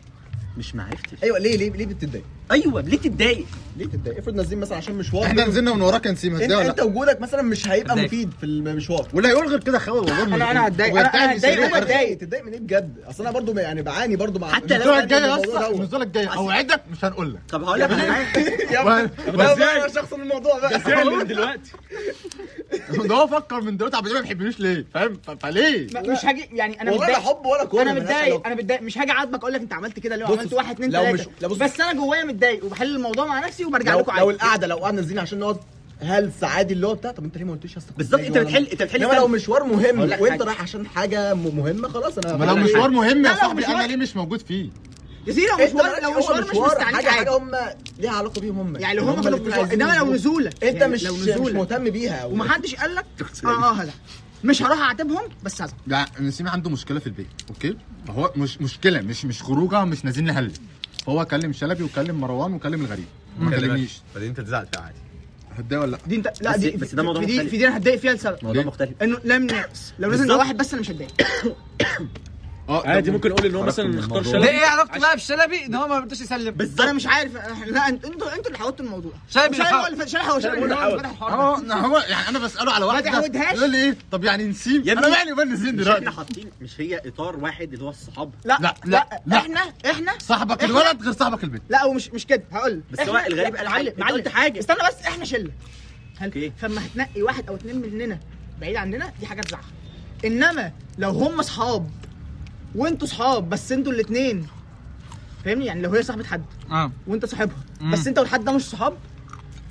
[SPEAKER 6] مش معرفتش
[SPEAKER 1] ايوه ليه ليه ليه بتتضايق؟
[SPEAKER 6] ايوه ليه تتضايق؟
[SPEAKER 1] ليه بتتضايق؟ افرض نازلين مثلا عشان مشوار
[SPEAKER 5] احنا نزلنا من وراك يا نسيم
[SPEAKER 1] انت
[SPEAKER 5] هتضايق ولا
[SPEAKER 1] انت
[SPEAKER 5] لا؟
[SPEAKER 1] وجودك مثلا مش هيبقى
[SPEAKER 3] هتضايق.
[SPEAKER 1] مفيد في المشوار
[SPEAKER 5] ولا يقول غير كده خالد والله
[SPEAKER 2] انا انا هتضايق انا
[SPEAKER 5] ويرتاح
[SPEAKER 2] انا
[SPEAKER 5] لسريره
[SPEAKER 2] هتضايق انا
[SPEAKER 5] ويرتاح.
[SPEAKER 2] هتضايق
[SPEAKER 1] تتضايق منين إيه بجد؟ اصل انا برضو يعني بعاني برضو مع
[SPEAKER 6] حتى لو
[SPEAKER 5] النزوله الجايه يا
[SPEAKER 1] الموضوع
[SPEAKER 5] اسطى
[SPEAKER 1] دوت.
[SPEAKER 5] النزوله الجايه اوعدك مش هنقول لك
[SPEAKER 6] طب هقول لك على حاجه
[SPEAKER 1] يا ابني ده بقى شخص الموضوع بقى
[SPEAKER 4] ازاي يعني- من دلوقتي
[SPEAKER 5] ده هو فكر من دلوقتي عبد ما بيحبنيش ليه فاهم ف- فليه
[SPEAKER 2] لا، مش هاجي يعني انا
[SPEAKER 1] والله لا
[SPEAKER 2] متضايق
[SPEAKER 1] حب ولا كره
[SPEAKER 2] انا
[SPEAKER 1] ملهاش
[SPEAKER 2] متضايق
[SPEAKER 1] علاقة.
[SPEAKER 2] انا متضايق مش هاجي اعاتبك اقول لك انت عملت كده لو
[SPEAKER 1] بص،
[SPEAKER 2] عملت واحد اتنين
[SPEAKER 1] لو
[SPEAKER 2] تلاته
[SPEAKER 1] مش- لا، بص.
[SPEAKER 2] بس انا جوايا متضايق وبحل الموضوع مع نفسي وبرجع
[SPEAKER 1] لو,
[SPEAKER 2] لكم
[SPEAKER 1] لو
[SPEAKER 2] عادي
[SPEAKER 1] القعده لو قعدنا نازلين عشان نقعد هلس عادي اللي هو بتاع طب انت ليه ما قلتش يا اسطى كنت
[SPEAKER 6] بالظبط
[SPEAKER 1] جاي
[SPEAKER 6] انت
[SPEAKER 1] ولا
[SPEAKER 6] بتحل
[SPEAKER 1] لا؟
[SPEAKER 6] انت بتحل
[SPEAKER 1] انما لو
[SPEAKER 6] سبب.
[SPEAKER 1] مشوار مهم
[SPEAKER 6] هقول لك
[SPEAKER 1] وانت
[SPEAKER 6] حاجة.
[SPEAKER 1] رايح عشان حاجه م- مهمه خلاص انا
[SPEAKER 5] ما لو مشوار مهم
[SPEAKER 2] لا،
[SPEAKER 5] يا
[SPEAKER 2] لو
[SPEAKER 5] صاحبي
[SPEAKER 2] مشوار-
[SPEAKER 5] انا ليه مش موجود فيه
[SPEAKER 2] يا سيدي لو
[SPEAKER 1] انت
[SPEAKER 2] مشوار
[SPEAKER 1] مالك-
[SPEAKER 2] لو
[SPEAKER 1] هو
[SPEAKER 2] مشوار مش مستعنيك
[SPEAKER 1] حاجه حاجه
[SPEAKER 2] عادي
[SPEAKER 1] هم ليها علاقه بيهم هم
[SPEAKER 2] يعني لو هم كانوا
[SPEAKER 1] الاتنين
[SPEAKER 2] بيزوق-
[SPEAKER 1] عايزين
[SPEAKER 2] انما لو
[SPEAKER 1] يزوقوا.
[SPEAKER 2] نزوله
[SPEAKER 1] انت
[SPEAKER 2] يعني
[SPEAKER 1] مش
[SPEAKER 2] لو
[SPEAKER 1] مش
[SPEAKER 2] نزوله
[SPEAKER 1] مهتم بيها أو-
[SPEAKER 2] ومحدش قال لك اه اه هزعل مش هروح اعاتبهم بس هزعل
[SPEAKER 5] لا نسيم عنده مشكله في البيت اوكي هو مش مشكله مش مش خروجه مش نازلين نهلل فهو كلم شلبي وكلم مروان وكلم الغريب ما كلمنيش
[SPEAKER 7] بعدين انت اتزعل فيها عادي
[SPEAKER 5] هتضايق ولا لا
[SPEAKER 2] دي انت لا
[SPEAKER 6] بس-
[SPEAKER 2] دي
[SPEAKER 6] بس ده موضوع
[SPEAKER 2] في دي
[SPEAKER 6] مختلف.
[SPEAKER 2] في دي انا هتضايق فيها لسبب
[SPEAKER 6] موضوع
[SPEAKER 5] ليه؟
[SPEAKER 6] مختلف
[SPEAKER 2] انه لا من ناقص لو نزل
[SPEAKER 4] بالظبط.
[SPEAKER 2] واحد بس انا مش هتضايق
[SPEAKER 5] اه
[SPEAKER 4] عادي
[SPEAKER 5] طب-
[SPEAKER 4] ممكن اقول ان هو مثلا
[SPEAKER 6] خرجت من
[SPEAKER 4] اختار
[SPEAKER 6] الموضوع.
[SPEAKER 3] ده
[SPEAKER 4] شلبي
[SPEAKER 3] ايه علاقته بقى بالشلبي ان هو ما رضاش يسلم
[SPEAKER 2] انا مش عارف لا انتوا انتوا انتوا اللي حاولتوا الموضوع
[SPEAKER 3] شايف
[SPEAKER 2] شايف
[SPEAKER 3] الحق.
[SPEAKER 2] هو اللي شايف هو شايف هو اللي فتح الحوار ده.
[SPEAKER 5] اه لا، هو يعني انا بساله على واحده
[SPEAKER 2] تعودهاش.
[SPEAKER 5] يقول لي ايه طب يعني نسيم
[SPEAKER 6] يا
[SPEAKER 5] انا
[SPEAKER 6] ابني،
[SPEAKER 5] مالي وبين نسيم
[SPEAKER 6] مش
[SPEAKER 5] دلوقتي
[SPEAKER 6] احنا حاطين مش هي اطار واحد اللي هو الصحاب
[SPEAKER 2] لا
[SPEAKER 5] لا، لا،
[SPEAKER 2] لا
[SPEAKER 5] لا.
[SPEAKER 2] لا احنا احنا
[SPEAKER 5] صاحبك الولد غير صاحبك البنت
[SPEAKER 2] لا ومش مش كده هقول
[SPEAKER 6] بس هو الغريب قال حاجة. انت قلت حاجة.
[SPEAKER 2] استنى بس احنا شله
[SPEAKER 6] اوكي.
[SPEAKER 2] هل فلما هتنقي واحد او اتنين مننا بعيد عننا دي حاجه تزعل انما لو هم اصحاب وانتوا اصحاب بس انتوا الاتنين فاهمني يعني لو هي صاحبه حد
[SPEAKER 6] آه.
[SPEAKER 3] اه
[SPEAKER 2] وانت صاحبها بس انت والحد ده مش صحاب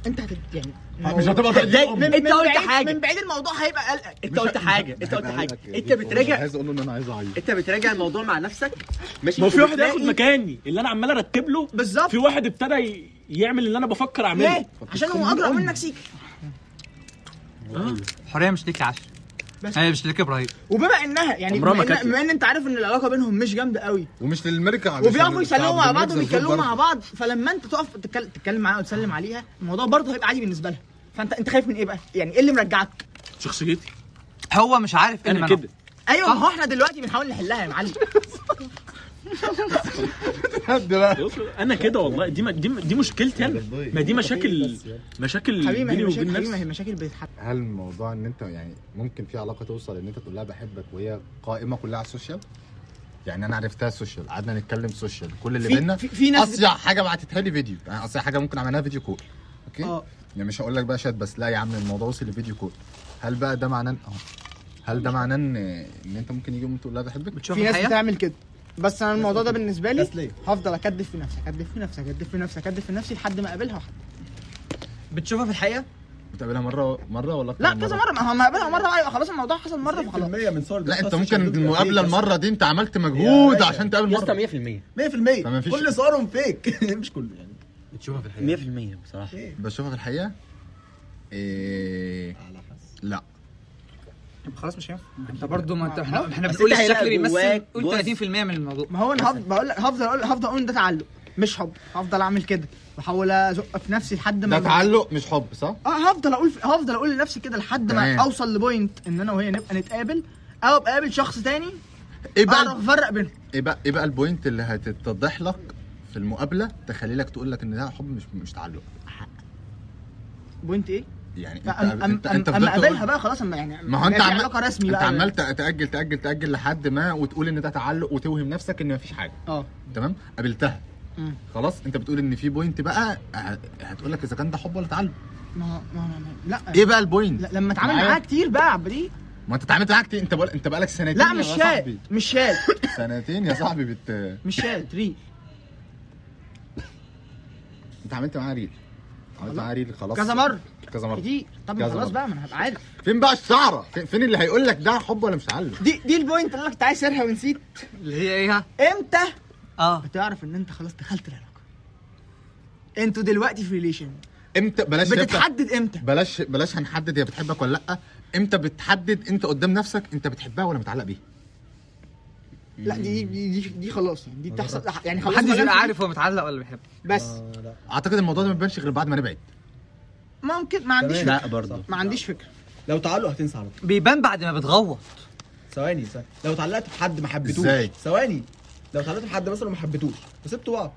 [SPEAKER 2] انت هتت يعني
[SPEAKER 6] آه،
[SPEAKER 5] مش هتبقى
[SPEAKER 6] هتضايق.
[SPEAKER 5] أمك.
[SPEAKER 2] من-
[SPEAKER 6] انت
[SPEAKER 2] من
[SPEAKER 6] قلت
[SPEAKER 2] بعيد-
[SPEAKER 6] حاجة.
[SPEAKER 2] من بعيد الموضوع هيبقى قلقك
[SPEAKER 6] انت قلت حاجه انت قلت حاجه انت بتراجع
[SPEAKER 5] عايز اقول له ان انا عايز اعيط
[SPEAKER 6] انت بتراجع الموضوع مع نفسك ماشي
[SPEAKER 4] ما هو في واحد
[SPEAKER 6] وبتلاقي-
[SPEAKER 4] هياخد مكاني اللي انا عمال ارتب له
[SPEAKER 2] بالظبط.
[SPEAKER 4] في واحد ابتدى ي- يعمل اللي انا بفكر اعمله
[SPEAKER 2] ليه؟ عشان هو اجرأ منك سيك
[SPEAKER 3] الحريه مش ليك يا عشر
[SPEAKER 2] بس.
[SPEAKER 3] هي مش ليك يا ابراهيم
[SPEAKER 2] وبما انها يعني
[SPEAKER 4] عمرها ما
[SPEAKER 2] بما إن,
[SPEAKER 4] كانت-
[SPEAKER 2] بما ان انت عارف ان العلاقه بينهم مش جامده قوي
[SPEAKER 5] ومش للمركع مش
[SPEAKER 2] وبيقفوا
[SPEAKER 5] لل-
[SPEAKER 2] يسلموا مع بعض
[SPEAKER 5] للمركز
[SPEAKER 2] وبيتكلموا
[SPEAKER 5] الزوج
[SPEAKER 2] مع
[SPEAKER 5] برضه.
[SPEAKER 2] بعض فلما انت تقف تتكل- تتكلم معاها وتسلم عليها الموضوع برضه هيبقى عادي بالنسبه لها فانت انت خايف من ايه بقى؟ يعني ايه اللي مرجعك؟
[SPEAKER 4] شخصيتي
[SPEAKER 2] إيه
[SPEAKER 3] هو مش عارف ايه اللي
[SPEAKER 4] انا
[SPEAKER 3] منعه.
[SPEAKER 4] كده
[SPEAKER 2] أيوة، ايوه ما هو احنا دلوقتي بنحاول نحلها يا معلم
[SPEAKER 4] انا كده والله دي ما- دي ما- دي مشكلتي انا ما دي مشاكل مشاكل
[SPEAKER 2] يعني. حبيبي ما هي
[SPEAKER 4] بيني
[SPEAKER 2] مشاكل
[SPEAKER 4] وبين
[SPEAKER 2] حبيبي ما هي
[SPEAKER 4] نفسي
[SPEAKER 2] مشاكل بتتحل
[SPEAKER 5] هل الموضوع ان انت يعني ممكن في علاقه توصل ان انت تقول لها بحبك وهي قائمه كلها على السوشيال يعني انا عرفتها سوشيال قعدنا نتكلم سوشيال كل اللي
[SPEAKER 2] في-
[SPEAKER 5] بينا
[SPEAKER 2] في- في ناس-
[SPEAKER 5] اصيع حاجه بعتتها لي فيديو يعني اصيع حاجه ممكن عملناها فيديو كول اوكي
[SPEAKER 2] اه.
[SPEAKER 5] يعني مش هقول لك بقى شات بس لا يا عم الموضوع وصل لفيديو كول هل بقى ده معناه ان- اه هل ده معناه ان ان انت ممكن يجي يوم تقول لها بحبك
[SPEAKER 2] في ناس بتعمل كده بس انا الموضوع ده بالنسبه لي هفضل اكدب في نفسي اكدب في نفسي اكدب في نفسي اكدب في نفسي لحد ما اقابلها واحد
[SPEAKER 3] بتشوفها في الحقيقه
[SPEAKER 5] بتقابلها مره مره ولا أكتر
[SPEAKER 2] لا
[SPEAKER 5] من
[SPEAKER 2] كذا مره ما هو ما اقابلها مره يبقى خلاص الموضوع حصل مره فخلاص
[SPEAKER 1] 100% من صور
[SPEAKER 5] لا
[SPEAKER 1] بتاعت
[SPEAKER 5] انت
[SPEAKER 1] السوشيال
[SPEAKER 5] ممكن
[SPEAKER 1] ميديا
[SPEAKER 5] المقابله
[SPEAKER 1] فيك.
[SPEAKER 5] المره دي انت عملت
[SPEAKER 1] يا
[SPEAKER 5] مجهود
[SPEAKER 1] باشا.
[SPEAKER 5] عشان تقابل
[SPEAKER 6] يا اسطى
[SPEAKER 5] مره
[SPEAKER 6] 100%
[SPEAKER 5] فما فيش-
[SPEAKER 1] 100% كل صورهم فيك مش كله يعني
[SPEAKER 7] بتشوفها في الحقيقه
[SPEAKER 6] 100% بصراحه
[SPEAKER 5] بشوفها في الحقيقه إيه... لا
[SPEAKER 3] خلاص مش هينفع انت برضه ما انت احنا احنا
[SPEAKER 6] بس
[SPEAKER 3] بنقول
[SPEAKER 6] انت هيلاقي
[SPEAKER 3] الشكل بيمثل
[SPEAKER 6] جواك
[SPEAKER 3] قول
[SPEAKER 6] جزء.
[SPEAKER 3] 30% من الموضوع
[SPEAKER 2] ما هو انا هفضل بقول لك هفضل اقول هفضل اقول إن ده تعلق مش حب هفضل اعمل كده واحاول ازق في نفسي لحد
[SPEAKER 5] ده
[SPEAKER 2] ما
[SPEAKER 5] تعلق مش حب صح؟
[SPEAKER 2] اه هفضل اقول هفضل اقول لنفسي كده لحد
[SPEAKER 5] تمام.
[SPEAKER 2] ما اوصل لبوينت ان انا وهي نبقى نتقابل او ابقى اقابل شخص تاني
[SPEAKER 5] ايه بقى
[SPEAKER 2] اعرف افرق بينهم
[SPEAKER 5] ايه بقى ايه بقى البوينت اللي هتتضح لك في المقابله تخلي لك تقول لك ان ده حب مش مش تعلق
[SPEAKER 2] بوينت ايه؟
[SPEAKER 5] يعني انت
[SPEAKER 2] لا، أم-
[SPEAKER 5] انت
[SPEAKER 2] أم-
[SPEAKER 5] انت
[SPEAKER 2] أم- اما
[SPEAKER 5] فضلت
[SPEAKER 2] اقابلها
[SPEAKER 5] تقول-
[SPEAKER 2] بقى خلاص اما يعني
[SPEAKER 5] ما هو انت
[SPEAKER 2] في
[SPEAKER 5] عمال
[SPEAKER 2] علاقه رسمي
[SPEAKER 5] انت
[SPEAKER 2] بقى
[SPEAKER 5] عمال تاجل تاجل تاجل لحد ما وتقول ان ده تعلق وتوهم نفسك ان مفيش حاجه
[SPEAKER 2] اه
[SPEAKER 5] تمام قابلتها
[SPEAKER 2] مم.
[SPEAKER 5] خلاص انت بتقول ان في بوينت بقى ه- هتقول لك اذا كان ده حب ولا تعلق
[SPEAKER 2] ما هو ما هو ما هو- لا
[SPEAKER 5] ايه بقى البوينت
[SPEAKER 2] آه. لا لما اتعامل
[SPEAKER 5] معايا؟
[SPEAKER 2] معاها كتير بقى يا عبد دي
[SPEAKER 5] ما انت اتعاملت معاك كتير، انت بقول... انت بقالك سنتين
[SPEAKER 2] لا مش
[SPEAKER 5] إيه؟ يا صاحبي
[SPEAKER 2] شاد مش شاد
[SPEAKER 5] سنتين يا صاحبي بت
[SPEAKER 2] مش شاد ري
[SPEAKER 5] انت عملت معاها ريل عملت معاها ريل خلاص
[SPEAKER 2] كذا مره
[SPEAKER 5] كذا مره
[SPEAKER 2] كتير طب ما
[SPEAKER 5] كذا
[SPEAKER 2] خلاص
[SPEAKER 5] مرة.
[SPEAKER 2] بقى ما انا هبقى عارف
[SPEAKER 5] فين بقى الشعره فين- فين اللي هيقول لك ده حب ولا مش تعلق
[SPEAKER 2] دي دي البوينت اللي انا كنت عايز ارها ونسيت
[SPEAKER 3] اللي هي ايه ها؟
[SPEAKER 2] امتى
[SPEAKER 3] اه
[SPEAKER 2] هتعرف ان انت خلاص دخلت العلاقه انتوا دلوقتي في ريليشن
[SPEAKER 5] امتى بلاش نبدأ-
[SPEAKER 2] بتتحدد امتى
[SPEAKER 5] بلاش بلاش هنحدد هي بتحبك ولا لا امتى بتحدد انت قدام نفسك انت بتحبها ولا متعلق بيها
[SPEAKER 2] لا دي دي دي, دي خلاص يعني دي بتحصل يعني خلاص
[SPEAKER 3] محدش
[SPEAKER 2] ما دام
[SPEAKER 3] بيبقى
[SPEAKER 2] في-
[SPEAKER 3] عارف هو متعلق ولا بيحب
[SPEAKER 2] بس
[SPEAKER 5] اعتقد الموضوع ده ما بيبانش غير بعد ما نبعد
[SPEAKER 2] ممكن ما عنديش فكره
[SPEAKER 6] لا برضه
[SPEAKER 2] ما عنديش فكره
[SPEAKER 1] لو تعلق هتنسى على طول
[SPEAKER 3] بيبان بعد ما بتغوط
[SPEAKER 1] ثواني ثواني لو اتعلقت بحد ما حبيتوش
[SPEAKER 5] ازاي؟
[SPEAKER 1] ثواني لو اتعلقت بحد مثلا ما حبيتوش وسبتوا بعض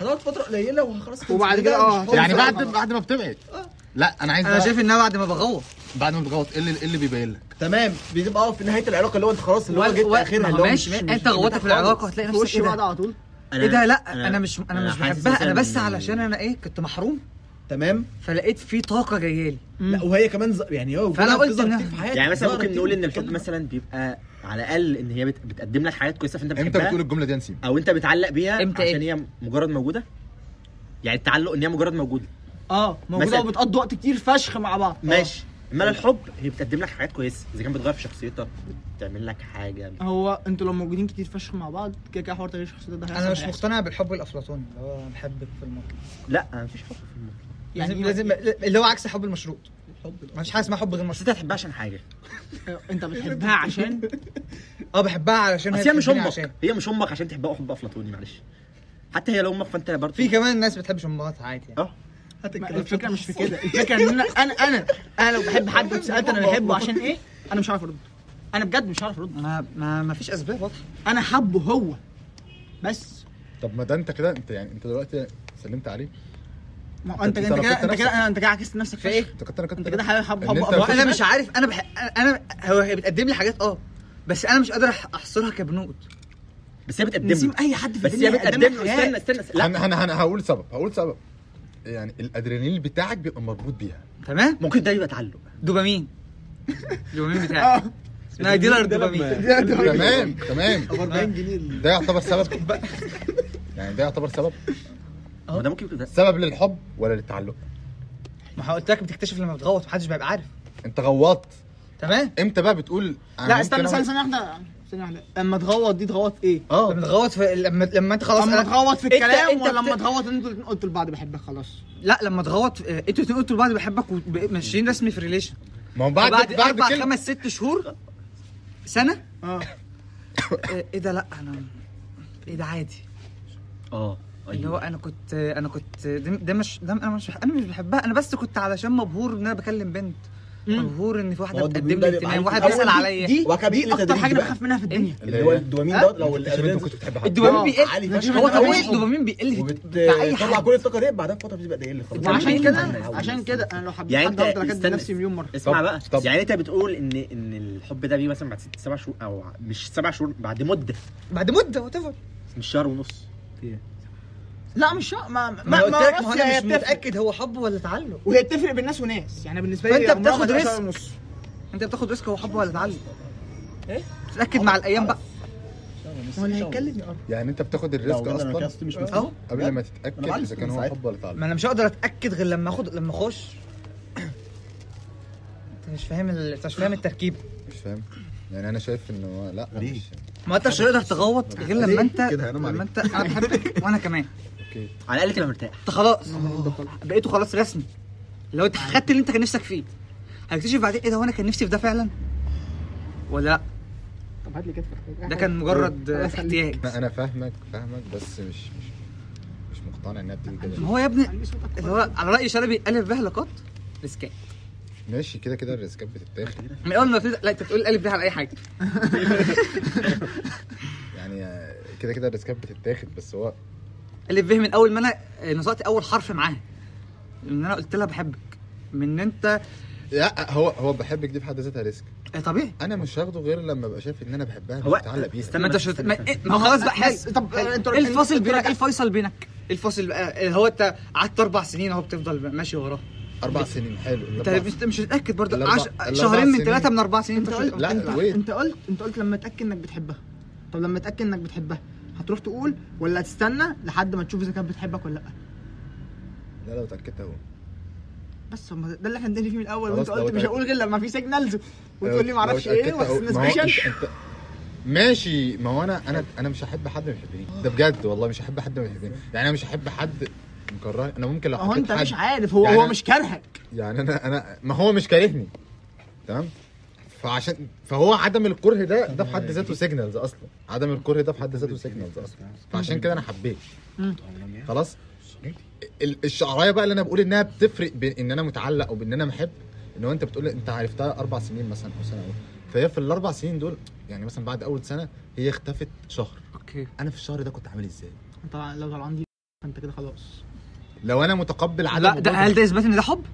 [SPEAKER 1] هتقعد فتره قليله وخلاص هتنسى.
[SPEAKER 2] وبعد
[SPEAKER 1] ده
[SPEAKER 2] كده اه،
[SPEAKER 1] مش حب.
[SPEAKER 5] يعني بعد بعد ما بتبعد
[SPEAKER 2] آه.
[SPEAKER 5] لا انا عايز
[SPEAKER 3] انا
[SPEAKER 5] بقى-
[SPEAKER 3] شايف انها بعد ما بغوط
[SPEAKER 5] بعد ما بتغلط ايه اللي ايه اللي بيبين لك
[SPEAKER 1] تمام بتبقى اه في نهايه العلاقه اللي هو انت خلاص اللي هو جبت اخرها اللي هو
[SPEAKER 3] ماشي
[SPEAKER 1] مش-
[SPEAKER 3] ماشي
[SPEAKER 1] مش-
[SPEAKER 3] انت غوطت في العلاقه هتلاقي
[SPEAKER 2] في
[SPEAKER 3] نفسك
[SPEAKER 2] وش
[SPEAKER 3] ايه
[SPEAKER 2] بعض
[SPEAKER 3] ده؟
[SPEAKER 2] على طول
[SPEAKER 3] ايه ده لا انا
[SPEAKER 6] أنا-
[SPEAKER 3] مش انا مش
[SPEAKER 6] حاسس
[SPEAKER 3] بحبها انا
[SPEAKER 6] مثلاً
[SPEAKER 3] بس
[SPEAKER 6] إن-
[SPEAKER 3] علشان انا ايه كنت محروم
[SPEAKER 1] تمام
[SPEAKER 3] فلقيت في طاقه جايه لي
[SPEAKER 1] لا وهي كمان ز... يعني هو
[SPEAKER 3] فأنا قلت
[SPEAKER 1] بتظهر
[SPEAKER 3] إنها-
[SPEAKER 1] كتير في حياتك.
[SPEAKER 6] يعني مثلا
[SPEAKER 1] ظهرت
[SPEAKER 6] ممكن
[SPEAKER 1] كتير.
[SPEAKER 6] نقول ان الحب مثلا بيبقى على الاقل ان هي بت- بتقدم لك حاجات كويسه فانت
[SPEAKER 5] امتى
[SPEAKER 6] بتحبها
[SPEAKER 5] بتقول الجمله دي يا نسيم
[SPEAKER 6] او انت بتعلق بيها
[SPEAKER 3] إمتى
[SPEAKER 6] عشان هي مجرد موجوده يعني التعلق ان هي مجرد موجوده
[SPEAKER 2] اه موجوده
[SPEAKER 6] مثلا-
[SPEAKER 2] وبتقضوا وقت كتير فشخ مع بعض
[SPEAKER 6] ماشي انما الحب هي بتقدم لك حاجات كويسه اذا كان بتغير في شخصيتك بتعمل لك حاجه
[SPEAKER 2] هو انتوا لو موجودين كتير فشخ مع بعض كده كده حوار تغيير الشخصيات ده هيحصل
[SPEAKER 9] انا مش
[SPEAKER 2] هيحصل.
[SPEAKER 9] مقتنع بالحب الافلاطوني اللي هو بحبك في المطلق
[SPEAKER 6] لا مفيش حب في الموضوع
[SPEAKER 2] يعني
[SPEAKER 9] لازم
[SPEAKER 2] إيه؟
[SPEAKER 9] لازم اللي هو عكس الحب المشروط مفيش حاجه اسمها حب غير
[SPEAKER 6] بس
[SPEAKER 9] مشروط
[SPEAKER 6] انت هتحبها عشان حاجه
[SPEAKER 2] انت آه، بتحبها عشان
[SPEAKER 3] آه،
[SPEAKER 9] اه بحبها علشان
[SPEAKER 6] اصل هي مش
[SPEAKER 9] بتحبني
[SPEAKER 6] امك
[SPEAKER 9] عشان.
[SPEAKER 6] هي مش امك عشان تحبها حب افلاطوني معلش حتى هي لو امك فانت برضه
[SPEAKER 9] في كمان ناس بتحبش امهاتها عادي يعني.
[SPEAKER 2] ما- الفكره مش في كده الفكره ان انا انا انا, أنا لو بحب حد واتسالت انا بحبه عشان ايه انا مش عارف ارد انا بجد مش عارف ارد
[SPEAKER 3] ما ما ما فيش اسباب واضحه
[SPEAKER 2] انا حبه هو بس
[SPEAKER 5] طب ما ده انت كده انت يعني انت دلوقتي سلمت عليه
[SPEAKER 2] ما هو انت
[SPEAKER 5] أنت
[SPEAKER 2] انت كده
[SPEAKER 5] ربطت
[SPEAKER 2] انت كده
[SPEAKER 5] نفسك.
[SPEAKER 2] انت كده عكست نفسك في ايه
[SPEAKER 5] انت كنت انا كنت
[SPEAKER 2] انت كده حب حب
[SPEAKER 5] ان
[SPEAKER 2] حب
[SPEAKER 5] إيه؟ انت
[SPEAKER 2] أبو-
[SPEAKER 5] بتحب-
[SPEAKER 3] انا مش عارف انا بح... انا هو هي بتقدم لي حاجات اه بس انا مش قادر أح- احصرها كبنود
[SPEAKER 6] بس هي بتقدم
[SPEAKER 2] نسيم
[SPEAKER 6] له.
[SPEAKER 2] اي حد في
[SPEAKER 6] بس هي
[SPEAKER 2] الدنيا "إيه؟"
[SPEAKER 6] بتقدم
[SPEAKER 2] هيقدم
[SPEAKER 6] له
[SPEAKER 2] لك حياة.
[SPEAKER 6] استنى استنى, استنى. لا
[SPEAKER 5] انا انا انا هقول سبب هقول سبب يعني الادرينالين بتاعك بيبقى مربوط بيها
[SPEAKER 3] تمام
[SPEAKER 6] ممكن ده يبقى تعلق
[SPEAKER 3] دوبامين دوبامين بتاعي اسمها ديلر دوبامين
[SPEAKER 5] تمام تمام 40 جنيه ده يعتبر سبب يعني ده يعتبر سبب
[SPEAKER 6] هو ده ممكن يبقى ده
[SPEAKER 5] سبب للحب ولا للتعلق
[SPEAKER 9] ما قلت لك بتكتشف لما بتغوط محدش بيبقى عارف
[SPEAKER 5] انت غوطت
[SPEAKER 9] تمام
[SPEAKER 5] امتى بقى بتقول أنا
[SPEAKER 2] لا
[SPEAKER 5] ممكن
[SPEAKER 2] استنى
[SPEAKER 5] أعمل-
[SPEAKER 2] استنى استنى واحده استنى واحده اما تغوط دي تغوط ايه
[SPEAKER 5] اه
[SPEAKER 9] لما تغوط في لما لما انت خلاص
[SPEAKER 2] اما
[SPEAKER 9] أنا-
[SPEAKER 2] تغوط في
[SPEAKER 9] انت-
[SPEAKER 2] الكلام
[SPEAKER 9] انت
[SPEAKER 2] ولا اما
[SPEAKER 9] بت-
[SPEAKER 2] تغوط ان انتوا الاتنين قلتوا لبعض بحبك خلاص
[SPEAKER 3] لا لما تغوط آه، انتوا الاثنين قلتوا لبعض بحبك وماشيين رسمي في الريليشن
[SPEAKER 5] ما هو بعد
[SPEAKER 3] بعد
[SPEAKER 5] بعد, بعد
[SPEAKER 3] اربع
[SPEAKER 5] كلمة.
[SPEAKER 3] خمس ست شهور سنه
[SPEAKER 2] اه
[SPEAKER 3] آه، ايه ده لا انا ايه ده عادي
[SPEAKER 6] اه
[SPEAKER 3] اللي هو
[SPEAKER 6] ايوه
[SPEAKER 3] انا كنت انا كنت ده ده مش ده انا مش انا مش بحبها انا بس كنت علشان مبهور ان انا بكلم بنت مبهور ان في واحده
[SPEAKER 1] ما هو الدوبامين
[SPEAKER 3] بتقدم
[SPEAKER 1] ده
[SPEAKER 3] لي
[SPEAKER 1] بيبقى
[SPEAKER 3] اهتمام
[SPEAKER 1] عارف
[SPEAKER 3] واحد
[SPEAKER 1] الأول
[SPEAKER 3] بيسال
[SPEAKER 1] دي-
[SPEAKER 3] عليا
[SPEAKER 2] دي
[SPEAKER 1] وكبير
[SPEAKER 2] اكتر حاجه انا بخاف منها في الدنيا
[SPEAKER 1] اللي هو الدوبامين ده لو
[SPEAKER 7] اكتشفت انت
[SPEAKER 1] الادرينالين
[SPEAKER 7] كنت بتحب حد
[SPEAKER 3] الدوبامين
[SPEAKER 1] عالي
[SPEAKER 3] بيقل
[SPEAKER 1] فشخ.
[SPEAKER 3] هو طبيعي
[SPEAKER 1] وبت-
[SPEAKER 3] الدوبامين بيقل في يعني بتاع اي
[SPEAKER 1] وبتطلع
[SPEAKER 3] حاجه
[SPEAKER 1] كل الطاقه ديت بعدها بفتره بتبقى تقل خلاص
[SPEAKER 2] وعشان كده عشان كده انا لو حبيت
[SPEAKER 6] يعني
[SPEAKER 2] حد
[SPEAKER 6] أنت
[SPEAKER 2] هفضل اكدب
[SPEAKER 6] استنى.
[SPEAKER 2] نفسي مليون مره
[SPEAKER 6] اسمع
[SPEAKER 1] طب-
[SPEAKER 6] بقى
[SPEAKER 1] طب.
[SPEAKER 6] يعني انت بتقول ان ان الحب ده بيه مثلا بعد ست سبع شهور او مش سبع شهور بعد مده
[SPEAKER 9] بعد مده وات ايفر
[SPEAKER 6] مش شهر ونص
[SPEAKER 2] لا مش شرط ما ما
[SPEAKER 9] ما
[SPEAKER 2] ما,
[SPEAKER 9] قلت لك ما هو
[SPEAKER 2] بس
[SPEAKER 9] انا
[SPEAKER 2] هي
[SPEAKER 9] مش
[SPEAKER 2] بتفرق
[SPEAKER 9] متاكد هو حب ولا تعلق
[SPEAKER 2] وهي بتفرق بين ناس وناس يعني بالنسبه لي
[SPEAKER 3] فانت
[SPEAKER 2] عمرها ما
[SPEAKER 3] بتاخد
[SPEAKER 2] تبقى شهر
[SPEAKER 3] ريسك.
[SPEAKER 2] ونص.
[SPEAKER 3] انت بتاخد ريسك هو حب ولا تعلق
[SPEAKER 2] إيه؟
[SPEAKER 3] ايه تتاكد مع الايام بقى
[SPEAKER 2] هو اللي هيتكلم
[SPEAKER 5] يعني انت بتاخد الريسك اصلا
[SPEAKER 1] مش
[SPEAKER 9] اهو
[SPEAKER 5] قبل ما تتاكد
[SPEAKER 1] أنا بعرف
[SPEAKER 5] اذا كان هو
[SPEAKER 1] ساعتها.
[SPEAKER 5] حب ولا تعلق
[SPEAKER 9] ما انا مش هقدر اتاكد غير لما اخد لما اخش انت مش فاهم ال... انت مش فاهم التركيب
[SPEAKER 5] مش فاهم يعني انا شايف ان هو لا
[SPEAKER 1] ليه؟
[SPEAKER 5] مش
[SPEAKER 3] ما انت مش هتقدر تغوط غير لما انت
[SPEAKER 5] كده هنام
[SPEAKER 3] لما
[SPEAKER 5] عليك.
[SPEAKER 3] انت انا بحبك وانا كمان
[SPEAKER 6] على الاقل تبقى مرتاح
[SPEAKER 3] انت خلاص بقيته خلاص رسمي لو انت خدت اللي انت كان نفسك فيه هتكتشف بعدين ايه ده هو انا كان نفسي في ده فعلا ولا لا
[SPEAKER 2] طب هات لي كتفك
[SPEAKER 3] ده كان مجرد آه، احتياج
[SPEAKER 5] انا انا فاهمك فاهمك بس مش مش مش مقتنع انها بتيجي كده
[SPEAKER 3] ما هو يا ابني اللي هو على راي شلبي الف به لقط ريسكات
[SPEAKER 5] ماشي كده كده الريسكات بتتاخد
[SPEAKER 3] من اول ما بتبدا لا انت بتقول الف به على اي حاجه
[SPEAKER 5] يعني آه، كده كده الريسكات بتتاخد بس هو
[SPEAKER 3] الف به من اول ما انا آه، نطقت اول حرف معاها ان انا قلت لها بحبك من انت
[SPEAKER 5] لا هو هو بحبك دي في حد ذاتها ريسك
[SPEAKER 3] آه، طبيعي
[SPEAKER 5] انا مش هاخده غير لما ابقى شايف ان انا بحبها
[SPEAKER 6] هو-
[SPEAKER 5] بتعلق بيها
[SPEAKER 6] استنى
[SPEAKER 3] ما انت مش ما, إيه؟ ما هو خلاص بقى حلو
[SPEAKER 2] طب انت
[SPEAKER 3] ايه الفاصل بينك ايه الفيصل بينك إيه الفاصل بقى اللي هو انت قعدت اربع سنين اهو بتفضل ماشي وراه
[SPEAKER 5] اربع سنين حلو
[SPEAKER 3] انت
[SPEAKER 2] طيب،
[SPEAKER 5] الأربع
[SPEAKER 3] مش مش متاكد برضه
[SPEAKER 5] الأربع-
[SPEAKER 3] عش...
[SPEAKER 5] الأربع
[SPEAKER 3] شهرين من
[SPEAKER 5] سنين.
[SPEAKER 3] ثلاثه من اربع سنين انت
[SPEAKER 2] انت
[SPEAKER 3] مش-
[SPEAKER 2] قلت
[SPEAKER 5] لا،
[SPEAKER 2] انت,
[SPEAKER 5] wait.
[SPEAKER 2] انت قلت انت قلت لما اتاكد انك بتحبها طب لما اتاكد انك بتحبها هتروح تقول ولا هتستنى لحد ما تشوف اذا كانت بتحبك ولا لا
[SPEAKER 5] لا لو اتاكدت اهو
[SPEAKER 2] بس هم ده اللي احنا بنتكلم فيه من الاول وانت
[SPEAKER 5] خلاص، لو
[SPEAKER 2] قلت مش
[SPEAKER 5] اتأكد-
[SPEAKER 2] هقول غير لما في سيجنالز وتقول لي
[SPEAKER 5] لو
[SPEAKER 2] معرفش
[SPEAKER 5] اتأكدت
[SPEAKER 2] ايه
[SPEAKER 5] أهو-
[SPEAKER 2] وبس
[SPEAKER 5] ما أه، هو
[SPEAKER 2] سبيشال
[SPEAKER 5] انت- انت- ماشي ما هو انا انا انا مش هحب حد ما يحبنيش ده بجد والله مش هحب حد ما يحبنيش يعني انا مش هحب حد مكرهني انا ممكن لو
[SPEAKER 2] ما هو
[SPEAKER 5] حبيت
[SPEAKER 2] انت مش
[SPEAKER 5] حد
[SPEAKER 2] عارف هو
[SPEAKER 5] يعني
[SPEAKER 2] هو
[SPEAKER 5] أنا-
[SPEAKER 2] مش كارهك
[SPEAKER 5] يعني انا انا ما هو مش كارهني تمام فعشان فهو عدم الكره ده ده في حد ذاته سيجنالز اصلا عدم الكره ده في حد ذاته سيجنالز اصلا فعشان كده انا حبيت خلاص ال- الشعرايه بقى اللي انا بقول انها بتفرق بين ان انا متعلق وبان انا محب ان هو انت بتقول انت عرفتها اربع سنين مثلا او سنه أو فهي في الاربع سنين دول يعني مثلا بعد اول سنه هي اختفت شهر
[SPEAKER 3] اوكي
[SPEAKER 5] انا في الشهر ده كنت عامل ازاي
[SPEAKER 2] انت لو طلعان دي فانت كده خلاص
[SPEAKER 5] لو انا متقبل عدم
[SPEAKER 3] لا ده
[SPEAKER 5] وجودها-
[SPEAKER 3] هل ده اثبات ان ده حب؟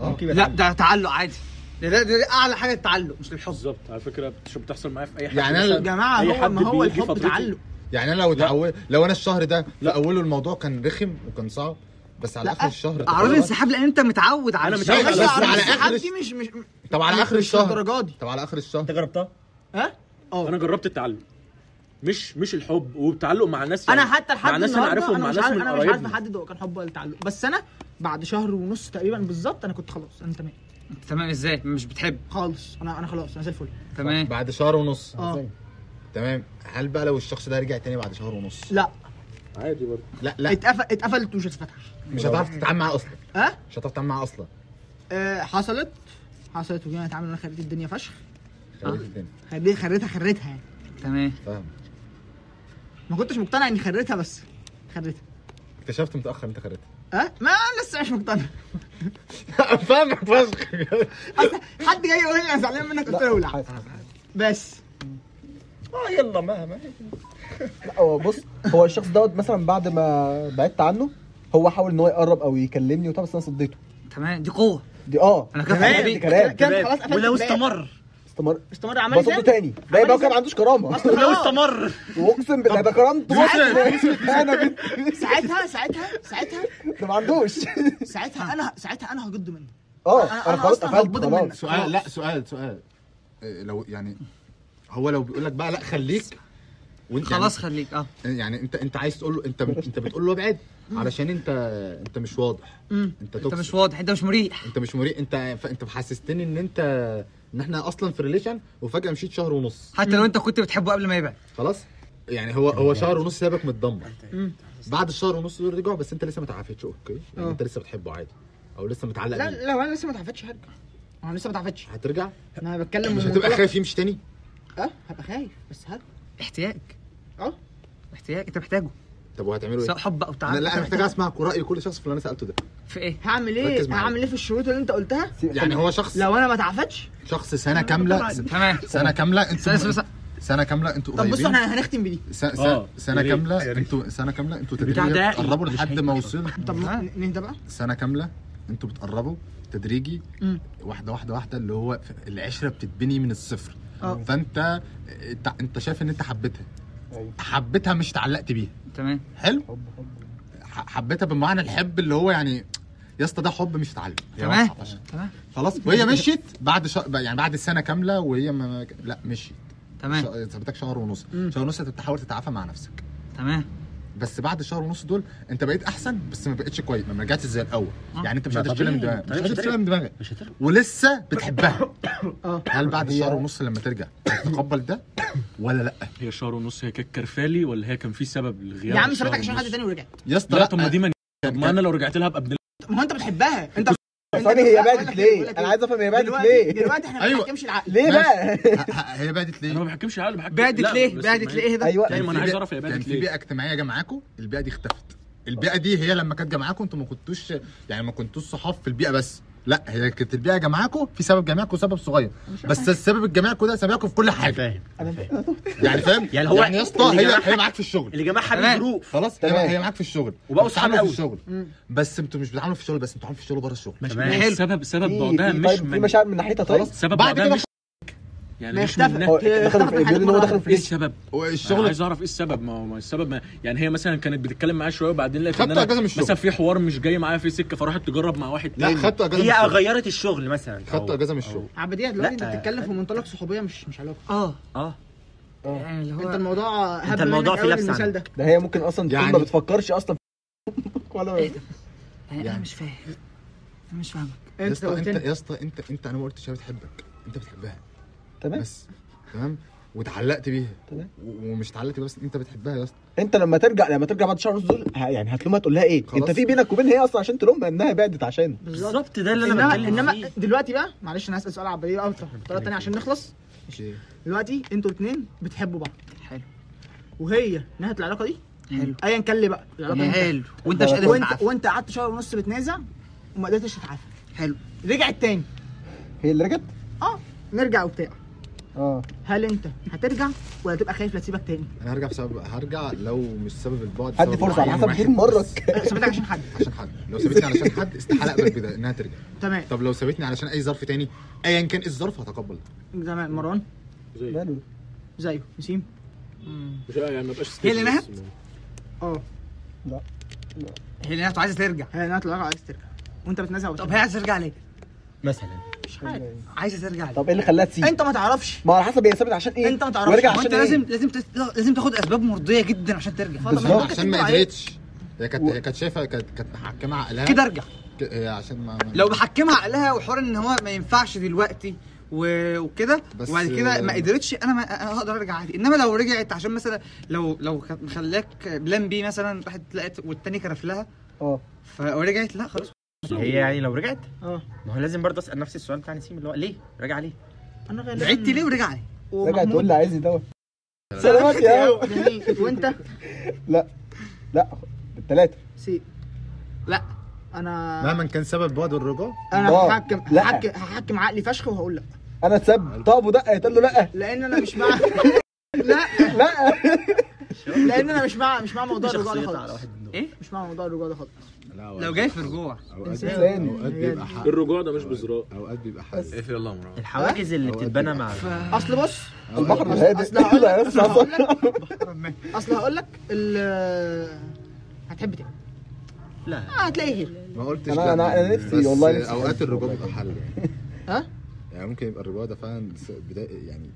[SPEAKER 5] آه.
[SPEAKER 3] لا ده تعلق عادي إيه، ده, ده, ده, ده اعلى حاجه التعلق مش الحب
[SPEAKER 4] بالظبط على فكره شو بتحصل معايا في اي حاجه
[SPEAKER 5] يعني أنا-
[SPEAKER 2] يا جماعه
[SPEAKER 4] أي
[SPEAKER 2] آه، هو
[SPEAKER 4] حد
[SPEAKER 2] ما هو
[SPEAKER 4] بيجي
[SPEAKER 2] الحب
[SPEAKER 4] فترته-
[SPEAKER 2] تعلق
[SPEAKER 5] يعني انا لو اتعود لو انا الشهر ده في
[SPEAKER 4] لا.
[SPEAKER 5] اوله الموضوع كان رخم وكان صعب بس على
[SPEAKER 2] لا.
[SPEAKER 5] اخر الشهر
[SPEAKER 3] اعراض
[SPEAKER 5] خلاص.
[SPEAKER 3] انسحاب لان انت متعود على
[SPEAKER 4] أنا
[SPEAKER 3] الشيء.
[SPEAKER 5] متعود على-
[SPEAKER 2] ماشي،
[SPEAKER 5] بس
[SPEAKER 2] عارف
[SPEAKER 5] على
[SPEAKER 2] السحاب
[SPEAKER 5] آخر
[SPEAKER 2] دي مش مش مش-
[SPEAKER 5] طب على اخر
[SPEAKER 2] مش
[SPEAKER 5] الشهر
[SPEAKER 2] الدرجه دي
[SPEAKER 5] طب على اخر الشهر
[SPEAKER 6] جربتها
[SPEAKER 2] ها
[SPEAKER 4] انا جربت التعلق مش مش الحب والتعلق مع ناس يعني.
[SPEAKER 2] انا حتى
[SPEAKER 4] مع
[SPEAKER 2] لحد
[SPEAKER 4] ناس انا
[SPEAKER 2] النهارده
[SPEAKER 4] عارفهم
[SPEAKER 2] انا
[SPEAKER 4] مع
[SPEAKER 2] مش
[SPEAKER 4] ناس
[SPEAKER 2] عارف
[SPEAKER 4] من
[SPEAKER 2] انا مش عارف
[SPEAKER 4] قرايبنا
[SPEAKER 2] احدد هو كان حب ولا تعلق بس انا بعد شهر ونص تقريبا بالظبط انا كنت خلاص انا تمام
[SPEAKER 3] تمام ازاي مش بتحب
[SPEAKER 2] خالص انا انا خلاص انا زي الفل
[SPEAKER 3] تمام
[SPEAKER 5] بعد شهر ونص
[SPEAKER 2] اه
[SPEAKER 5] تمام هل بقى لو الشخص ده رجع تاني بعد شهر ونص
[SPEAKER 2] لا
[SPEAKER 4] عادي برضه
[SPEAKER 5] لا لا
[SPEAKER 2] اتقفل اتقفلت ومش هتتفتح
[SPEAKER 5] مش هتعرف تتعامل معاه اصلا
[SPEAKER 2] ها؟
[SPEAKER 5] مش هتعرف تتعامل معاه اصلا
[SPEAKER 2] آه، حصلت حصلت وجينا نتعامل انا خريت الدنيا فشخ
[SPEAKER 5] خليك الدنيا
[SPEAKER 2] خريت خريتها خريتها يعني
[SPEAKER 3] تمام
[SPEAKER 5] فاهم
[SPEAKER 2] ما كنتش مقتنع اني خريتها بس خريتها
[SPEAKER 5] اكتشفت متاخر انت خريتها
[SPEAKER 2] ها ما أنا لسه مش مقتنع
[SPEAKER 5] فاهمك فشخ
[SPEAKER 2] أصل حد جاي يقول لي انا زعلان منك قلت له لا بس
[SPEAKER 5] اه يلا مهما
[SPEAKER 1] هو بص هو الشخص دوت مثلا بعد ما بعدت عنه هو حاول ان هو يقرب او يكلمني وبتاع بس انا صديته
[SPEAKER 3] تمام دي قوه
[SPEAKER 1] دي اه
[SPEAKER 3] أنا كده
[SPEAKER 1] كلام-
[SPEAKER 3] حبيبي.
[SPEAKER 1] كلام
[SPEAKER 2] كان خلاص قفلت
[SPEAKER 6] ولو
[SPEAKER 2] الباب.
[SPEAKER 6] استمر
[SPEAKER 1] استمر
[SPEAKER 2] استمر إيه؟ عمل
[SPEAKER 1] بصيته
[SPEAKER 2] ازاي
[SPEAKER 1] تاني ده يبقى هو كان ما عندوش كرامه
[SPEAKER 6] ولو استمر
[SPEAKER 1] واقسم بالله ده كرامته انا بنت
[SPEAKER 2] ساعتها ساعتها ساعتها
[SPEAKER 1] ده ما عندوش
[SPEAKER 2] ساعتها انا ساعتها انا هجد منه أنا-
[SPEAKER 1] اه انا
[SPEAKER 2] أنا
[SPEAKER 1] خلاص
[SPEAKER 2] أصلاً
[SPEAKER 1] قفلت
[SPEAKER 2] هقبضه منك.
[SPEAKER 1] خلاص
[SPEAKER 5] سؤال لا سؤال سؤال إيه، لو يعني هو لو بيقول لك بقى لا خليك وانت يعني-
[SPEAKER 3] خلاص خليك اه
[SPEAKER 5] يعني انت انت عايز تقول له انت انت بتقول له ابعد علشان انت انت مش واضح انت
[SPEAKER 3] انت
[SPEAKER 5] توكسيك
[SPEAKER 3] مش واضح انت مش مريح
[SPEAKER 5] انت مش مريق انت انت محسستني ان انت ان احنا اصلا في ريليشن وفجاه مشيت شهر ونص
[SPEAKER 3] حتى لو انت كنت بتحبه قبل ما يبعد
[SPEAKER 5] خلاص يعني هو هو شهر ونص سابك متدمر بعد الشهر ونص دول رجعوا بس انت لسه ما تعافتش اوكي يعني
[SPEAKER 2] اه.
[SPEAKER 5] انت لسه بتحبه عادي او لسه متعلق
[SPEAKER 2] لا
[SPEAKER 5] بيه
[SPEAKER 2] لا انا لسه ما اتعفتش هرجع انا لسه ما اتعفتش
[SPEAKER 5] هترجع
[SPEAKER 2] انا بتكلم
[SPEAKER 5] مش
[SPEAKER 2] من
[SPEAKER 5] هتبقى
[SPEAKER 2] منطلق-
[SPEAKER 5] خايف يمشي تاني
[SPEAKER 2] اه هبقى خايف بس هرجع
[SPEAKER 3] احتياج
[SPEAKER 2] اه.
[SPEAKER 3] احتياج انت محتاجه
[SPEAKER 5] طب وهتعملوا ايه
[SPEAKER 3] سواء حب او
[SPEAKER 5] انا
[SPEAKER 3] تعلق
[SPEAKER 5] لا انا محتاج اسمع راي كل شخص في اللي انا سالته ده
[SPEAKER 3] في ايه؟
[SPEAKER 2] هعمل
[SPEAKER 5] ركز
[SPEAKER 2] ايه
[SPEAKER 5] معايا.
[SPEAKER 2] هعمل ايه في الشروط اللي انت قلتها
[SPEAKER 5] يعني هو شخص
[SPEAKER 2] لو انا ما اتعافتش
[SPEAKER 5] شخص سنه كامله
[SPEAKER 9] تمام
[SPEAKER 5] سنه كامله انتوا
[SPEAKER 9] بس- بس-
[SPEAKER 5] سنه كامله انتوا
[SPEAKER 2] طب بصوا
[SPEAKER 5] قريبين
[SPEAKER 2] احنا هنختم بدي
[SPEAKER 5] س- س-
[SPEAKER 4] آه،
[SPEAKER 5] سنه
[SPEAKER 4] يا ريت،
[SPEAKER 5] كامله انتوا سنه كامله انتوا
[SPEAKER 4] البتاع
[SPEAKER 5] تدريجيا
[SPEAKER 4] ده
[SPEAKER 5] بتقربوا
[SPEAKER 4] مش
[SPEAKER 5] لحد
[SPEAKER 4] هيجي
[SPEAKER 5] ما
[SPEAKER 4] أصلاً.
[SPEAKER 5] وصلوا
[SPEAKER 2] طب ما- نهدى بقى
[SPEAKER 5] سنه كامله انتوا بتقربوا تدريجي
[SPEAKER 2] مم.
[SPEAKER 5] واحده واحده واحده اللي هو ف- العشره بتتبني من الصفر
[SPEAKER 2] آه.
[SPEAKER 5] فانت انت, انت شايف ان انت حبيتها حبيتها مش اتعلقت بيها
[SPEAKER 3] تمام
[SPEAKER 5] حلو ح- حبيتها بمعنى الحب اللي هو يعني يا اسطى ده حب مش اتعلق يا
[SPEAKER 3] تمام.
[SPEAKER 5] واحد عشان.
[SPEAKER 3] تمام.
[SPEAKER 5] خلاص وهي مشيت بعد شا... يعني بعد السنه كامله وهي ما... ما- لا مشيت
[SPEAKER 3] تمام
[SPEAKER 5] شا- سابتك شهر ونص شهر ونص انت بتحاول تتعافى مع نفسك
[SPEAKER 3] تمام
[SPEAKER 5] بس بعد شهر ونص دول انت بقيت احسن بس ما بقتش كويس ما رجعتش زي الاول يعني انت مش
[SPEAKER 6] ما
[SPEAKER 5] قادر تشيلها من
[SPEAKER 6] طبيعي.
[SPEAKER 5] دماغك مش قادر
[SPEAKER 6] طبيعي مش
[SPEAKER 5] تشيلها من دماغك
[SPEAKER 6] مش هترجع
[SPEAKER 5] ولسه بتحبها
[SPEAKER 2] اه
[SPEAKER 5] هل بعد الشهر ونص لما ترجع تتقبل ده ولا لا
[SPEAKER 4] هي شهر ونص هي كانت كرفالي ولا هي كان في سبب للغياب
[SPEAKER 2] يا عم
[SPEAKER 4] الشهر
[SPEAKER 2] سابتك عشان
[SPEAKER 4] ونص؟
[SPEAKER 2] حد تاني ورجعت
[SPEAKER 5] يا اسطى
[SPEAKER 4] لا طب ما دي ما
[SPEAKER 5] كان-
[SPEAKER 4] ما انا لو رجعت لها ابقى ابن
[SPEAKER 2] طب ما هو انت بتحبها انت
[SPEAKER 1] ثاني هي بادت ليه؟ انا عايز افهم هي
[SPEAKER 2] إيه؟
[SPEAKER 1] بادت
[SPEAKER 2] دلوقتي
[SPEAKER 1] ليه؟
[SPEAKER 2] دلوقتي احنا ما
[SPEAKER 5] أيوة.
[SPEAKER 2] بنحكمش العقل
[SPEAKER 1] ليه بقى؟
[SPEAKER 5] ه- ه- هي بعدت
[SPEAKER 4] انا ما
[SPEAKER 5] ليه؟
[SPEAKER 4] بحكمش على بحكم
[SPEAKER 3] بعدت
[SPEAKER 4] لا،
[SPEAKER 3] ليه؟
[SPEAKER 4] بس
[SPEAKER 3] بعدت
[SPEAKER 4] ما-
[SPEAKER 3] ليه ده؟
[SPEAKER 1] ايوه
[SPEAKER 4] يعني ما انا
[SPEAKER 5] في
[SPEAKER 4] عايز
[SPEAKER 5] بيئة-
[SPEAKER 4] اعرف هي
[SPEAKER 5] كان
[SPEAKER 4] بادت
[SPEAKER 5] في
[SPEAKER 4] ليه
[SPEAKER 5] بيئه اجتماعيه جا معاكم البيئه دي اختفت البيئه دي هي لما كانت جا معاكم انتوا ما كنتوش يعني ما كنتوش صحاب في البيئه بس لا هي كانت البيئه جا معاكم في سبب جامعكم وسبب صغير بس السبب الجامعكم ده سابقكم في كل حاجه
[SPEAKER 6] فاهم فاهم.
[SPEAKER 5] يعني فاهم
[SPEAKER 6] يعني هو-
[SPEAKER 5] يعني يا اسطى
[SPEAKER 6] اللي
[SPEAKER 5] هي
[SPEAKER 6] جمعها-
[SPEAKER 5] هي معاك في الشغل
[SPEAKER 6] اللي جماعه حابب
[SPEAKER 3] تمام.
[SPEAKER 6] ظروف
[SPEAKER 5] خلاص
[SPEAKER 1] تمام.
[SPEAKER 5] تمام هي معاك في الشغل
[SPEAKER 6] وبقوا صحاب
[SPEAKER 5] بتتعاملوا في
[SPEAKER 6] قوي.
[SPEAKER 5] الشغل بس انتوا مش بتتعاملوا في الشغل بس انتوا بتتعاملوا في الشغل بره الشغل
[SPEAKER 6] تمام.
[SPEAKER 4] ماشي سبب سبب
[SPEAKER 1] في-
[SPEAKER 4] بعدها
[SPEAKER 1] في-
[SPEAKER 4] مش
[SPEAKER 1] طيب في
[SPEAKER 4] من
[SPEAKER 1] مشاعر من ناحيتها طيب
[SPEAKER 4] سبب
[SPEAKER 5] بعد
[SPEAKER 4] بعدها
[SPEAKER 5] كده
[SPEAKER 4] مش يعني مش
[SPEAKER 2] اختفى.
[SPEAKER 4] منها
[SPEAKER 1] هو دخلوا في ايه؟ بيقولوا ان هو دخل في
[SPEAKER 4] ايه
[SPEAKER 1] ايه؟
[SPEAKER 4] السبب؟ الشغل
[SPEAKER 5] الشغل
[SPEAKER 4] عايز اعرف ايه السبب ما هو ما السبب ما يعني هي مثلا كانت بتتكلم معايا شويه وبعدين لقيت
[SPEAKER 5] خدت
[SPEAKER 4] ان انا
[SPEAKER 5] اجازة من الشغل.
[SPEAKER 4] مثلا في حوار مش جاي معايا في سكه فراحت تجرب مع واحد
[SPEAKER 5] لا
[SPEAKER 4] تاني
[SPEAKER 5] خدتوا اجازه من
[SPEAKER 6] هي
[SPEAKER 5] الشغل
[SPEAKER 6] غيرت الشغل مثلا أو-
[SPEAKER 5] خدتوا اجازه من الشغل
[SPEAKER 2] عبديه دلوقتي انت
[SPEAKER 6] لا.
[SPEAKER 2] بتتكلم في منطلق صحوبيه مش مش علاقه
[SPEAKER 3] اه
[SPEAKER 6] اه
[SPEAKER 3] يعني اللي
[SPEAKER 2] انت
[SPEAKER 3] هو
[SPEAKER 2] الموضوع هب
[SPEAKER 6] انت الموضوع
[SPEAKER 2] منك
[SPEAKER 6] فيه
[SPEAKER 2] قوي
[SPEAKER 6] لبس
[SPEAKER 2] المثال
[SPEAKER 6] عنك.
[SPEAKER 2] ده
[SPEAKER 1] ده هي ممكن اصلا تكون ما
[SPEAKER 5] يعني-
[SPEAKER 1] بتفكرش اصلا في
[SPEAKER 3] إيه
[SPEAKER 1] ولا
[SPEAKER 3] يعني انا
[SPEAKER 5] يعني.
[SPEAKER 3] مش فاهم انا مش فاهم
[SPEAKER 5] يا
[SPEAKER 2] انت
[SPEAKER 5] اسطى انت
[SPEAKER 2] قلت
[SPEAKER 5] يا اسطى انت انت انا ما قلتش هي بتحبك انت بتحبها
[SPEAKER 1] تمام
[SPEAKER 5] بس تمام واتعلقت بيها
[SPEAKER 1] تمام.
[SPEAKER 5] و- ومش اتعلقت بيها بس انت بتحبها يا اسطى
[SPEAKER 1] انت لما ترجع لما ترجع بعد شهر ونص دول ه- يعني هتلومها تقول لها ايه؟
[SPEAKER 5] خلاص.
[SPEAKER 1] انت في بينك وبين هي اصلا عشان تلومها انها بعدت عشان
[SPEAKER 6] بالظبط ده اللي
[SPEAKER 2] انما
[SPEAKER 6] انا بتكلم
[SPEAKER 2] انما
[SPEAKER 6] فيه.
[SPEAKER 2] دلوقتي بقى معلش انا هسال سؤال عبديه بقى بطريقه تانيه عشان نخلص
[SPEAKER 5] اوكي
[SPEAKER 2] دلوقتي انتوا الاثنين بتحبوا بعض
[SPEAKER 3] حلو.
[SPEAKER 2] وهي نهت العلاقه دي
[SPEAKER 3] حلو
[SPEAKER 2] ايا كان ليه بقى العلاقه دي انتهت.
[SPEAKER 3] حلو وانت مش قادر
[SPEAKER 2] وانت
[SPEAKER 3] تتعافى
[SPEAKER 2] وانت قعدت شهر ونص بتنازع وما قدرتش تتعافى
[SPEAKER 3] حلو
[SPEAKER 2] رجعت تاني
[SPEAKER 1] هي اللي رجعت؟
[SPEAKER 2] اه نرجع وبتاع
[SPEAKER 1] اه
[SPEAKER 2] هل انت هترجع ولا تبقى خايف لا تسيبك تاني؟
[SPEAKER 5] انا هرجع بسبب هرجع لو مش سبب البعد
[SPEAKER 1] هدي
[SPEAKER 5] سبب
[SPEAKER 1] فرصه على
[SPEAKER 5] معين
[SPEAKER 1] حسب
[SPEAKER 5] واحد
[SPEAKER 1] دي
[SPEAKER 5] بس.
[SPEAKER 1] مرك
[SPEAKER 2] سيبتك أه، عشان حد
[SPEAKER 5] عشان حد لو سابتني علشان حد استحاله اقبل بده انها ترجع
[SPEAKER 2] تمام
[SPEAKER 5] طب لو سابتني علشان اي ظرف تاني ايا كان ايه الظرف هتقبل
[SPEAKER 2] تمام مروان
[SPEAKER 1] ماله؟
[SPEAKER 2] زيه نسيم
[SPEAKER 4] مش يعني ما بقاش
[SPEAKER 3] هي اللي نهت؟
[SPEAKER 2] اه
[SPEAKER 3] هي اللي نفسه عايزه ترجع
[SPEAKER 2] هي نهت العلاقه عايز ترجع وانت بتنازع
[SPEAKER 3] طب
[SPEAKER 2] وبتاع.
[SPEAKER 3] هي عايزه ترجع ليه؟
[SPEAKER 6] مثلا
[SPEAKER 3] عايزه ترجع ليه؟
[SPEAKER 1] طب ايه اللي خلاها تسيب؟
[SPEAKER 2] انت ما تعرفش
[SPEAKER 1] ما هو على حسب هي سابت عشان ايه؟
[SPEAKER 2] انت ما تعرفش.
[SPEAKER 1] وارجع
[SPEAKER 3] هو
[SPEAKER 1] عشان
[SPEAKER 3] انت
[SPEAKER 1] ايه؟
[SPEAKER 3] لازم لازم تس- لازم تاخد اسباب مرضيه جدا عشان ترجع
[SPEAKER 2] اتفضل،
[SPEAKER 1] بالظبط.
[SPEAKER 2] ممكن
[SPEAKER 5] عشان ما
[SPEAKER 2] تقول عليه.
[SPEAKER 5] قدرتش هي كانت هي كانت شايفه كانت كانت محكمه عقلها
[SPEAKER 3] كده ارجع
[SPEAKER 5] ك- هي عشان ما ما-
[SPEAKER 3] لو محكمها عقلها وحوار ان هو ما ينفعش دلوقتي و- وكده
[SPEAKER 5] بس-
[SPEAKER 3] وبعد كده ما قدرتش انا ما أنا هقدر ارجع عادي انما لو رجعت عشان مثلا لو لو كانت مخلاك بلان بي مثلا راحت لقت والتاني كرف لها
[SPEAKER 1] اه
[SPEAKER 3] فرجعت لا خلاص
[SPEAKER 6] هي يعني لو رجعت
[SPEAKER 2] اه
[SPEAKER 6] ما هو لازم برضه اسال نفس السؤال بتاع نسيم اللي هو ليه راجع ليه
[SPEAKER 2] انا غالبا
[SPEAKER 3] بعدت ليه ورجع ليه
[SPEAKER 1] رجع
[SPEAKER 2] ومحمود-
[SPEAKER 1] تقول لي عايز يدور سلامات يا هو.
[SPEAKER 2] جميل إيه، وانت
[SPEAKER 1] لا التلاته
[SPEAKER 2] سي
[SPEAKER 3] لا.
[SPEAKER 2] انا
[SPEAKER 5] مهما كان سبب بعد الرجوع
[SPEAKER 2] انا
[SPEAKER 1] لا.
[SPEAKER 2] هحكم
[SPEAKER 1] لا.
[SPEAKER 2] هحكم هحكم عقلي فشخ وهقول لك
[SPEAKER 1] انا اتسب طب ودقه قالت له لا
[SPEAKER 2] لان انا مش مع لا
[SPEAKER 1] لا
[SPEAKER 2] لان انا مش مع مش مع موضوع الرجوع ده
[SPEAKER 6] شخصيتها على
[SPEAKER 2] خالص
[SPEAKER 6] واحد من دول.
[SPEAKER 2] مش مع موضوع الرجوع ده خالص
[SPEAKER 3] لو جاي في رجوع
[SPEAKER 1] انسان.
[SPEAKER 5] اوقات بيبقى حق
[SPEAKER 4] الرجوع ده مش بذراء
[SPEAKER 5] اوقات بيبقى حق
[SPEAKER 4] اقفل يلا يا مروان
[SPEAKER 6] الحواجز اللي بتتبنى مع
[SPEAKER 2] اصل بص
[SPEAKER 1] البحر الهادئ
[SPEAKER 2] اصل هقول لك اصل هقول
[SPEAKER 1] لا
[SPEAKER 2] لك اصل هقول لك ال- هتحب تاني
[SPEAKER 6] لا
[SPEAKER 2] آه، هتلاقي غير
[SPEAKER 5] ما قلتش
[SPEAKER 1] أنا- أنا- أنا
[SPEAKER 5] لا.
[SPEAKER 1] نفسي
[SPEAKER 5] بس
[SPEAKER 1] والله نفسي
[SPEAKER 5] اوقات
[SPEAKER 1] أحب.
[SPEAKER 5] الرجوع بيبقى حل يعني
[SPEAKER 2] ها؟
[SPEAKER 5] يعني ممكن يبقى الرجوع ده فعلا س- بدايه يعني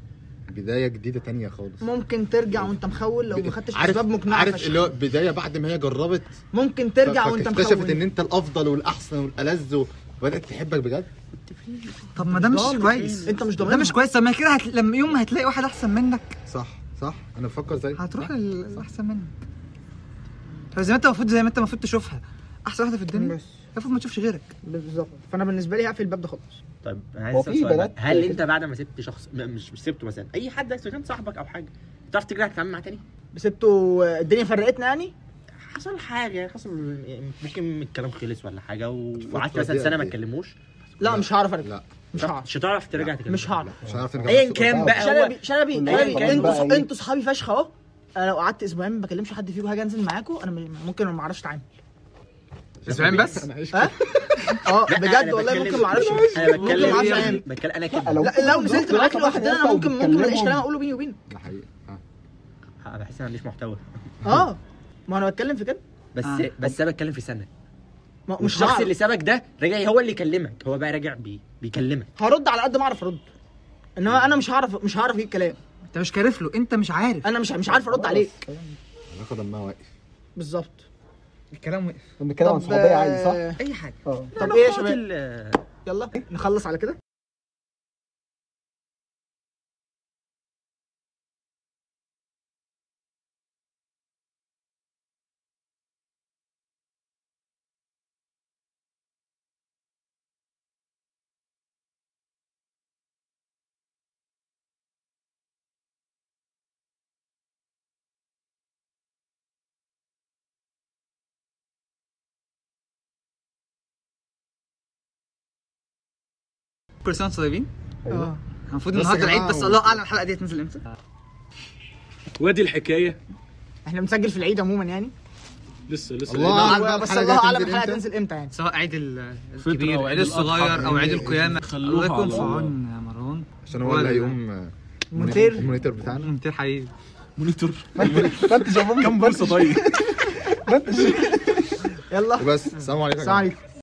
[SPEAKER 5] بدايه جديده تانية خالص
[SPEAKER 2] ممكن ترجع وانت مخول لو ما خدتش
[SPEAKER 5] عارف
[SPEAKER 2] اسباب مقنعه
[SPEAKER 5] عارف
[SPEAKER 2] فشخ.
[SPEAKER 5] اللي هو بدايه بعد ما هي جربت
[SPEAKER 2] ممكن ترجع
[SPEAKER 5] ف-
[SPEAKER 2] وانت
[SPEAKER 5] اكتشفت ان
[SPEAKER 2] مخول
[SPEAKER 5] انت الافضل والاحسن والالذ وبدات تحبك بجد
[SPEAKER 3] طب ما ده مش كويس
[SPEAKER 2] انت مش
[SPEAKER 3] ده
[SPEAKER 2] ضامن
[SPEAKER 3] مش كويس طب ما كده هت... لما يوم ما هتلاقي واحد احسن منك
[SPEAKER 5] صح صح انا بفكر زي
[SPEAKER 3] هتروح للاحسن منك فزي ما انت المفروض زي ما انت المفروض تشوفها احسن واحده في الدنيا
[SPEAKER 2] بس
[SPEAKER 3] المفروض ما تشوفش غيرك
[SPEAKER 2] بالظبط فانا بالنسبه لي هقفل الباب ده خالص
[SPEAKER 6] طيب انا عايز
[SPEAKER 1] هو
[SPEAKER 6] اسال
[SPEAKER 1] في
[SPEAKER 6] سؤال بقى.
[SPEAKER 1] بنات
[SPEAKER 6] هل
[SPEAKER 1] كده؟
[SPEAKER 6] انت بعد ما سبت شخص م- مش مش سبته مثلا اي حد اذا كان صاحبك او حاجه تعرف ترجع تتعامل معاه تاني؟
[SPEAKER 2] سبته الدنيا فرقتنا يعني
[SPEAKER 6] حصل حاجه حصل يعني ممكن الكلام خلص ولا حاجه و-
[SPEAKER 5] الفترة
[SPEAKER 6] وقعدت
[SPEAKER 5] دي
[SPEAKER 6] مثلا سنه
[SPEAKER 5] قد
[SPEAKER 6] ما
[SPEAKER 5] إيه؟
[SPEAKER 6] تكلموش
[SPEAKER 2] لا مش هعرف ارجع
[SPEAKER 5] لا
[SPEAKER 2] مش هعرف
[SPEAKER 6] مش هتعرف ترجع تكلمه
[SPEAKER 2] آه. مش هعرف
[SPEAKER 5] مش هعرف نرجع
[SPEAKER 6] ايا كان بقى هو
[SPEAKER 2] شلبي شلبي
[SPEAKER 1] كل
[SPEAKER 2] شلبي،
[SPEAKER 1] واحد
[SPEAKER 2] انتوا
[SPEAKER 1] بقى ايه؟
[SPEAKER 2] انتوا صحابي فشخ اهو انا لو قعدت اسبوعين ما بكلمش حد فيكم هاجي انزل معاكم انا م- ممكن ما اعرفش اتعامل
[SPEAKER 5] اسبوعين بس
[SPEAKER 2] اه
[SPEAKER 6] لا، أنا
[SPEAKER 2] بجد والله
[SPEAKER 6] بتكلم-
[SPEAKER 2] ممكن ما اعرفش
[SPEAKER 6] انا
[SPEAKER 2] ممكن ما اعرفش
[SPEAKER 6] بتكلم
[SPEAKER 2] أنام.
[SPEAKER 6] بتكلم انا
[SPEAKER 1] لا،
[SPEAKER 6] كده
[SPEAKER 2] لا لو نزلت معاك
[SPEAKER 1] طلعت
[SPEAKER 2] لوحدي انا
[SPEAKER 1] مثلاً
[SPEAKER 2] ممكن ممكن ما الاقيش
[SPEAKER 1] بتكلمهم.
[SPEAKER 2] كلام اقوله بيني وبينك
[SPEAKER 5] ده حقيقي آه.
[SPEAKER 6] أنا بحس ان انا ماليش محتوى
[SPEAKER 2] اه ما انا بتكلم في كده
[SPEAKER 6] بس
[SPEAKER 3] آه.
[SPEAKER 6] بس انا بتكلم في سنه
[SPEAKER 2] ما مش
[SPEAKER 6] والشخص
[SPEAKER 2] هعرف
[SPEAKER 6] اللي سابك ده رجع هو اللي يكلمك هو بقى راجع بي بيكلمك
[SPEAKER 2] هرد على قد ما اعرف ارد انما انا مش هعرف مش هعرف اجيب كلام
[SPEAKER 3] انت مش كارف له انت مش عارف
[SPEAKER 2] انا مش مش عارف ارد عليك
[SPEAKER 5] هناخد اما واقف
[SPEAKER 2] بالظبط
[SPEAKER 9] الكلام وقف
[SPEAKER 1] بنتكلم عن
[SPEAKER 2] طب،
[SPEAKER 1] صحوبيه عادي صح؟
[SPEAKER 2] آه،
[SPEAKER 3] اي حاجه
[SPEAKER 2] طب ايه يا
[SPEAKER 6] نقاط
[SPEAKER 2] شباب
[SPEAKER 6] ال-
[SPEAKER 2] يلا نخلص على كده
[SPEAKER 3] كل سنه وانتم طيبين
[SPEAKER 5] أيوة.
[SPEAKER 3] آه. المفروض النهارده العيد بس الله اعلم الحلقه دي هتنزل امتى
[SPEAKER 4] وادي الحكايه
[SPEAKER 2] احنا بنسجل في العيد عموما يعني
[SPEAKER 4] لسه لسه
[SPEAKER 5] الله أعلم
[SPEAKER 2] و-
[SPEAKER 5] بقى
[SPEAKER 2] بس
[SPEAKER 5] الحلقة
[SPEAKER 2] الله اعلم
[SPEAKER 5] هتنزل
[SPEAKER 2] الحلقه
[SPEAKER 5] إمتى.
[SPEAKER 2] تنزل امتى يعني
[SPEAKER 3] سواء عيد ال-
[SPEAKER 4] فطر
[SPEAKER 3] الكبير
[SPEAKER 4] أو
[SPEAKER 3] عيد
[SPEAKER 4] عيد الأضحى.
[SPEAKER 3] الصغير او عيد القيامه الله
[SPEAKER 4] خلوها
[SPEAKER 3] يكون
[SPEAKER 4] على
[SPEAKER 3] في
[SPEAKER 4] الله.
[SPEAKER 3] عون يا مروان
[SPEAKER 5] عشان هو اللي
[SPEAKER 3] ولا-
[SPEAKER 5] هيقوم آه،
[SPEAKER 2] مونتير.
[SPEAKER 5] المونيتور بتاعنا
[SPEAKER 3] ممتير حقيقي
[SPEAKER 4] مونيتور
[SPEAKER 1] ما انت شايفهم
[SPEAKER 4] كم بورصه طيب
[SPEAKER 5] وبس السلام عليكم يا
[SPEAKER 2] السلام
[SPEAKER 5] جماعة.
[SPEAKER 2] عليكم